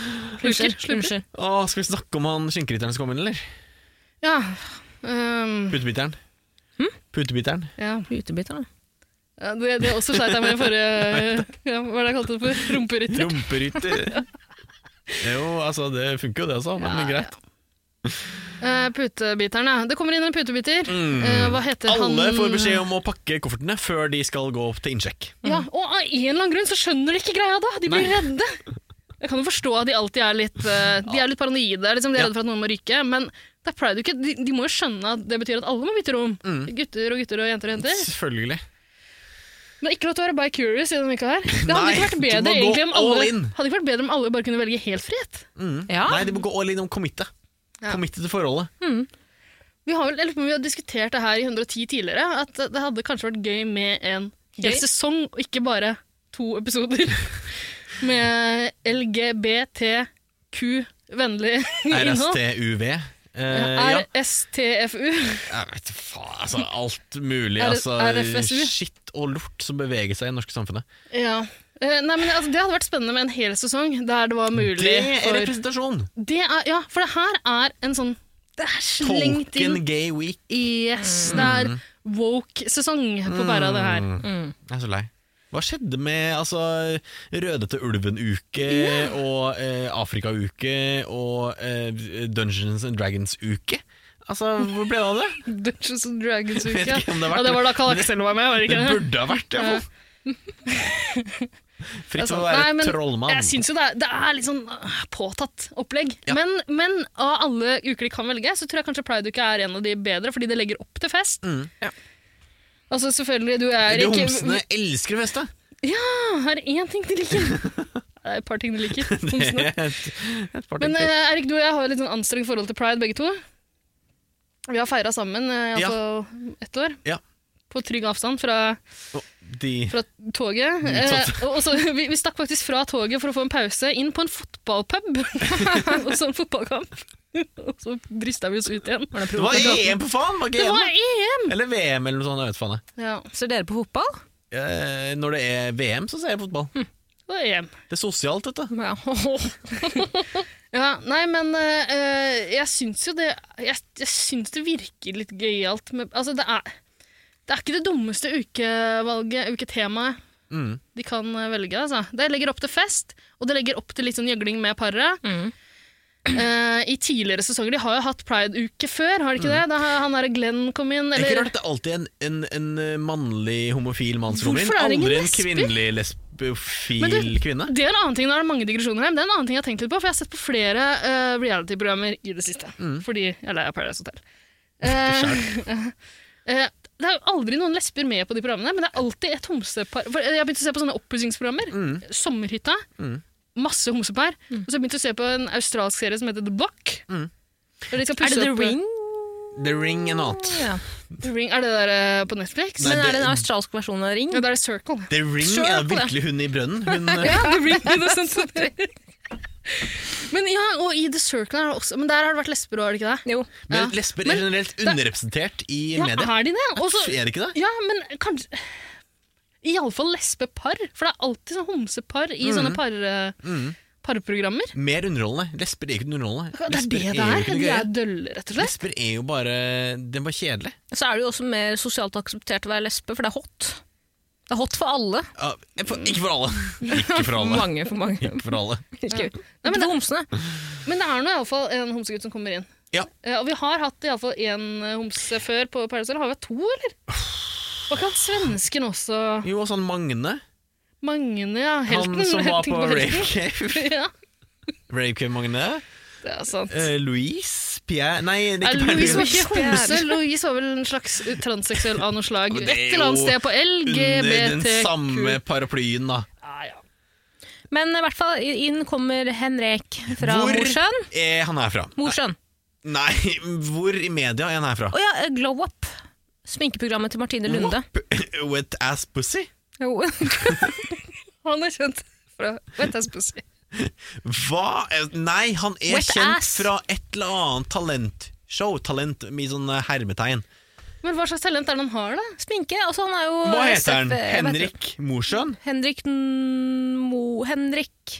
A: Unnskyld.
B: Slurper, slurper.
A: unnskyld.
C: Å, skal vi snakke om han skinkerytteren som kom inn, eller?
B: Ja. ehm,
C: Putebiteren.
B: Hm?
C: Putebiteren.
B: ja.
A: Utebiter, da.
B: Ja, Det, det også sleit jeg med i forrige ja, Hva er det jeg kalte det for? Rumperytter.
C: Rumperytter. jo, altså, det funker jo det også, men
B: Ja,
C: greit.
B: Eh, putebiteren, ja. Det kommer inn en putebiter. Eh, hva heter han
C: Mm. Alle får beskjed om å pakke koffertene før de skal gå opp til innsjekk.
B: Ja, Og av en eller annen grunn så skjønner de ikke greia da! De blir redde. Jeg kan jo forstå at de alltid er litt, eh, de er litt paranoide. Liksom. De er
C: Ja.
B: redde for at noen må ryke. Men det er pride uke. De, de må
C: Mm.
B: jo skjønne at det betyr at alle må bytte rom. Gutter og gutter og jenter og jenter.
C: Selvfølgelig.
B: Men ikke lov til å være by curious i denne uka her. Det hadde
C: Nei,
B: ikke vært
C: du
B: bedre,
C: må gå
B: egentlig, om
C: all
B: alle,
C: in.
B: hadde ikke vært bedre om alle bare kunne velge helt frihet.
A: Ja.
C: Mm. Nei, de må gå all in om committe.
B: Ja.
C: Committe til forholdet.
B: Vi har, vel, jeg lurer på om vi har diskutert det her i 110 tidligere, at det hadde kanskje vært gøy med en hel
A: Gøy?
B: sesong, og ikke bare to episoder med LGBTQ-vennlig innhold.
C: RSTUV. Eh, ja.
B: RSTFU.
C: Jeg vet faen, altså alt mulig.
B: R-
C: Altså,
B: RFSU.
C: Skitt og lort som beveger seg i det norske samfunnet.
B: Ja. Eh, Nei, men altså, Det hadde vært spennende med en hel sesong der det var mulig
C: Det er
B: for
C: representasjon!
B: det er, Ja, for det her er en sånn Det er slengt inn
C: Tolken Gay Week.
B: Yes, det er
C: Mm.
B: woke-sesong på bæra det her.
C: Jeg er så lei. Hva skjedde med altså, Rødete ulven-uke og eh, Afrika-uke og eh, Dungeons and Dragons-uke? Altså, Hvor ble det av det?
B: Dungeons and
C: Vet
B: Dragons-uke.
C: ikke om det har vært
B: Ja, det var da Carl
C: det-
B: Axel var med, var det
C: Det
B: ikke det?
C: burde ha vært
B: Ja.
C: det! Fritt for
B: sant.
C: å være
B: Nei, men
C: trollmann.
B: Jeg syns jo det er, det er litt sånn øh, påtatt opplegg.
C: Ja.
B: Men, men av alle uker de kan velge, så tror jeg kanskje Pride-uke er en av de bedre, fordi det legger opp til fest. Altså selvfølgelig, du er
C: De
B: ikke
C: Mm. homsene elsker å feste!
B: Her er én ting de liker. Det er et par ting de liker. Homsene.
C: Et par ting
B: Men
C: til.
B: eh, Erik, du og jeg har jo litt sånn anstrengt forhold til Pride, begge to. Vi har feira sammen eh,
C: Ja.
B: altså ett år.
C: Ja.
B: På trygg avstand fra,
C: De
B: fra
C: Mm,
B: toget. Eh, og og så, vi, vi stakk faktisk fra toget for å få en pause, inn på en fotballpub. og så en fotballkamp. og så drista vi oss ut igjen.
C: Det var EM, på faen! Var ikke
B: Det
C: EM,
B: var EM!
C: Eller VM, eller noe sånt. Jeg vet faen. jeg.
B: Ja,
A: Ser dere på fotball?
C: Eh, når det er VM, så ser jeg fotball.
B: Hm. det var EM.
C: Det er sosialt, dette.
A: Ja.
B: Ja, nei, men eh, jeg syns jo det jeg, jeg syns det virker litt gøyalt med Altså, det er, det er ikke det dummeste ukevalget, uketemaet,
C: Mm.
B: de kan eh, velge, altså. Det legger opp til fest, og det legger opp til litt sånn gjøgling med paret.
A: Mm.
B: Eh, I tidligere sesonger De har jo hatt Pride-uke før, har de ikke det? Da har han der Glenn kom inn,
C: Det er Mm. ikke
B: eller
C: rart at det alltid er en, en, en eh, mannlig homofil mannsromin.
B: Hvorfor er det ingen
C: Aldri en
B: lesber?
C: kvinnelig lesbofil
B: Men du-
C: kvinne.
B: Det er en annen ting, nå er det mange digresjoner her, men det er en annen ting jeg har tenkt litt på, for jeg har sett på flere eh, reality-programmer i det siste.
C: Mm.
B: Fordi jeg er lei av Paradise Hotel. Eh, eh, det er jo aldri noen lesber med på de programmene, men det er alltid et homsepar. For eh, jeg har begynt å se på sånne oppussingsprogrammer.
C: Mm.
B: Sommerhytta. Masse homsepar. Og så har jeg begynt å se på en australsk serie som heter The Block.
C: Mm.
B: Er det
A: Er det The Ring?
C: The Ring and Out.
A: Ja.
B: eh, The Ring? Er det der eh, på Netflix?
C: Nei,
A: Men er
C: det-
A: det en australsk versjon av Ring?
B: Ja, da er det Circle.
C: The Ring
A: Sure,
C: er
A: på det.
C: virkelig hun i brønnen. Hun, eh,
B: Ja, The Ring in the Century. Men ja, og i The Circle er det også Men der har det vært lesber òg, har det ikke det?
A: Jo.
B: Ja.
C: men lesber er generelt underrepresentert i
B: Ja,
C: media.
B: er de det? Og så-
C: Er det ikke det?
B: ja, men kanskje Iallfall lesbepar, for det er alltid sånn homsepar i
C: Mm.
B: sånne par, eh, parprogrammer.
C: Mer underholdende. Lesber er ikke underholdende.
B: Det er
C: Lesber
B: det det
C: jo
B: er.
C: ikke noe
B: De
C: gøy.
B: er dølle, rett og slett.
C: Lesber er jo bare Den var kjedelig.
A: Så er det jo også mer sosialt akseptert å være lesbe, for det er hot. Det er hot for alle.
C: Ja, for- ikke for alle. Ikke for alle.
A: Mange for mange.
C: Ikke for alle.
A: Ikke, ikke for homsene.
B: Men det er nå iallfall en homsegutt som kommer inn.
C: Ja.
B: Eh, og vi har hatt iallfall én eh, homse før på Paradise Hotel. Har vi hatt to, eller? Var ikke han svensken også
C: Jo, og sånn Magne.
B: Magne, ja. Helten.
C: han som var
B: tenkte
C: på
B: helten.
C: Rave Cave.
B: Ja,
C: Rave Cave Magne.
B: det er sant.
C: Eh, Louise Pierre Nei, det
B: Nei,
C: er ikke
B: Louise var
C: Pierre.
B: ikke homse. Louise var vel en slags transseksuell av noe slag.
C: Men
B: Et
C: det er
B: eller annet
C: jo
B: sted på
C: Under den
B: LGBTQ.
C: samme paraplyen, da.
B: Ah, ja.
A: Men i hvert fall inn kommer Henrik fra
C: Hvor
A: Mosjøen.
C: er Eh, han herfra?
A: Mosjøen.
C: Nei, hvor i media er han herfra?
A: Å ja, eh, Glow Up. Sminkeprogrammet til Martine Lunde.
C: Wop, Wet ass pussy?
A: Jo.
B: Han er kjent fra Vet jeg spørsmål.
C: Hva? Eh, Nei, han er
A: Wet
C: kjent
A: ass.
C: fra et eller annet talentshow. Talent med sånn eh, hermetegn.
B: Men hva slags talent er det han har, da?
A: Sminke. Altså, han er jo
C: Hva heter han?
A: SF, jeg vet ikke.
C: Henrik Mosjøen?
A: Henrik N- Mo... Henrik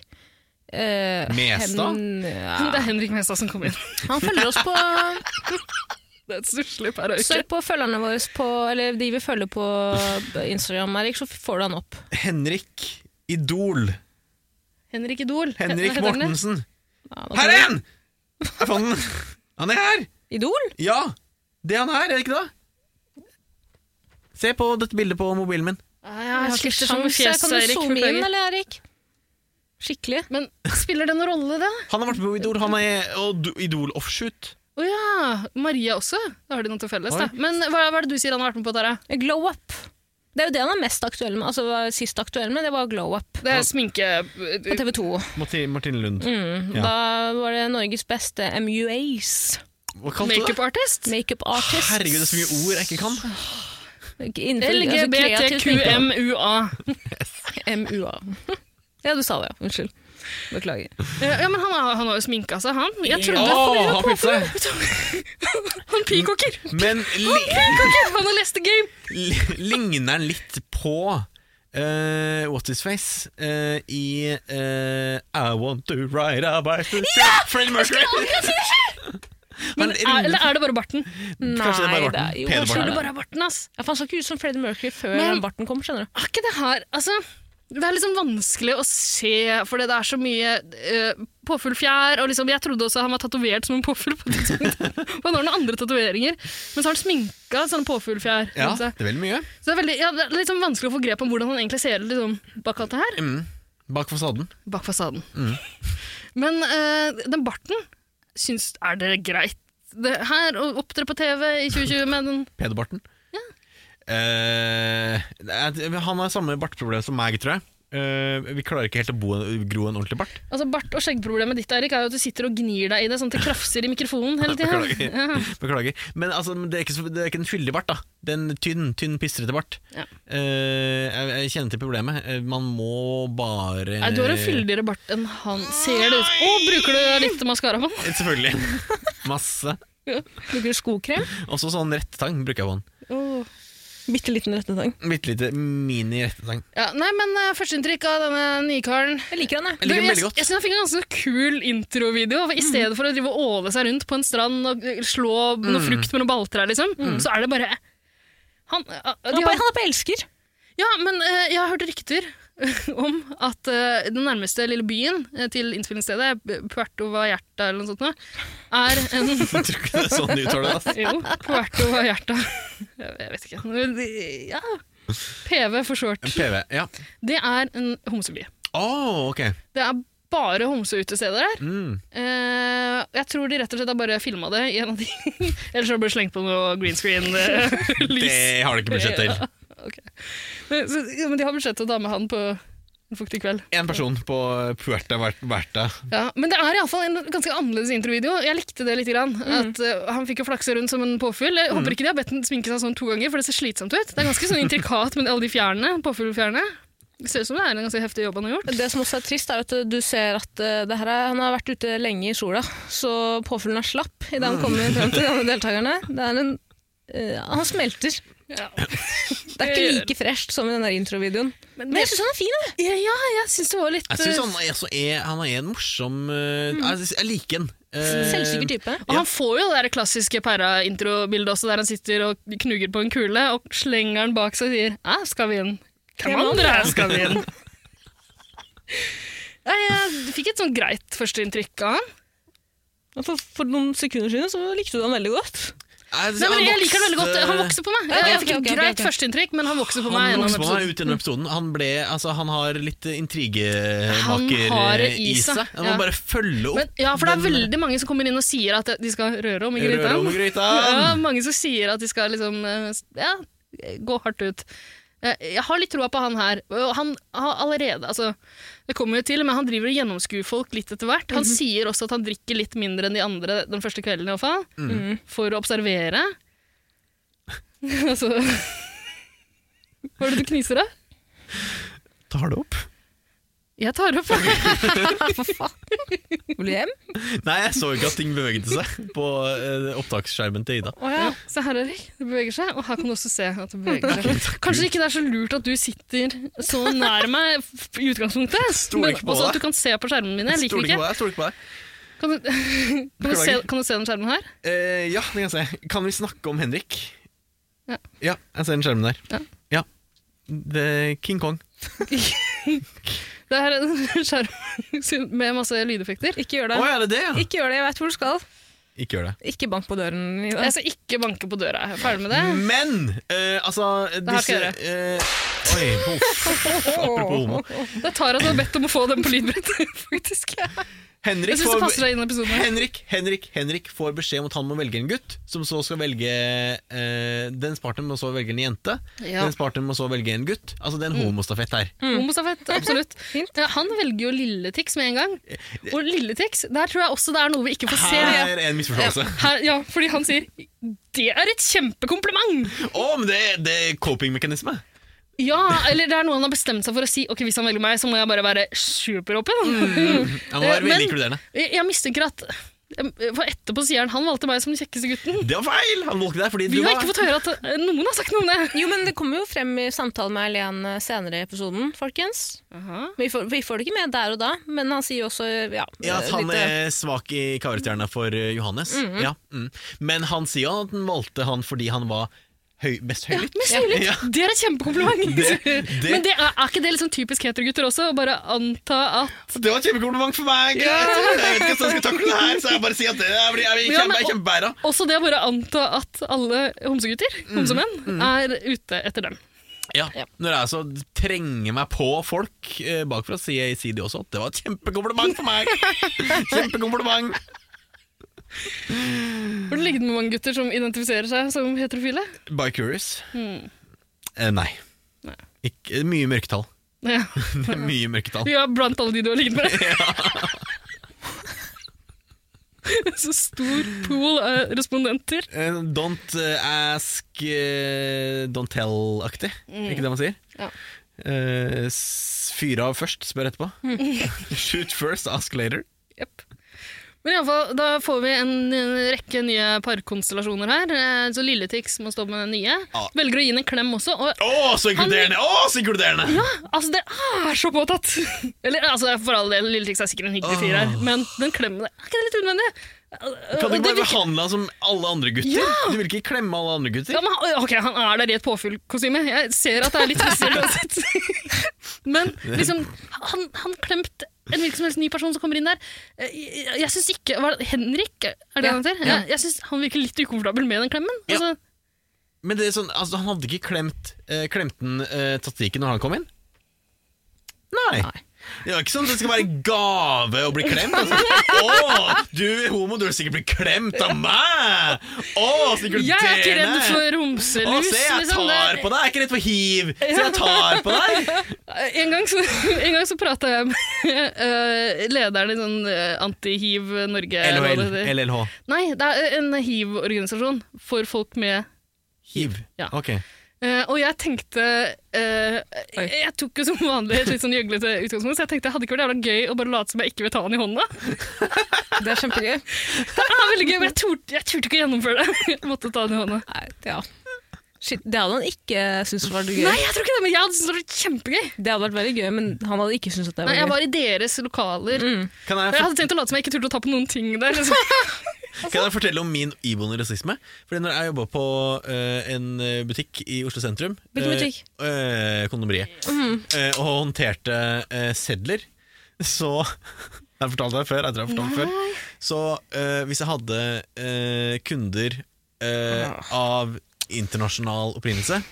A: eh,
C: Mestad?
A: Hen,
C: Ah.
B: Det
A: ja.
B: er Henrik Mestad som kom inn.
A: Han følger oss på
B: Det er et stusslig par av uker.
A: Søk på følgerne våre på Eller de vi følger på eh, Instagram, Erik, så får du han opp.
C: Henrik Idol.
B: Henrik Idol. Hva
C: Henrik
B: heter han det?
C: Mortensen.
A: Ja, da-
C: Her er han! Jeg fant den. Han er her!
A: Idol?
C: Ja, det er han her, er det ikke det? Se på dette bildet på mobilen min.
B: Ah, ja,
A: Jeg
B: jeg
A: har ikke
B: sliter sånn med
A: sjans.
B: fjeset,
A: Kan du
B: Erik.
A: zoome inn,
B: beklager.
A: eller, Erik? Skikkelig.
B: Men spiller det noen rolle, det?
C: Han har vært med på Idol, han er og du- Idol offshoot.
B: Å ja! Maria også. Da har de noe til felles, da.
C: Oi.
B: Men hva, hva er det du sier han har vært med på, Tara?
A: Eh, Glow up. Det er jo det han er mest aktuell med. Altså, var sist aktuell med, det var Glow Up
B: Det er sminke...
A: på TV 2.
C: Martine, Martine Lund.
A: Mm.
C: Ja.
A: Da var det Norges beste MUAs.
C: Hva kalte du det?
B: Makeup artist?
A: Makeup artists.
C: Herregud, det er så mye ord jeg ikke kan.
A: Innenfor- altså, kreativt makeup.
B: LGBTQMUA.
A: MUA. ja, du sa det, ja. Unnskyld. Beklager.
C: altså,
B: Ja, men han har, han har jo sminka seg, han. Jeg trodde
C: Åh, han pyntet seg.
B: Han peacocker!
C: Men li,
B: Peacocker! Han har lest the game!
C: li, ligner han litt på eh, What Is Face eh, i eh, I Want To Ride A Bicycle Freddie Mercury! Han
B: Men, er, eller
C: ligner-
B: er det bare barten?
C: Kanskje det er bare
A: Nei, det er-
C: barten.
A: jo,
C: Pene
A: kanskje
B: Er
C: barten.
B: det bare barten, ass?
A: Ja, for han så ikke ut som Freddie Mercury før
B: Men-
A: den barten kom, skjønner du.
B: Er ikke det her Altså, det er liksom vanskelig å se, fordi det er så mye uh, påfugl fjær, og liksom, jeg trodde også han var tatovert som en påfugl på det tidspunktet. Og han har noen andre tatoveringer, men så har han sminka sånn påfugl fjær.
C: Ja,
B: rundt
C: det
B: seg.
C: er veldig mye.
B: Så det er, veldig, ja, det er liksom vanskelig å få grep om hvordan han egentlig ser ut liksom, bak alt det her.
C: Mm. Bak fasaden.
B: Bak fasaden. Men eh, den barten, syns Er det greit? Det her å opptre på TV i 2020 med den
C: Pederbarten. Eh, det er- han har samme bartproblem som meg, tror jeg. Eh, vi klarer ikke helt å bo, gro en ordentlig bart.
B: Altså Bart- og skjeggproblemet ditt Erik, er jo at du sitter og gnir deg i det sånn at det krafser i mikrofonen hele tida.
C: Beklager.
B: Ja.
C: Beklager. Men altså, det, er ikke, så- det er ikke en fyldig bart, da. Det er en tynn, tynn pistrete bart.
B: Ja.
C: Eh, jeg, jeg kjenner til problemet. Eh, Man må bare
B: Nei, Du har
A: Eh,
B: en fyldigere bart enn han. Ser det ut Å, bruker du litt maskara på den?
C: Eh, Selvfølgelig. Masse.
A: Bruker du skokrem?
C: Også sånn rettetang bruker jeg på den.
B: Åh.
A: Bitte liten rettetang.
C: Bitte lite mini-rettetang.
B: Ja, nei, men uh, Førsteinntrykk av denne nye karen.
A: Jeg liker han, jeg.
C: Jeg liker
B: Du,
C: den
B: jeg
C: veldig godt.
B: jeg synes han fikk en ganske kul introvideo. for I
A: Mm.
B: stedet for å drive og åle seg rundt på en strand og eh, slå
A: Mm.
B: noe frukt med noen balltrær, liksom, så er det bare han, eh, de
A: Han er
B: har-
A: på, han er på elsker.
B: Ja, men eh, jeg har hørt rykter om at eh, den nærmeste lille byen eh, til innspillingsstedet, P- Puerto Vallarta eller noe sånt, nå, er en
C: Jeg tror ikke det er sånn du uttaler det. ass.
B: Jo, Puerto Vallarta. Jeg jeg vet ikke. Men de- Ja. PV for short.
C: PV. Ja.
B: Det er en homseby.
C: Å, ok.
B: Det er bare homseutesteder der.
C: Mm.
B: Eh, jeg tror de rett og slett har bare filma det i en av de. Ellers har det blitt slengt på noe green eh, screen-lys.
C: Det har du ikke budsjett til.
B: Men, så- ja, men de har budsjett til å ta med han på en fuktig kveld.
C: Én person på Puerta Verta.
B: Ja, men det er iallfall en ganske annerledes introvideo. Jeg likte det litt. Grann,
C: Mm.
B: at, eh, han fikk jo flakse rundt som en påfugl. Jeg håper ikke de har bedt den sminke seg sånn to ganger, for det ser slitsomt ut. Det er ganske sånn intrikat med alle de fjærene. Påfuglfjærene. Det ser ut som det er en ganske heftig jobb han har gjort.
A: Det som også er trist, er jo at du ser at eh, det her er, han har vært ute lenge i sola, så påfuglen er slapp idet han kommer frem til de andre deltakerne. Det er en, eh, han smelter. Det er ikke like fresht som i den der introvideoen.
B: Men,
A: Men
B: det,
A: jeg syns han er fin. jeg.
B: ja, ja, jeg syns det var litt
C: Jeg synes
B: eh,
C: han er, så er, han er en morsom eh,
B: Mm.
C: jeg, jeg liker han. Eh,
A: Selvsikker type.
B: og han får jo det der klassiske pæra-introbildet også, der han sitter og knuger på en kule, og slenger den bak seg og sier 'Æ, skal vi inn'. Hvem andre her skal vi inn? Nei, Jeg fikk et sånn greit førsteinntrykk av han.
A: For, for noen sekunder siden så likte du han veldig godt.
C: jeg-
B: Nei, men
C: altså, han
B: jeg liker den veldig
C: vokste-
B: godt. Han vokser på meg.
A: Ja, ok,
B: Jeg fikk
A: ok,
B: et
A: ok,
B: greit
A: ok.
B: førsteinntrykk, men han sånn- vokser på meg.
C: Han
B: gjennom
C: vokste på meg
B: episoden.
C: ut gjennom episoden. Han, ble, altså, han har litt
B: Han har
C: intrigemaker
B: det i
C: i
B: seg,
C: seg. Han må
B: ja.
C: bare følge opp.
B: Men, ja, for det er veldig mange som kommer inn og sier at de skal røre om i
C: Røre om i
B: gryta.
C: gryta.
B: Ja, mange som sier at de skal liksom eh, ja, gå hardt ut. Eh, Jeg har litt troa på han her. og Han har allerede altså, Det kommer jo til, men han driver og gjennomskuer folk litt etter hvert. Han sier også at han drikker litt mindre enn de andre den første kvelden, i hvert fall. For å observere. altså Hva er det du kniser av?
C: Tar det opp?
B: Jeg tar opp det.
A: Vil du hjem?
C: Nei, jeg så ikke at ting beveget seg på eh, opptaksskjermen til Ida.
B: Se her, Erik. Det beveger seg. Og her kan du også se at det beveger seg. Kanskje ikke det er så lurt at du sitter så nær meg f- i utgangspunktet.
C: Stoler ikke på
B: også
C: deg.
B: at du kan se på skjermene mine. Jeg liker
C: Stoler
B: det
C: ikke
B: ikke.
C: på deg. Stoler ikke på deg.
B: Kan du, kan du, se,
C: Beklager.
B: kan du se den skjermen her?
C: Eh, ja, det kan jeg se. Kan vi snakke om Henrik?
B: Ja.
C: jeg ser den skjermen der.
B: Ja.
C: ja. Det er King Kong.
B: Det er en skjerm med masse lydeffekter.
A: Ikke gjør
C: Å
A: det.
C: ja, det er det, ja?
A: Ikke gjør det, jeg veit hvor du skal.
C: Ikke gjør det.
A: Ikke bank på døren. Ida.
B: Jeg skal ikke banke på døra. Jeg er ferdig med det.
C: Men eh, altså
B: her
C: disse,
B: skal jeg
C: eh, Oi, uff, apropos homo.
B: Det er Tara som har bedt om å få den på lydbrett, faktisk. Jeg
C: Henrik
B: syns det passer
C: får,
B: deg inn i episoden. her.
C: Henrik, Henrik, Henrik får beskjed om at han må velge en gutt, som så skal velge eh, Dens partner må så velge en jente.
B: Ja. Mm.
C: Dens partner må så velge en gutt. Altså, det er en homostafett her.
B: Homostafett, absolutt. Ja, han velger jo Lille Tix med en gang.
C: Eh,
B: Og Lille Tix, der tror jeg også det er noe vi ikke får se.
C: Her er en misforståelse.
B: Her, ja, fordi han sier 'det er et kjempekompliment'!
C: Å, men det, det er coping-mekanisme.
B: Ja, eller det er noe han har bestemt seg for å si. Ok, hvis han velger meg, så må jeg bare være superåpen.
C: Han var
B: Eh,
C: veldig
B: men-
C: inkluderende.
B: Jeg, jeg mistenker at For etterpå sier han han valgte meg som den kjekkeste gutten.
C: Det var feil! Han valgte deg fordi
B: Vi
C: du
B: har
C: var
B: ikke fått høre at eh, noen har sagt noe om det.
A: Jo, men det kommer jo frem i samtalen med Eileen senere i episoden, folkens. Vi får, vi får det ikke med der og da, men han sier jo også ja,
C: Ja, at han
A: litt, eh,
C: er svak i kaverstjerna for eh, Johannes. ja, Eh, mm. Men han sier jo at han valgte han fordi han var høy, best høylytt.
B: Men Sivert,
C: Ja.
B: det er et kjempekompliment!
C: Det- det-
B: Men det er, er ikke det liksom typisk heterogutter også? Å bare anta at
C: Så det var et kjempekompliment for meg! Jeg vet ikke hvordan jeg skal takle det her, så jeg bare sier at det er, jeg
B: Ja,
C: er
B: men-
C: kjempe, jeg er kjempebæra.
B: Også det å bare anta at alle homsegutter, homsemenn, er ute etter dem.
C: Ja. Når jeg så trenger meg på folk eh, bakfra, sier jeg sier de også at det var et kjempekompliment for meg! Kjempekompliment!
B: Har du ligget med mange gutter som identifiserer seg som heterofile?
C: By Curious? Eh, nei. Ikke, mye mørketall.
B: Ja,
C: Det er mye mørketall.
B: ja blant alle de du har ligget med. Så stor pool av respondenter.
C: Eh, Don't eh, ask, eh, don't tell-aktig. Er Ikke det man sier?
B: Mm. Ja.
C: Eh, s- Fyr av først, spør etterpå.
B: Mm.
C: Shoot first, ask later.
B: Jepp. Men iallfall, da får vi en, en rekke nye parkonstellasjoner her. eh, Så Lilletix må stå med den nye.
C: Ja.
B: Velger å gi henne en klem også. Og
C: Å, så inkluderende! Å, så inkluderende!
B: altså, det er så påtatt! Eller altså, for all del, Lilletix er sikkert en hyggelig fyr her, men den klemmen der, er ikke det litt unødvendig?
C: Kan du
B: Og det
C: ikke bare
B: virker-
C: behandle han som alle andre gutter?
B: Ja!
C: Du vil ikke klemme alle andre gutter?
B: ja, men, han- ok, Han er der i et påfyllkostyme. Jeg ser at det er litt tristere uansett. Men liksom, han, han klemte en hvilken som helst ny person som kommer inn der. Eh, Jeg, jeg synes ikke hva, er det- Henrik, er
A: Ja,
B: det han heter?
C: ja.
B: Jeg, jeg syns han virker litt ukomfortabel med den klemmen.
C: Ja.
B: Altså,
C: Men det er sånn, altså, han hadde ikke klemt eh, Klemten eh, Tattiken når han kom inn? Nei. Det var ikke sånn at det skal være gave å bli klemt. Altså. Å, du er homo, du vil sikkert bli klemt av meg! Å, så inkluderende!
B: jeg er ikke redd for homselus.
C: Å, se, jeg
B: liksom.
C: tar
B: Det-
C: på deg! Jeg er ikke redd for hiv! Se, jeg tar på deg!
B: Eh, En gang så, en gang så prata jeg med eh, lederen i sånn eh, anti-hiv Norge. eller hva det heter.
C: LLH.
B: Nei, det er en hiv-organisasjon for folk med
C: Hiv.
B: Ja.
C: Ok.
B: Eh, og jeg tenkte eh, Jeg tok jo som vanlig et litt sånn gjøglete utgangspunkt, så jeg tenkte hadde ikke vært jævla gøy å bare late som jeg ikke vil ta han i hånda.
A: eh, Det er kjempegøy.
B: Det er veldig gøy, Men jeg turte, jeg turte ikke å gjennomføre det. Jeg måtte ta han i hånda.
A: Nei, ja. Shit, det hadde han ikke syntes var gøy.
B: Nei, jeg tror ikke det, men jeg hadde syntes det var kjempegøy.
A: Det hadde vært veldig gøy, men han hadde ikke syntes at det
B: Nei,
A: var
B: jeg
A: gøy. Mm.
B: var i deres lokaler.
C: Kan jeg
B: Jeg hadde tenkt å late som jeg ikke turte å ta på noen ting der. Liksom.
C: Kan jeg fortelle om min iboende rasisme? Fordi når jeg jobba på eh, en eh, butikk i Oslo sentrum
A: Hvilken
C: eh,
A: butikk? Mhm.
C: eh, kondomeriet. eh, og håndterte eh, sedler, så Jeg har fortalt det før, jeg tror jeg har fortalt det før. Så eh, hvis jeg hadde eh, kunder eh, av internasjonal opprinnelse,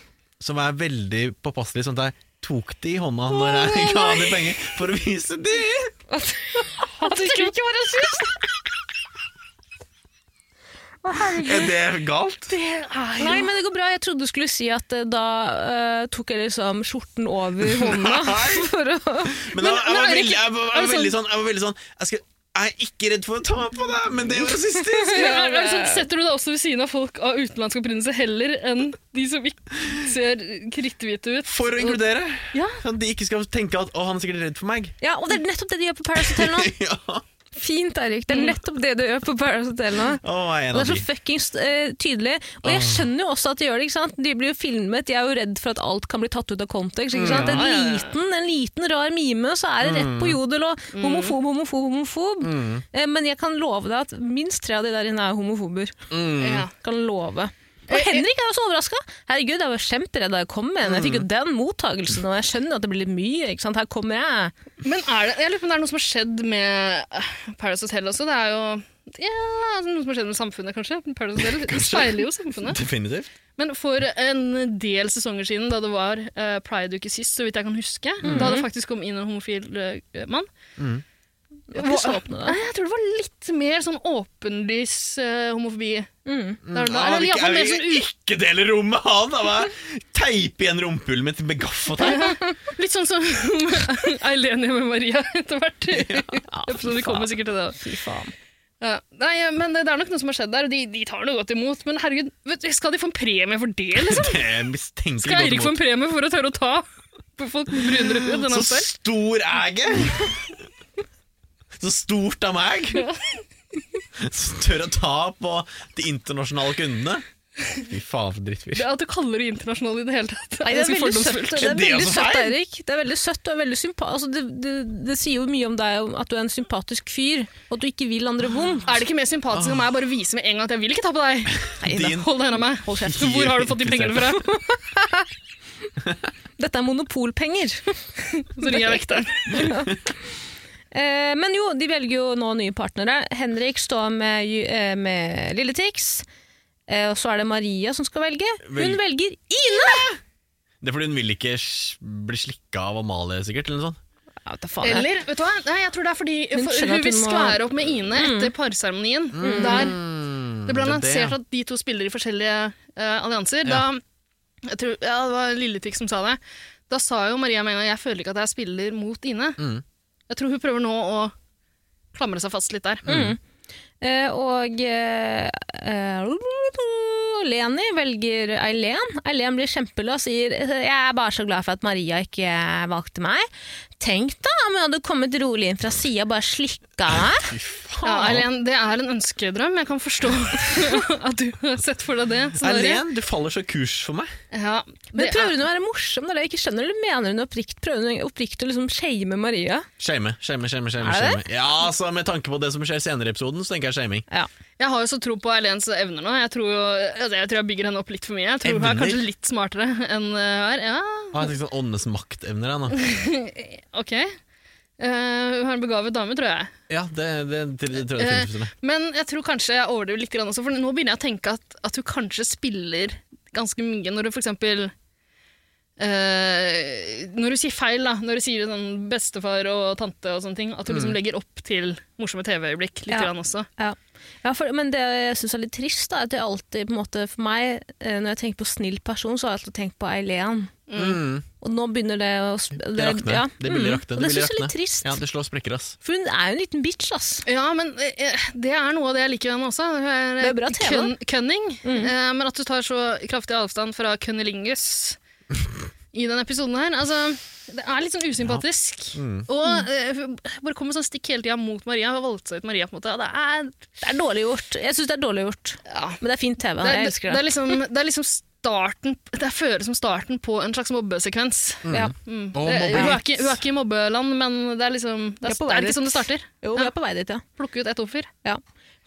C: så var jeg veldig påpasselig sånn at jeg tok de i hånda når jeg ga dem penger, for å vise de
B: At det ikke var rasist!
C: Er det galt?
A: Nei, men det går bra. Jeg trodde du skulle si at eh, da eh, tok jeg liksom skjorten over hånda for å
C: Men, jeg, jeg,
B: men
C: var
B: er det
C: veldig,
B: ikke-
C: jeg,
B: er
C: var, jeg,
B: det
C: var veldig sånn, jeg var veldig sånn Jeg, skal, jeg er ikke redd for å ta på deg, men det er jo rasistisk!
B: Men er, er det sånn, setter du deg også ved siden av folk av utenlandsk opprinnelse heller enn de som ikke ser kritthvite ut?
C: For å inkludere.
B: Ja.
C: Sånn at de ikke skal tenke at 'å, han er sikkert redd for meg'.
A: Ja, og det er nettopp det de gjør på Paradise Hotel nå.
C: Ja.
A: Fint, Erik.
B: Mm.
A: Det er nettopp det du gjør på Paradise Hotel nå.
C: Å, jeg er en
A: Og
C: av
A: det er
C: de.
A: så fuckings eh, tydelig. Og
B: Ah.
A: jeg skjønner jo også at de gjør det. ikke sant? De blir jo filmet. Jeg er jo redd for at alt kan bli tatt ut av kontekst. ikke sant? En
B: Mm. Ja, ja, Mm. ja.
A: liten, en liten rar mime, så er det rett på jodel og homofob, homofob, homofob.
B: Mm.
A: Eh, men jeg kan love deg at minst tre av de der inne er homofober.
B: Ja.
A: Kan love.
B: Eh,
A: Og Henrik er jo så overraska! Herregud, jeg var kjemperedd da jeg kom med den. Jeg
B: Mm.
A: fikk jo den mottagelsen, og jeg skjønner jo at det blir litt mye. ikke sant? Her kommer jeg.
B: Men er det, jeg lurer på om det er noe som har skjedd med eh, Paradise Hotel også. Det er jo Ja, altså noe som har skjedd med samfunnet, kanskje. Paradise Hotel det speiler jo samfunnet.
C: Definitivt.
B: Men for en del sesonger siden, da det var eh, Pride-uke sist, så vidt jeg kan huske, da det faktisk kom inn en homofil eh, mann
A: Det var ikke så åpne, da.
B: Nei, Jeg tror det var litt mer sånn åpenlys eh, homofobi.
A: Mm.
B: Da, da,
C: Han
B: eller
C: vil ikke-
B: iallfall
C: jeg
B: mer
C: vil
B: sånn u
C: Ikke dele rom med han! Da, hva? Teipe igjen rumpehullet mitt med gaffateip!
B: Litt sånn som Eilenia med Maria etter hvert. Episoden, vi kommer sikkert til det.
A: Fy faen.
B: Ja. Nei, men det er nok noe som har skjedd der, og de, de tar noe godt imot. Men herregud, vet, du, skal de få en premie for det, liksom?
C: Det er mistenkelig
B: Skal
C: godt
B: Eirik få en
C: imot.
B: premie for å tørre å ta på folk med brunere hud enn
C: Så
B: han selv?
C: stor er jeg! Så stort av meg! Som tør å ta på de internasjonale kundene. Fy faen, for drittfyr.
B: Det at du kaller det internasjonal i det hele tatt,
A: Nei, det er
B: ganske
A: veldig søtt,
B: fordomsfullt.
A: det er
C: Det er
A: veldig
C: også
A: søtt
C: feil.
A: Eirik. Det er veldig søtt og veldig sympa altså, det, det, det sier jo mye om deg om at du er en sympatisk fyr, og at du ikke vil andre vondt.
B: Er det ikke mer sympatisk enn meg å bare vise med en gang at jeg vil ikke ta på deg? da,
C: Din-
B: Hold deg unna meg. Hold kjeft. Hvor har du fått de pengene fra?
A: Dette er monopolpenger.
B: Så ringer jeg vekteren.
A: Eh, men jo, de velger jo nå nye partnere. Henrik står med, Ju- eh, med Lille Tix. Eh, og så er det Maria som skal velge. Hun
C: Vel-
A: velger Ine!
C: Det er fordi hun vil ikke s- bli slikka av Amalie, sikkert. Eller noe sånt.
A: Ja, vet du faen, jeg.
B: Eller, vet du hva? Nei, jeg tror det er fordi
A: Hun
B: for,
A: skjønner
B: hun
A: at
B: vil
A: hun må- Mm.
B: skvære opp med Ine etter parseremonien. Der Mm. det ble annonsert at de to spiller i forskjellige eh, allianser.
C: Ja.
B: Da, jeg tror, ja, det var Lilletik som sa det. Da sa jo Maria med en gang jeg føler ikke at jeg spiller mot Ine.
C: Mm.
B: Jeg tror hun prøver nå å klamre seg fast litt der.
A: Mm. Eh, og eh, eh, Leni velger Eileen. Eileen blir kjempeløs og sier jeg er bare så glad for at Maria ikke valgte meg. Tenk da om hun hadde kommet rolig inn fra sida og bare slikka meg.
C: Fy
B: Ja,
C: faen.
B: Eileen, det er en ønskedrøm. Jeg kan forstå at du har sett for deg det. scenariet.
C: Eileen, du faller så kurs for meg.
B: Ja,
A: Men
B: det er,
A: Prøver hun å være morsom, det er det jeg ikke skjønner, eller mener hun oppriktig prøver hun oppriktig å liksom shame Maria?
C: Shame, shame, shame. shame,
A: Er
C: shame. Ja, altså, Med tanke på det som skjer senere i episoden, så tenker jeg shaming.
A: Ja.
B: jeg har jo så tro på Eileens evner nå. Jeg tror, jo, altså, jeg tror jeg bygger henne opp litt for mye. Jeg tror hun er
C: Evner?
B: kanskje litt smartere enn hun er. Ja,
C: Ah, jeg tenker sånn Åndenes maktevner. jeg, nå.
B: ok. Eh, hun er en begavet dame, tror jeg.
C: Ja, det, det, det, det tror jeg
B: Eh,
C: definitivt hun er.
B: Men jeg tror kanskje jeg overdriver litt grann også, for nå begynner jeg å tenke at, at hun kanskje spiller ganske mye når hun for eksempel eh, når du sier feil, da, når du sier sånn bestefar og tante og sånne ting, at du liksom legger opp til morsomme TV-øyeblikk litt
A: Mm. Ja.
B: grann også.
A: Ja. Ja, for, men det jeg syns er litt trist, da, er at jeg alltid på en måte, for meg, eh, når jeg tenker på snill person, så har jeg alltid tenkt på Eileen.
C: Mm.
A: Og nå begynner det å sp-
C: Det rakner.
A: Ja.
C: Det begynner
A: Mm. Og det
C: rakne. begynner
A: syns jeg er litt
C: rakne.
A: trist.
C: Ja, det slår sprekker, ass.
A: For hun er jo en liten bitch, ass.
B: Ja, men eh, det er noe av det jeg liker ved henne også. Hun er,
A: Det er bra tema. Mm.
B: kønn- Kønning. Eh, men at du tar så kraftig avstand fra kønnelingus i denne episoden her altså, Det er litt sånn usympatisk.
A: Mm.
B: Og eh, hun bare kommer sånn stikk hele tida mot Maria. Hun har valgt seg ut Maria, på en måte. og Det er,
A: Det er dårlig gjort. Jeg syns det er dårlig gjort,
B: ja,
A: men det er fint TV.
B: det,
A: jeg
B: er, det,
A: elsker det.
B: er liksom, det er liksom starten Det føles som starten på en slags mobbesekvens.
A: ja.
B: Mm.
C: Og
B: Det- hun, er
C: mobbing.
B: ikke, hun er ikke i mobbeland, men det er liksom Det
A: Jeg er
B: er,
A: på
B: det
A: vei
B: er
A: dit.
B: ikke sånn det starter.
A: Jo, vi er på vei dit, ja.
B: Plukke ut ett offer.
A: ja.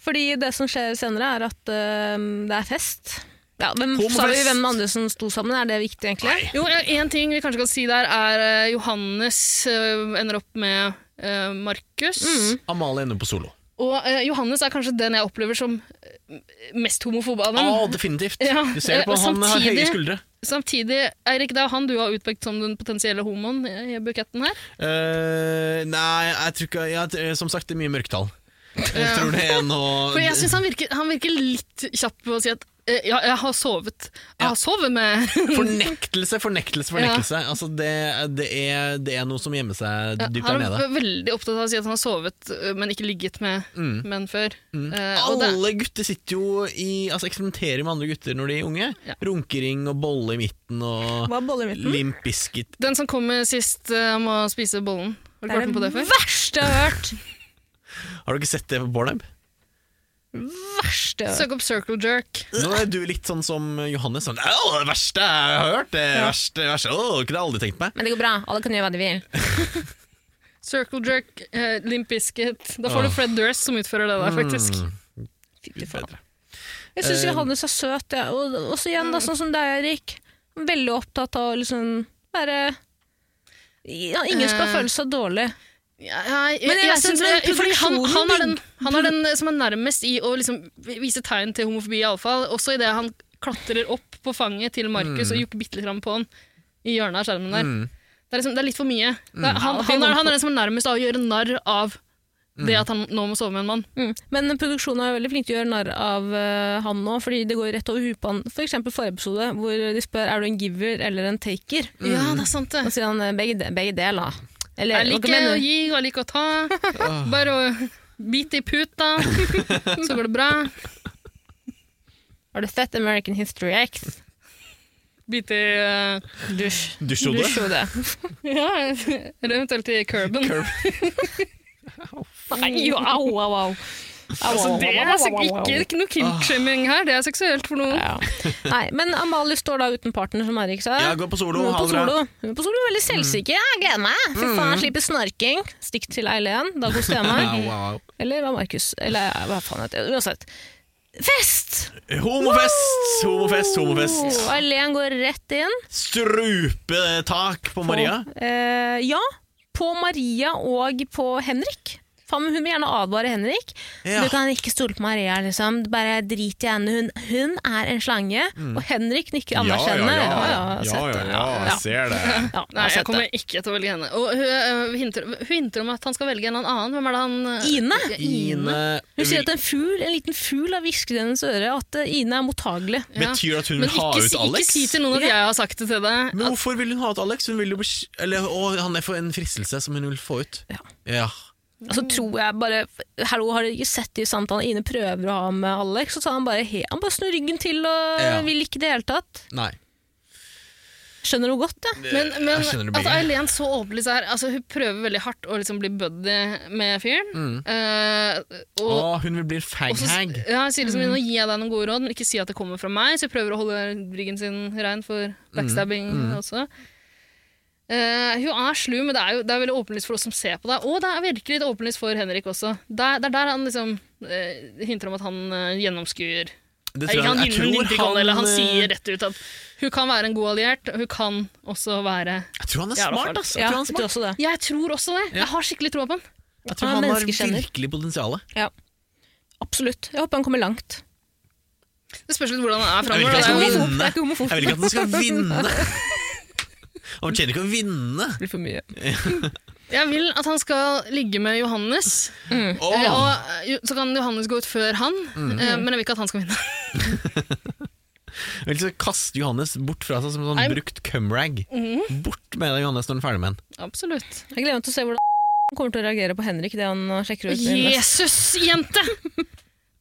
A: Fordi det som skjer senere, er at øhm, det er fest. Ja, hvem,
C: Homofest.
A: sa vi hvem andre som sto sammen? Er det viktig, egentlig?
B: Jo, en ting vi kanskje kan si der er eh, Johannes eh, ender opp med eh, Markus.
C: Mm. Amalie ender på solo.
B: Og eh, Johannes er kanskje den jeg opplever som eh, mest homofob av
C: Å,
B: dem.
C: definitivt!
B: Ja,
C: Du ser det på
B: eh,
C: han har
B: samtidig-
C: høye skuldre.
B: Samtidig, Eirik, det er han du har utpekt som den potensielle homoen i i buketten her.
C: Eh, nei, jeg tror ikke jeg, t- Som sagt, det er mye mørketall. Jeg tror det er noe
B: For jeg syns han, virker- han virker litt kjapp på å si at eh, ja, jeg har sovet. Jeg har sovet med
C: Fornektelse, fornektelse, fornektelse. Altså, det, det, er, det er noe som gjemmer seg dypt der
B: Han
C: nede.
B: er veldig opptatt av å si at han har sovet, eh, men ikke ligget med
C: Mm.
B: menn før. Eh, og det,
C: Alle gutter sitter jo i Altså eksperimenterer med andre gutter når de er unge.
B: Ja.
C: Runkering og bolle i midten og
A: Hva er bolle i midten?
C: limp biscuit.
B: den som kommer sist, eh, må spise bollen. Har
A: Det
B: du vært
A: er
B: med på det
A: det
B: før?
A: verste jeg har hørt!
C: Har du ikke sett det på Pornhub?
A: Verste jeg har hørt.
B: Søk opp circle jerk.
C: Nå er du litt sånn som Johannes. Sånn, «Å, det verste jeg har hørt! Det verste, det verste. Å, ikke det har jeg aldri tenkt meg.
A: Men det går bra. Alle kan gjøre hva de vil.
B: Circle jerk, eh, Limp Bizkit. Da får
C: Åh.
B: du Fred Durst som utfører det der, faktisk.
C: Mm.
A: Fy faen. Jeg syns
C: Eh,
A: Johannes er søt, ja. og og så igjen, da, sånn som deg, Erik. Veldig opptatt av å liksom være ja, Ingen skal
B: Eh.
A: føle seg dårlig.
B: jeg, jeg,
A: Men
B: jeg,
A: jeg synes
B: synes det-
A: den
B: fordi han, han, er den,
A: produksjonen-
B: han er den eh, som er nærmest i å liksom vise tegn til homofobi, iallfall. Også idet han klatrer opp på fanget til Markus og jukker bitte litt fram på han i hjørnet av skjermen der. Det, er liksom, det er litt for mye. Det er, han, han, er, han er den som er nærmest av å gjøre narr av det at han nå må sove med en mann.
A: Mm. Men produksjonen er veldig flink til å gjøre narr av eh, han nå, fordi det går rett over huet på han. For eksempel forrige episode, hvor de spør er du en giver eller en taker.
B: Ja, det er sant,
A: Og
B: det.
A: så sier han eh, begge, de- begge deler. Eller,
B: Jeg
A: hva
B: liker
A: mener
B: å
A: du?
B: gi, og jeg liker å ta.
C: Ah.
B: Bare å bite i puta, så går det bra.
A: Har du sett American History X?
B: Bite i eh, dusj.
C: Dusjhode.
A: Du så det.
B: Ja, eller eventuelt i curben.
A: Nei, jo, au, au, au. au,
B: Altså,
A: au,
B: det
A: au,
B: er
A: au,
B: altså
A: au, au.
B: ikke, ikke noe
C: Ah.
B: kinkshaming her, det er seksuelt for noen.
A: Ja. Nei, men Amalie står da uten partner, som Erik sa.
C: Ja, gå på solo,
A: Hun er
C: ha
A: på
C: det bra.
A: solo. Hun er på solo veldig
B: Mm.
A: selvsikker. Jeg gleder meg. Fy faen, slipper snorking. Stikk til Eileen, da koser jeg meg.
C: Au, au, au.
A: Eller var Markus Eller eh, hva faen heter det? Uansett. Fest!
C: Homofest! Homofest, homofest.
A: Og Eileen går rett inn.
C: Strupetak på Maria.
A: Eh, ja, på Maria og på Henrik. Faen, men hun vil gjerne advare Henrik.
C: Ja.
A: Du kan ikke stole på Maria, liksom. Bare drit i henne. Hun, hun er en slange.
C: Mm.
A: Og Henrik nikker anerkjennende.
C: ja,
A: sett det.
C: ja, ja, jeg ser det.
A: Ja, altså, jeg
B: Nei,
A: har
B: jeg
A: sett
B: kommer
A: det.
B: ikke til å velge henne. Og hun, øh, hinter, hun hinter om at han skal velge en eller annen. Hvem er det han øh,
A: Ine!
C: Ine
A: Hun sier
C: vil,
A: at en fugl, en liten fugl har hvisket i hennes øre at eh, Ine er mottagelig.
B: ja.
C: Betyr det at hun
B: Men
C: vil ha
B: ikke,
C: ut
B: si- ikke
C: Alex?
B: si til noen at jeg har sagt det til deg.
C: Men hvorfor vil hun ha ut Alex? Hun vil jo bes- eller, å, han er for en fristelse som hun vil få ut.
A: Ja.
C: Ja.
A: Altså tror jeg bare Hallo, har dere ikke sett de samtalene Ine prøver å ha med Alex? Og så tar han bare, he, han bare snur ryggen til og
C: Ja.
A: vil ikke i det hele tatt.
C: Nei.
A: Skjønner hun godt, jeg.
B: Men, men
C: Jeg skjønner det
B: at
C: begge.
B: Eileen så åpenlyst er altså, Hun prøver veldig hardt å liksom bli buddy med fyren.
C: Mm.
B: Eh,
C: Å,
B: og,
C: hun vil bli en
B: og så
C: faghag.
B: ja, hun sier liksom, nå gir jeg deg noen gode råd, men ikke si at det kommer fra meg. Så hun prøver å holde ryggen sin rein
C: Mm.
B: for backstabbing også. Eh, hun er slu, men det er jo det er veldig åpenlyst for oss som ser på det. Og det er virkelig litt åpenlyst for Henrik også. Det er, det er der han liksom eh, hinter om at han eh, gjennomskuer
C: Det
B: Nei,
C: tror
B: ikke han,
C: jeg- jeg
B: hinter
C: tror
B: ikke han, eller han
C: eh,
B: sier rett ut at hun kan være en god alliert, og hun kan også være
C: Jeg tror han er
B: Ja, i hvert
C: smart,
B: fall.
C: altså. ass.
A: Ja,
C: Jeg tror han, er
A: jeg tror
C: smart.
A: også det.
B: Jeg tror også det. Jeg har skikkelig troa på han.
C: Jeg tror
A: Han er
C: han har
A: menneskekjenner.
C: virkelig potensial.
A: Absolutt. Jeg håper han kommer langt.
B: Det spørs litt hvordan han er
C: Jeg vil ikke at han
A: homofob.
B: framover.
C: skal vinne.
A: Det er ikke homofob.
C: Jeg vil ikke at han skal vinne. Han fortjener ikke å vinne.
A: Det blir for mye.
B: Jeg vil at han skal ligge med Johannes, eh,
C: Åh,
B: og eh, jo- så kan Johannes gå ut før han,
C: Mm.
B: eh, men jeg vil ikke at han skal vinne.
C: jeg vil ikke kaste Johannes bort fra seg som en
B: Nei. Mhm.
C: sånn brukt cumrag. Bort med deg, Johannes, når han er ferdig med den.
B: Absolutt.
A: Jeg gleder meg til å se hvordan han kommer til å reagere på Henrik det han sjekker ut. med
B: Jesus, jente!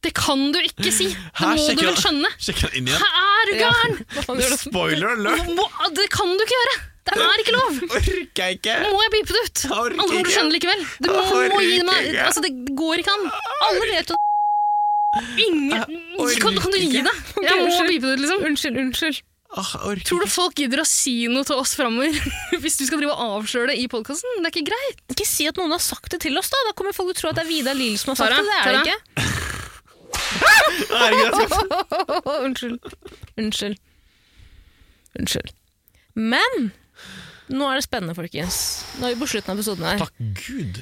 B: Det kan du ikke si! Det
C: Her
B: må du
C: sjekker
B: vel
C: han-
B: skjønne!
C: Sjekk han inn igjen.
B: Hæ, er du gæren?!
A: Nest.
C: Spoiler alert!
B: Hva- Det kan du ikke gjøre! Det er ikke lov!
C: Orker jeg ikke!
B: Nå må jeg pipe det ut!
C: Jeg orker
B: Alle kommer til å
C: ikke.
B: skjønne det likevel. Du må,
C: Jeg
B: må gi
C: orker
B: meg
C: ikke.
B: Altså, det går ikke an.
A: Alle vet at
B: Ingen
C: orker
B: Kan, kan du gi
C: ikke.
B: deg? Jeg må
A: Unnskyld.
B: pipe det ut, liksom.
A: Unnskyld, unnskyld.
C: Åh, jeg orker
B: Tror du folk gidder å si noe til oss framover hvis du skal drive og avsløre det i podkasten? Det er ikke greit.
A: Ikke si at noen har sagt det til oss, da! Da kommer folk til å tro at det er Vidar Lill som har sagt
B: Tara,
A: det. Det er det ikke.
C: Herregud, jeg skal
A: unnskyld. Unnskyld. Unnskyld. Men nå er det spennende, folkens. Nå er vi på slutten av episoden her.
C: Takk Gud.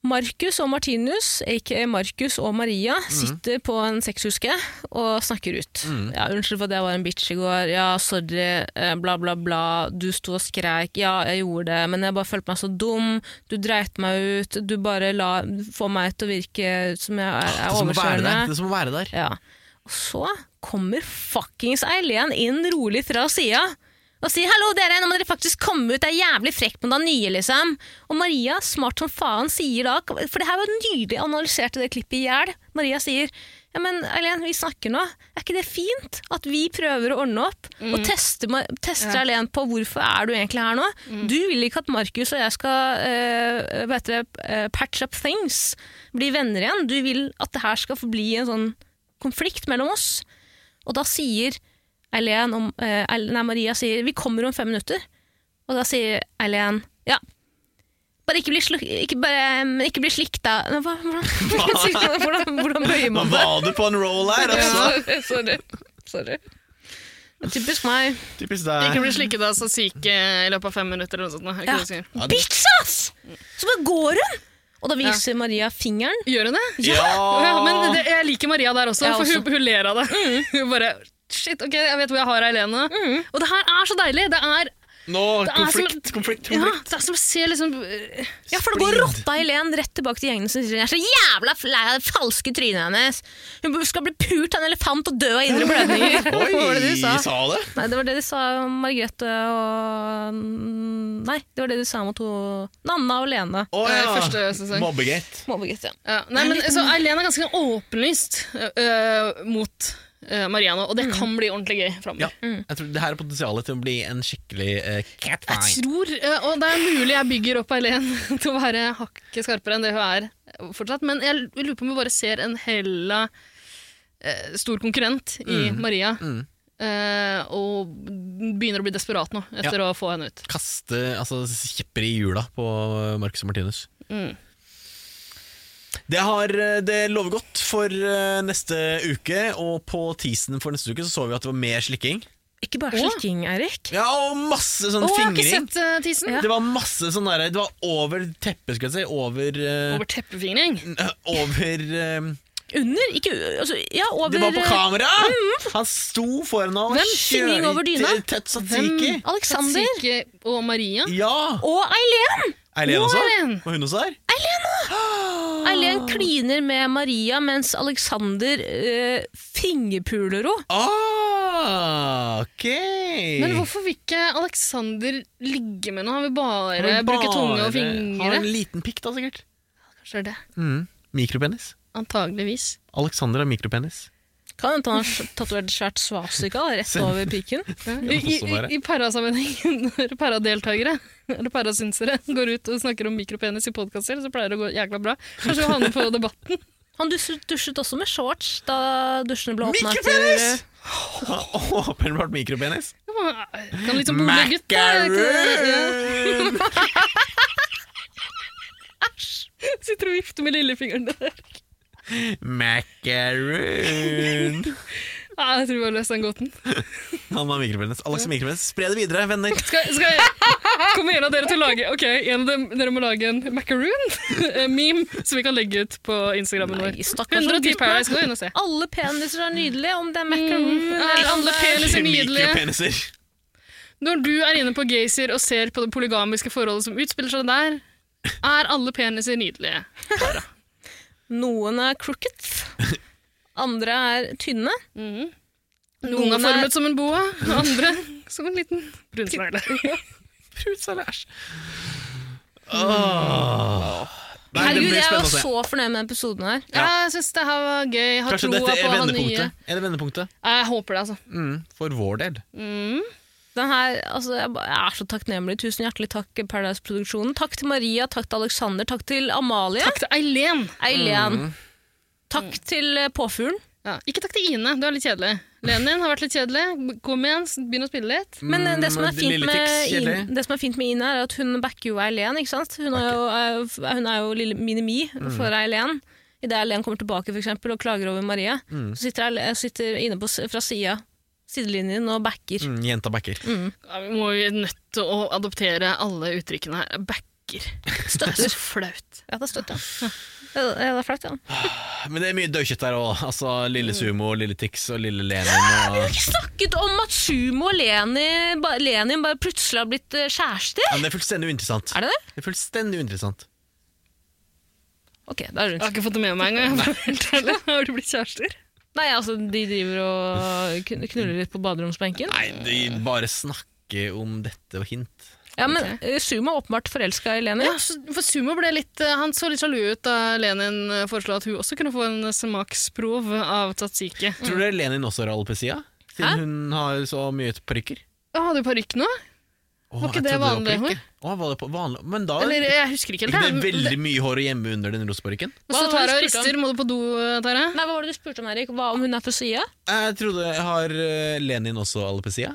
A: Markus og Martinus, aka Markus og Maria,
C: Mhm.
A: sitter på en sexhuske og snakker ut.
C: Mhm.
A: Ja, 'Unnskyld for at jeg var en bitch i går. Ja, sorry. eh, Bla, bla, bla. Du sto og skreik. Ja, jeg gjorde det, men jeg bare følte meg så dum. Du dreit meg ut. Du bare la, får meg til å virke som jeg er,
C: Det
A: er
C: som må være der.
A: overkjørende.
C: Det som må være der.
A: Ja. Og så kommer fuckings Eileen inn rolig fra sida og sier 'hallo, dere, nå må dere faktisk komme ut, det er jævlig frekt med den nye', liksom. Og Maria, smart som faen, sier da, for det her var nydelig analysert i det klippet i hjel, Maria sier ja, men Eileen, vi snakker nå. Er ikke det fint at vi prøver å ordne opp og tester, Ma- tester Eileen på hvorfor er du egentlig her nå? Du vil ikke at Markus og jeg skal eh, hva heter det, eh, patch up things, bli venner igjen. Du vil at det her skal forbli en sånn konflikt mellom oss. Og da sier Eileen om, eh, Eil- nei, Maria sier 'vi kommer om fem minutter'. Og da sier Eileen 'ja, bare ikke bli, sluk, ikke bare, men ikke bli slikt da'. Men hva- Hvordan, hvordan, hvordan bøyer
C: Nå
A: man det?
C: var du på en roll her, altså!
A: Ja, sorry. sorry. Typisk meg.
C: Typisk
B: Ikke
C: deg.
B: bli slikket av så syke i løpet av fem minutter eller noe sånt. nå. Er ikke
A: Ja.
B: det du sier?
A: Bitch, ass! Så bare går hun! Og da viser Maria fingeren.
B: Gjør hun det?
C: Ja!
B: Ja, men det, jeg liker Maria der også,
A: Jeg
B: for
A: også. Mm.
B: Hun, hun ler av det. Hun bare Shit, ok, jeg vet hvor jeg har Eilene. Og det her er så deilig! Det er,
C: Nå,
B: det er som-
C: konflikt, konflikt,
B: ja,
C: konflikt.
B: det er som å se liksom øh,
A: Ja, For da går rotta Helen rett tilbake til gjengen sin sier jeg er så jævla lei av det falske trynet hennes. Hun skal bli pult av en elefant og dø av indre blødninger.
C: Oi,
A: Hva var det du sa?
C: sa det?
A: Nei, det var det de sa om Margrethe og Nei, det var det de sa mot ho- Nanna og Lene.
C: Å
B: Eh,
C: ja.
B: første sesong.
C: Mobbegate.
A: Mobbegate.
B: ja. Nei, men så Eilene er ganske åpenlyst øh, mot øh, Mariano, og det
A: Mm.
B: kan bli ordentlig gøy framover.
C: Ja. Jeg tror det her er potensialet til å bli en skikkelig uh,
B: Jeg
C: catfight.
B: tror, eh, og det er mulig jeg bygger opp Eileen til å være hakket skarpere enn det hun er eh, fortsatt, men jeg lurer på om vi bare ser en hella eh, stor konkurrent i Maria,
C: Mm.
B: eh, og begynner å bli desperat nå etter å få henne ut.
C: Kaste altså, kjepper i hjula på eh, Marcus og Martinus.
B: Mm.
C: Det, har, eh, det lover godt for eh, neste uke, og på teasen for neste uke så, så vi at det var mer slikking.
A: Ikke bare
B: Å.
A: slikking, Eirik.
C: Ja, og masse sånn
B: Å, jeg har ikke
C: fingring.
B: sett uh, tisen!
C: Det var masse sånn der, det var over teppet, skulle jeg si. Over, eh,
B: Over teppefingring.
C: over eh,
A: Under? Ikke altså, Ja, over
C: Det var
B: eh,
C: på kamera!
B: Mm.
C: Han sto foran han og
A: Hvem?
C: kjør-
A: Fingring over dyna?
C: Tett Satsiki.
A: eh, Alexander
B: Satsiki og Maria.
C: Ja!
A: og Eileen!
C: Eileen
B: Å,
C: også?
B: Eileen.
C: Var hun også der?
A: Eileen kliner med Maria, mens Alexander eh, fingerpuler henne.
C: Ah, ok!
B: Men hvorfor vil ikke Alexander ligge med noe? Han vil
C: Han
B: bare
C: vil
B: bruke tunge og
C: bare ha
B: fingre.
C: en liten pikk, da, sikkert.
B: Kanskje det er det.
C: Mm. Mikropenis.
B: Antageligvis.
C: Alexander har mikropenis.
A: Kan hende han har tatovert et svært svasika rett over piken.
B: I, i, i parasammenheng, når paradeltakere eller parasynsere går ut og snakker om mikropenis i podkaster, så pleier det å gå jækla bra. Kanskje vi havner på Debatten.
A: Han dusjet, dusjet også med shorts da dusjene ble åpna.
C: Mikropenis! Åpenbart mikropenis.
B: Kan liksom boble gutta. Ja,
C: Macaroon!
B: sitter og vifter med lillefingeren der.
C: Macaroon!
B: Ja, jeg tror vi har løst den gåten.
C: Han har mikropenis. Alex har mikropenis. Spre det videre, venner.
B: Skal, skal jeg Kommer en av dere til å lage Ok, en av dem, dere må lage en macaroon-meme som vi kan legge ut på Instagrammen
A: Nei,
B: vår.
A: stakkars
B: 110
A: gutt, da.
B: Paradise, gå inn og se.
A: Alle peniser er nydelige, om det er macaroon
B: Mm,
A: eller
B: alle
A: om det er-
B: peniser. så nydelig.
C: Mikrofeniser.
B: Når du er inne på Gaysir og ser på det polygamiske forholdet som utspiller seg der, er alle peniser nydelige.
A: Noen er crooked, andre er tynne.
B: Noen er
A: Noen er-
B: formet som en boa, og andre som en liten brunsnegle.
C: Nei, det
A: Herregud,
C: blir
A: jeg var
C: spennende å se.
A: så fornøyd med episoden her.
B: Ja, jeg syns det her var gøy. Jeg Har
C: Kanskje
B: troa
C: dette er
B: på han nye.
C: vendepunktet. Er det vendepunktet?
B: Jeg håper det, altså.
C: Mm, for vår del.
A: Den her, altså, jeg, ba- jeg er så takknemlig. Tusen hjertelig takk, Paradise-produksjonen. Takk til Maria, takk til Alexander, takk til Amalie.
B: Takk til Eileen.
A: Eileen.
C: Mm.
A: Takk til eh, påfuglen.
B: Ja. Ikke takk til Ine, du er litt kjedelig. Lenin har vært litt kjedelig. Kom igjen, begynn å spille litt.
A: Men eh, det som, er
C: Mm,
A: fint
C: lille
A: med
C: tics,
A: Ine,
C: kjedelig.
A: det som er fint med Ine, er at hun backer jo Eileen. ikke sant? Hun er jo, er jo- hun er jo lille minimi
C: Mm.
A: for Eileen. Idet Eileen kommer tilbake for eksempel, og klager over Maria,
C: Mm.
A: så sitter, Eile- sitter Ine på, s- fra sida, sidelinjen, og backer.
C: Mm, jenta backer.
B: Ja, vi må jo nødt til å adoptere alle uttrykkene her. Backer. Det er
A: Støtter.
B: så flaut.
A: Ja, det er støtt, ja. Ja, det er- det er flaut, ja.
C: Men det er mye dødkjøtt der òg. Altså, lille Sumo, lille Tix og lille Lenin. Og...
A: Ikke snakket om at Sumo og Leni, ba, Lenin bare plutselig har blitt eh, kjærester?
C: Ja, men det er fullstendig uinteressant.
A: Er det det?
C: Det er fullstendig uinteressant.
A: Ok, da er det
B: Jeg har
A: rundt.
B: ikke fått det med meg engang. jeg får helt ærlig. Har du blitt kjærester?
A: Nei, altså, de driver og kn- knuller litt på baderomsbenken.
C: Nei, de bare snakker om dette og hint.
A: Ja, men eh, Sumo er åpenbart forelska i Lenin.
B: Ja, så- for Sumo ble litt, eh, han så litt sjalu ut da Lenin eh, foreslo at hun også kunne få en eh, smaksprov av tzatziki.
C: Mm. Tror dere Lenin også har alopecia? Siden hun har så mye parykker?
B: Å, Hadde du parykk nå?
C: Åh,
B: Var ikke
C: jeg
B: det
C: trodde var
B: vanlig
C: parykker. Åh, var det på vanlig? Men da
B: Eller eh, jeg husker ikke
C: Ikke
B: helt.
C: det er
B: jeg.
C: veldig mye hår å gjemme under den rosa parykken?
B: Og så
A: Hva var det
B: Tara
A: du spurte om?
B: rister. Må du på do, eh, Tara?
A: Nei, Hva var det du spurte om, Erik? Hva om hun er fra sida?
C: Jeg trodde Har eh, Lenin også alopecia?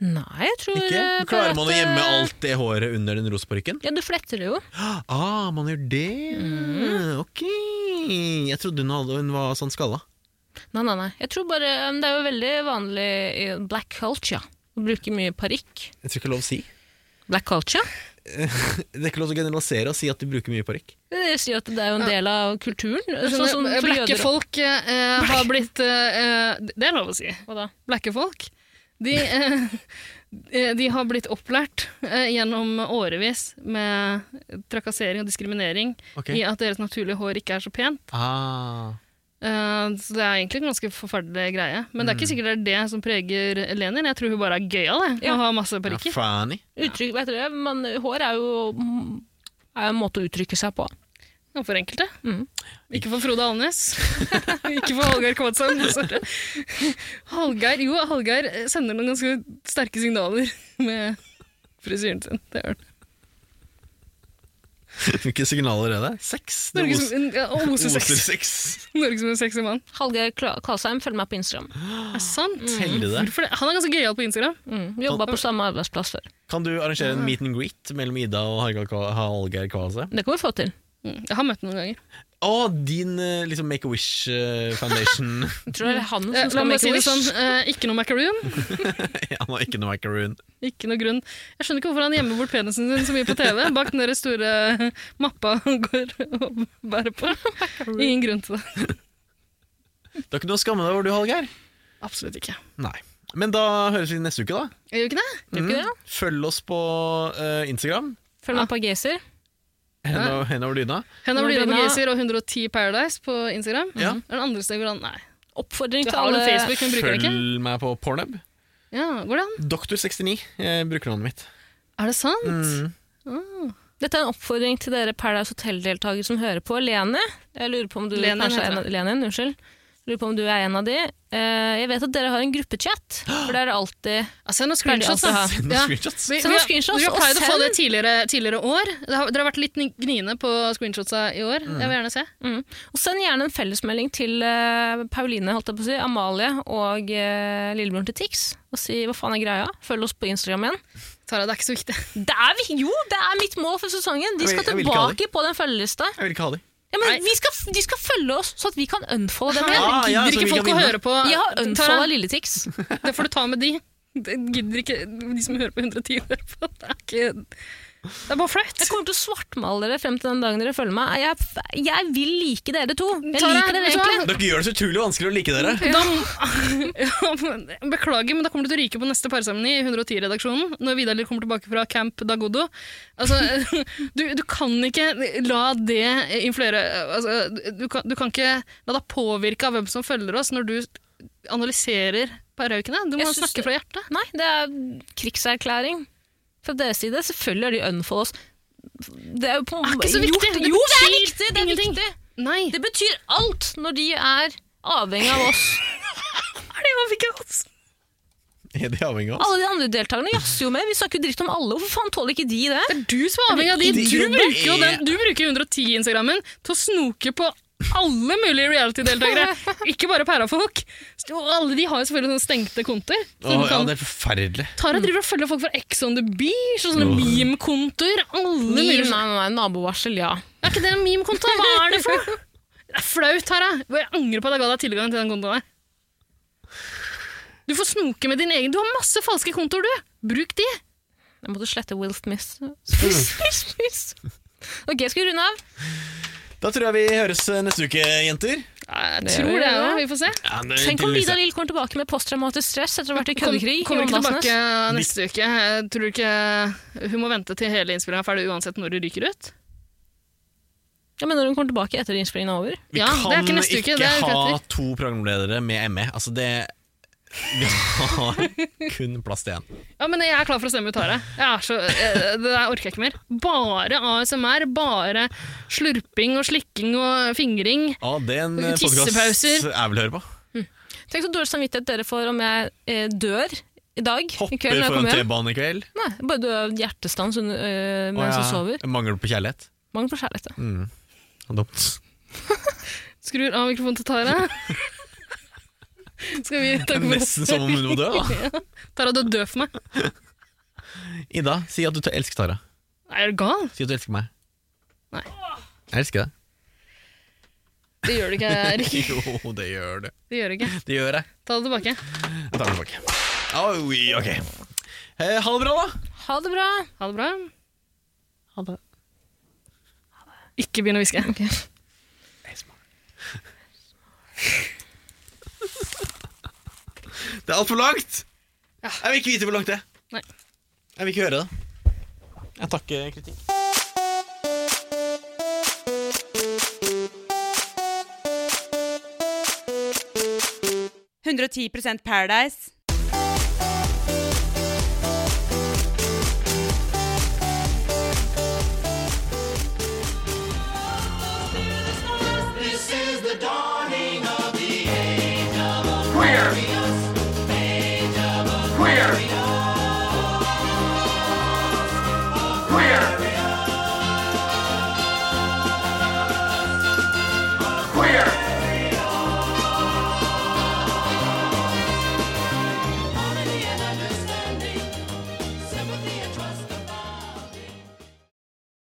A: Nei, jeg tror
C: Ikke?
A: eh,
C: Klarer
A: bare
C: man å
A: at, eh,
C: gjemme alt det håret under den rosa parykken?
A: Ja, du fletter det jo.
C: Ah, man gjør det!
B: Mm.
C: Ok! Jeg trodde hun, hadde, hun var sånn skalla.
A: Nei, nei, nei. Jeg tror bare eh, Det er jo veldig vanlig i black culture. Å bruke mye parykk.
C: Jeg tror ikke det er lov å si.
A: Black culture?
C: Det er ikke lov til å generalisere og si at du bruker mye parykk.
A: Jeg sier at det er jo en del av kulturen. Sånn
B: Sånn,
A: som for
B: blakke
A: jøder
B: folk eh, har blitt eh, eh, Det er lov å si.
A: Hva da?
B: Blakke folk. De, eh, eh, de har blitt opplært eh, gjennom årevis med trakassering og diskriminering
C: Ok.
B: i at deres naturlige hår ikke er så pent.
C: Ah.
B: Eh, så det er egentlig en ganske forferdelig greie. Men det er ikke sikkert det er det som preger Lenin. Jeg tror hun bare er gøyal jeg,
A: Ja.
B: og har masse
C: Mm. Ja,
B: parykker.
C: funny.
A: Uttrykk, vet dere, men hår er jo mm, er jo en måte å uttrykke seg på.
B: Ja, for enkelte.
C: Mm.
A: Mhm.
B: Ikke for Frode Alnes. ikke for Hallgeir Kvadsheim. dessverre. Hallgeir, jo, Hallgeir sender noen ganske sterke signaler med frisyren sin. Det gjør han.
C: Hvilke signaler er det? Sex? Det
B: Norge
C: oser
B: som, ja, og oser
C: oser
B: sex.
C: sex.
B: Norge som en sexy mann.
A: Hallgeir Kla- Kvalsheim følger meg på Instagram.
B: Er det sant?
C: Teller Ah. Mm. det?
B: Hvorfor det? Han er ganske gøyal på Instagram.
A: Mm. Jobba på samme arbeidsplass før.
C: Kan du arrangere en meet and greet mellom Ida og Hallgeir Kva- Hallgeir Kvase?
A: Det kan vi få til.
B: Mm, Jeg har møtt ham noen ganger.
C: Å, din eh, liksom Make-A-Wish eh, Foundation.
A: Jeg tror det er
C: Mm.
A: han
B: Eh,
A: som
B: La
A: skal
B: meg
A: make a
B: si det
A: wish.
B: sånn, eh, ikke noe macaroon.
C: Han har ikke noe macaroon.
B: Ikke noe grunn. Jeg skjønner ikke hvorfor han gjemmer bort penisen sin så mye på TV, bak den der store mappa han går og bærer på. Ingen grunn til det.
C: Det er ikke noe å skamme deg over, du, Hallgeir.
B: Absolutt ikke.
C: Nei. Men da høres vi neste uke, da.
B: Gjør
C: Mm.
B: vi ikke det?
A: Tror du ikke det?
C: Følg oss på eh, Instagram.
A: Følg meg på Gazer.
C: Hen over- hen over dyna.
B: Henne blir det på
A: Marina-
B: Gazer og 110 Paradise på Instagram.
C: Ja.
B: Er det andre steder hvor han Nei.
A: Oppfordring
B: Du
A: til
B: har
A: alle
B: den Facebook, men bruker den ikke.
C: Følg meg på Pornhub.
B: Ja, Går det an?
C: Doktor69 eh, bruker navnet mitt.
B: Er det sant?
C: Mm.
A: Dette er en oppfordring til dere Paradise Hotel-deltakere som hører på. Lene, jeg lurer på om du
B: Lenin
A: kanskje
B: heter
A: er en av, Lenin, unnskyld. Lurer på om du er en av de. Eh, jeg vet at dere har en gruppechat, for der er det alltid
B: Ja, Send noen screenshots,
A: Pleier de
B: da.
A: alltid
B: Ja. Vi, vi,
C: Send noen screenshots.
A: Send noen
B: har-
A: screenshots,
B: vi har
A: og
B: pleid å få
A: send-
B: det tidligere, tidligere år. Det har, dere har vært litt ni- gniene på screenshotsa i år.
C: Mm.
B: Jeg vil gjerne se.
A: Og send gjerne en fellesmelding til eh, Pauline, holdt jeg på å si, Amalie og eh, lillebroren til Tix. Og si hva faen er greia. Følg oss på Instagram igjen.
B: Tara, det er ikke så viktig.
A: Det er vi, jo, det er mitt mål for sesongen! De
C: Jeg
A: skal
C: vil- jeg vil ikke ha
A: tilbake på den følgelista.
C: Jeg vil ikke ha de.
A: Ja,
B: Nei.
A: men vi skal, de skal følge oss, så at vi kan unfolde dem igjen.
C: Ah, ja, så
B: gidder
C: vi
B: ikke
C: kan
B: folk å
C: vinne.
B: høre på.
A: Jeg har
B: Tara,
A: unfolda Lille-Tix.
B: Det får du ta med de. Det gidder ikke de som hører på 110. hører på. Det er, ikke, det er bare flaut.
A: Jeg kommer til å svartmale dere frem til den dagen dere følger meg. Jeg, jeg vil like dere to. Jeg
B: Tara,
A: liker dere
B: vet du hva?
A: egentlig.
C: Dere gjør det så utrolig vanskelig å like dere.
B: Da, ja, men- beklager, men da kommer du til å ryke på neste parseremoni i 110-redaksjonen. Når Vidar Lill kommer tilbake fra Camp Dagodo. Altså, du, du kan ikke la det influere altså, du, kan, du kan ikke la deg påvirke av hvem som følger oss, når du analyserer paraukene. Du må
A: Jeg synes
B: snakke
A: det-
B: fra hjertet.
A: Nei, det er krigserklæring fra deres side. Selvfølgelig er de unfollow oss. Det er jo på
B: ikke så
A: Gjort-
B: viktig. Det
A: Jo, det er
B: betyr
A: viktig! Det, er
B: ingenting.
A: viktig.
B: Nei,
A: det betyr alt når de er avhengig av oss.
B: det var ikke oss.
C: Er de avhengig av oss?
A: Alle de andre deltakerne jazzer jo med. Vi snakker jo dritt om alle. Hvorfor faen tåler ikke de det?
B: Det er du som er avhengig av de.
C: Det-
B: Du
C: jo, det
B: bruker jo
C: er-
B: den, du bruker 110-instagrammen til å snoke på alle mulige reality-deltakere. Ikke bare pærafolk. Og alle de har jo selvfølgelig sånne stengte kontoer. Så
C: Åh,
B: du
C: ja,
B: kan-
C: det er forferdelig.
B: Tara driver og følger folk fra Ex on the Beach og sånne
C: Åh.
B: meme-kontoer. Alle
A: Nei,
B: mulige
A: nei, nei, nabovarsel, ja.
B: Er ikke det en meme-konto? Hva er det for noe? Det er flaut, Tara. Jeg angrer på at jeg ga deg tilgang til den kontoen her. Du får snoke med din egen. Du har masse falske kontoer, du. Bruk de.
A: Jeg måtte slette Will Smith. Smith, Smith, Smith. Ok, skal vi runde av?
C: Da tror jeg vi høres eh, neste uke, jenter.
B: Jeg
A: Det
B: tror
A: gjør vi,
B: det, jeg
A: ja.
B: òg. Vi får se.
A: Tenk om Vidar Lill kommer tilbake med posttraumatisk stress etter å ha vært i køddekrig. i
B: Kommer ikke
A: Åndalsnes.
B: tilbake neste uke. Jeg tror ikke Hun må vente til hele innspillingen er ferdig uansett når det ryker ut.
A: Ja, men når hun kommer tilbake etter innspillingen er over.
C: Vi
B: Ja, det er ikke
C: kan ikke,
B: neste uke, det er uka
C: ha
B: etter.
C: to programledere med ME. Altså, det Vi har kun plass til én.
B: Ja, men Jeg er klar for å stemme ut Tare. Jeg er så, eh, det der orker jeg ikke mer. Bare ASMR, bare slurping og slikking og fingring.
C: Ah, det er en eh, podcast
B: Tissepauser.
C: jeg vil høre på.
A: Tenk så dårlig samvittighet dere får om jeg eh, dør i dag. i kveld når
C: Hopper
A: jeg
C: for en
A: kommer hjem.
C: T-bane i kveld.
A: Nei, bare dø av hjertestans under, eh, mens
C: Å,
A: jeg
C: ja.
A: sover.
C: Mangel på kjærlighet.
A: Mangel på kjærlighet. ja.
C: Og Dumt.
B: Skrur av mikrofonen til Tara. Skal vi
C: Det er
B: takke for oss?
C: Nesten som om hun må dø, da.
B: Tara, du er død for meg.
C: Ida, si at du t- elsker Tara.
B: Er du gal?
C: Si at du elsker meg.
B: Nei.
C: Jeg elsker deg.
B: Det gjør du ikke, Erik.
C: Jo, det gjør du.
B: Det gjør du ikke.
C: Det gjør jeg.
B: Ta det tilbake.
C: Jeg tar den tilbake. Oi, ok. Eh, ha det bra, da.
A: Ha det bra!
B: Ha det bra.
A: Ha det.
B: Ikke begynn å hviske.
C: Det er altfor langt!
B: Ja.
C: Jeg vil ikke vite hvor langt det er.
B: Nei.
C: Jeg vil ikke høre det. Jeg takker kritikk.
F: Paradise.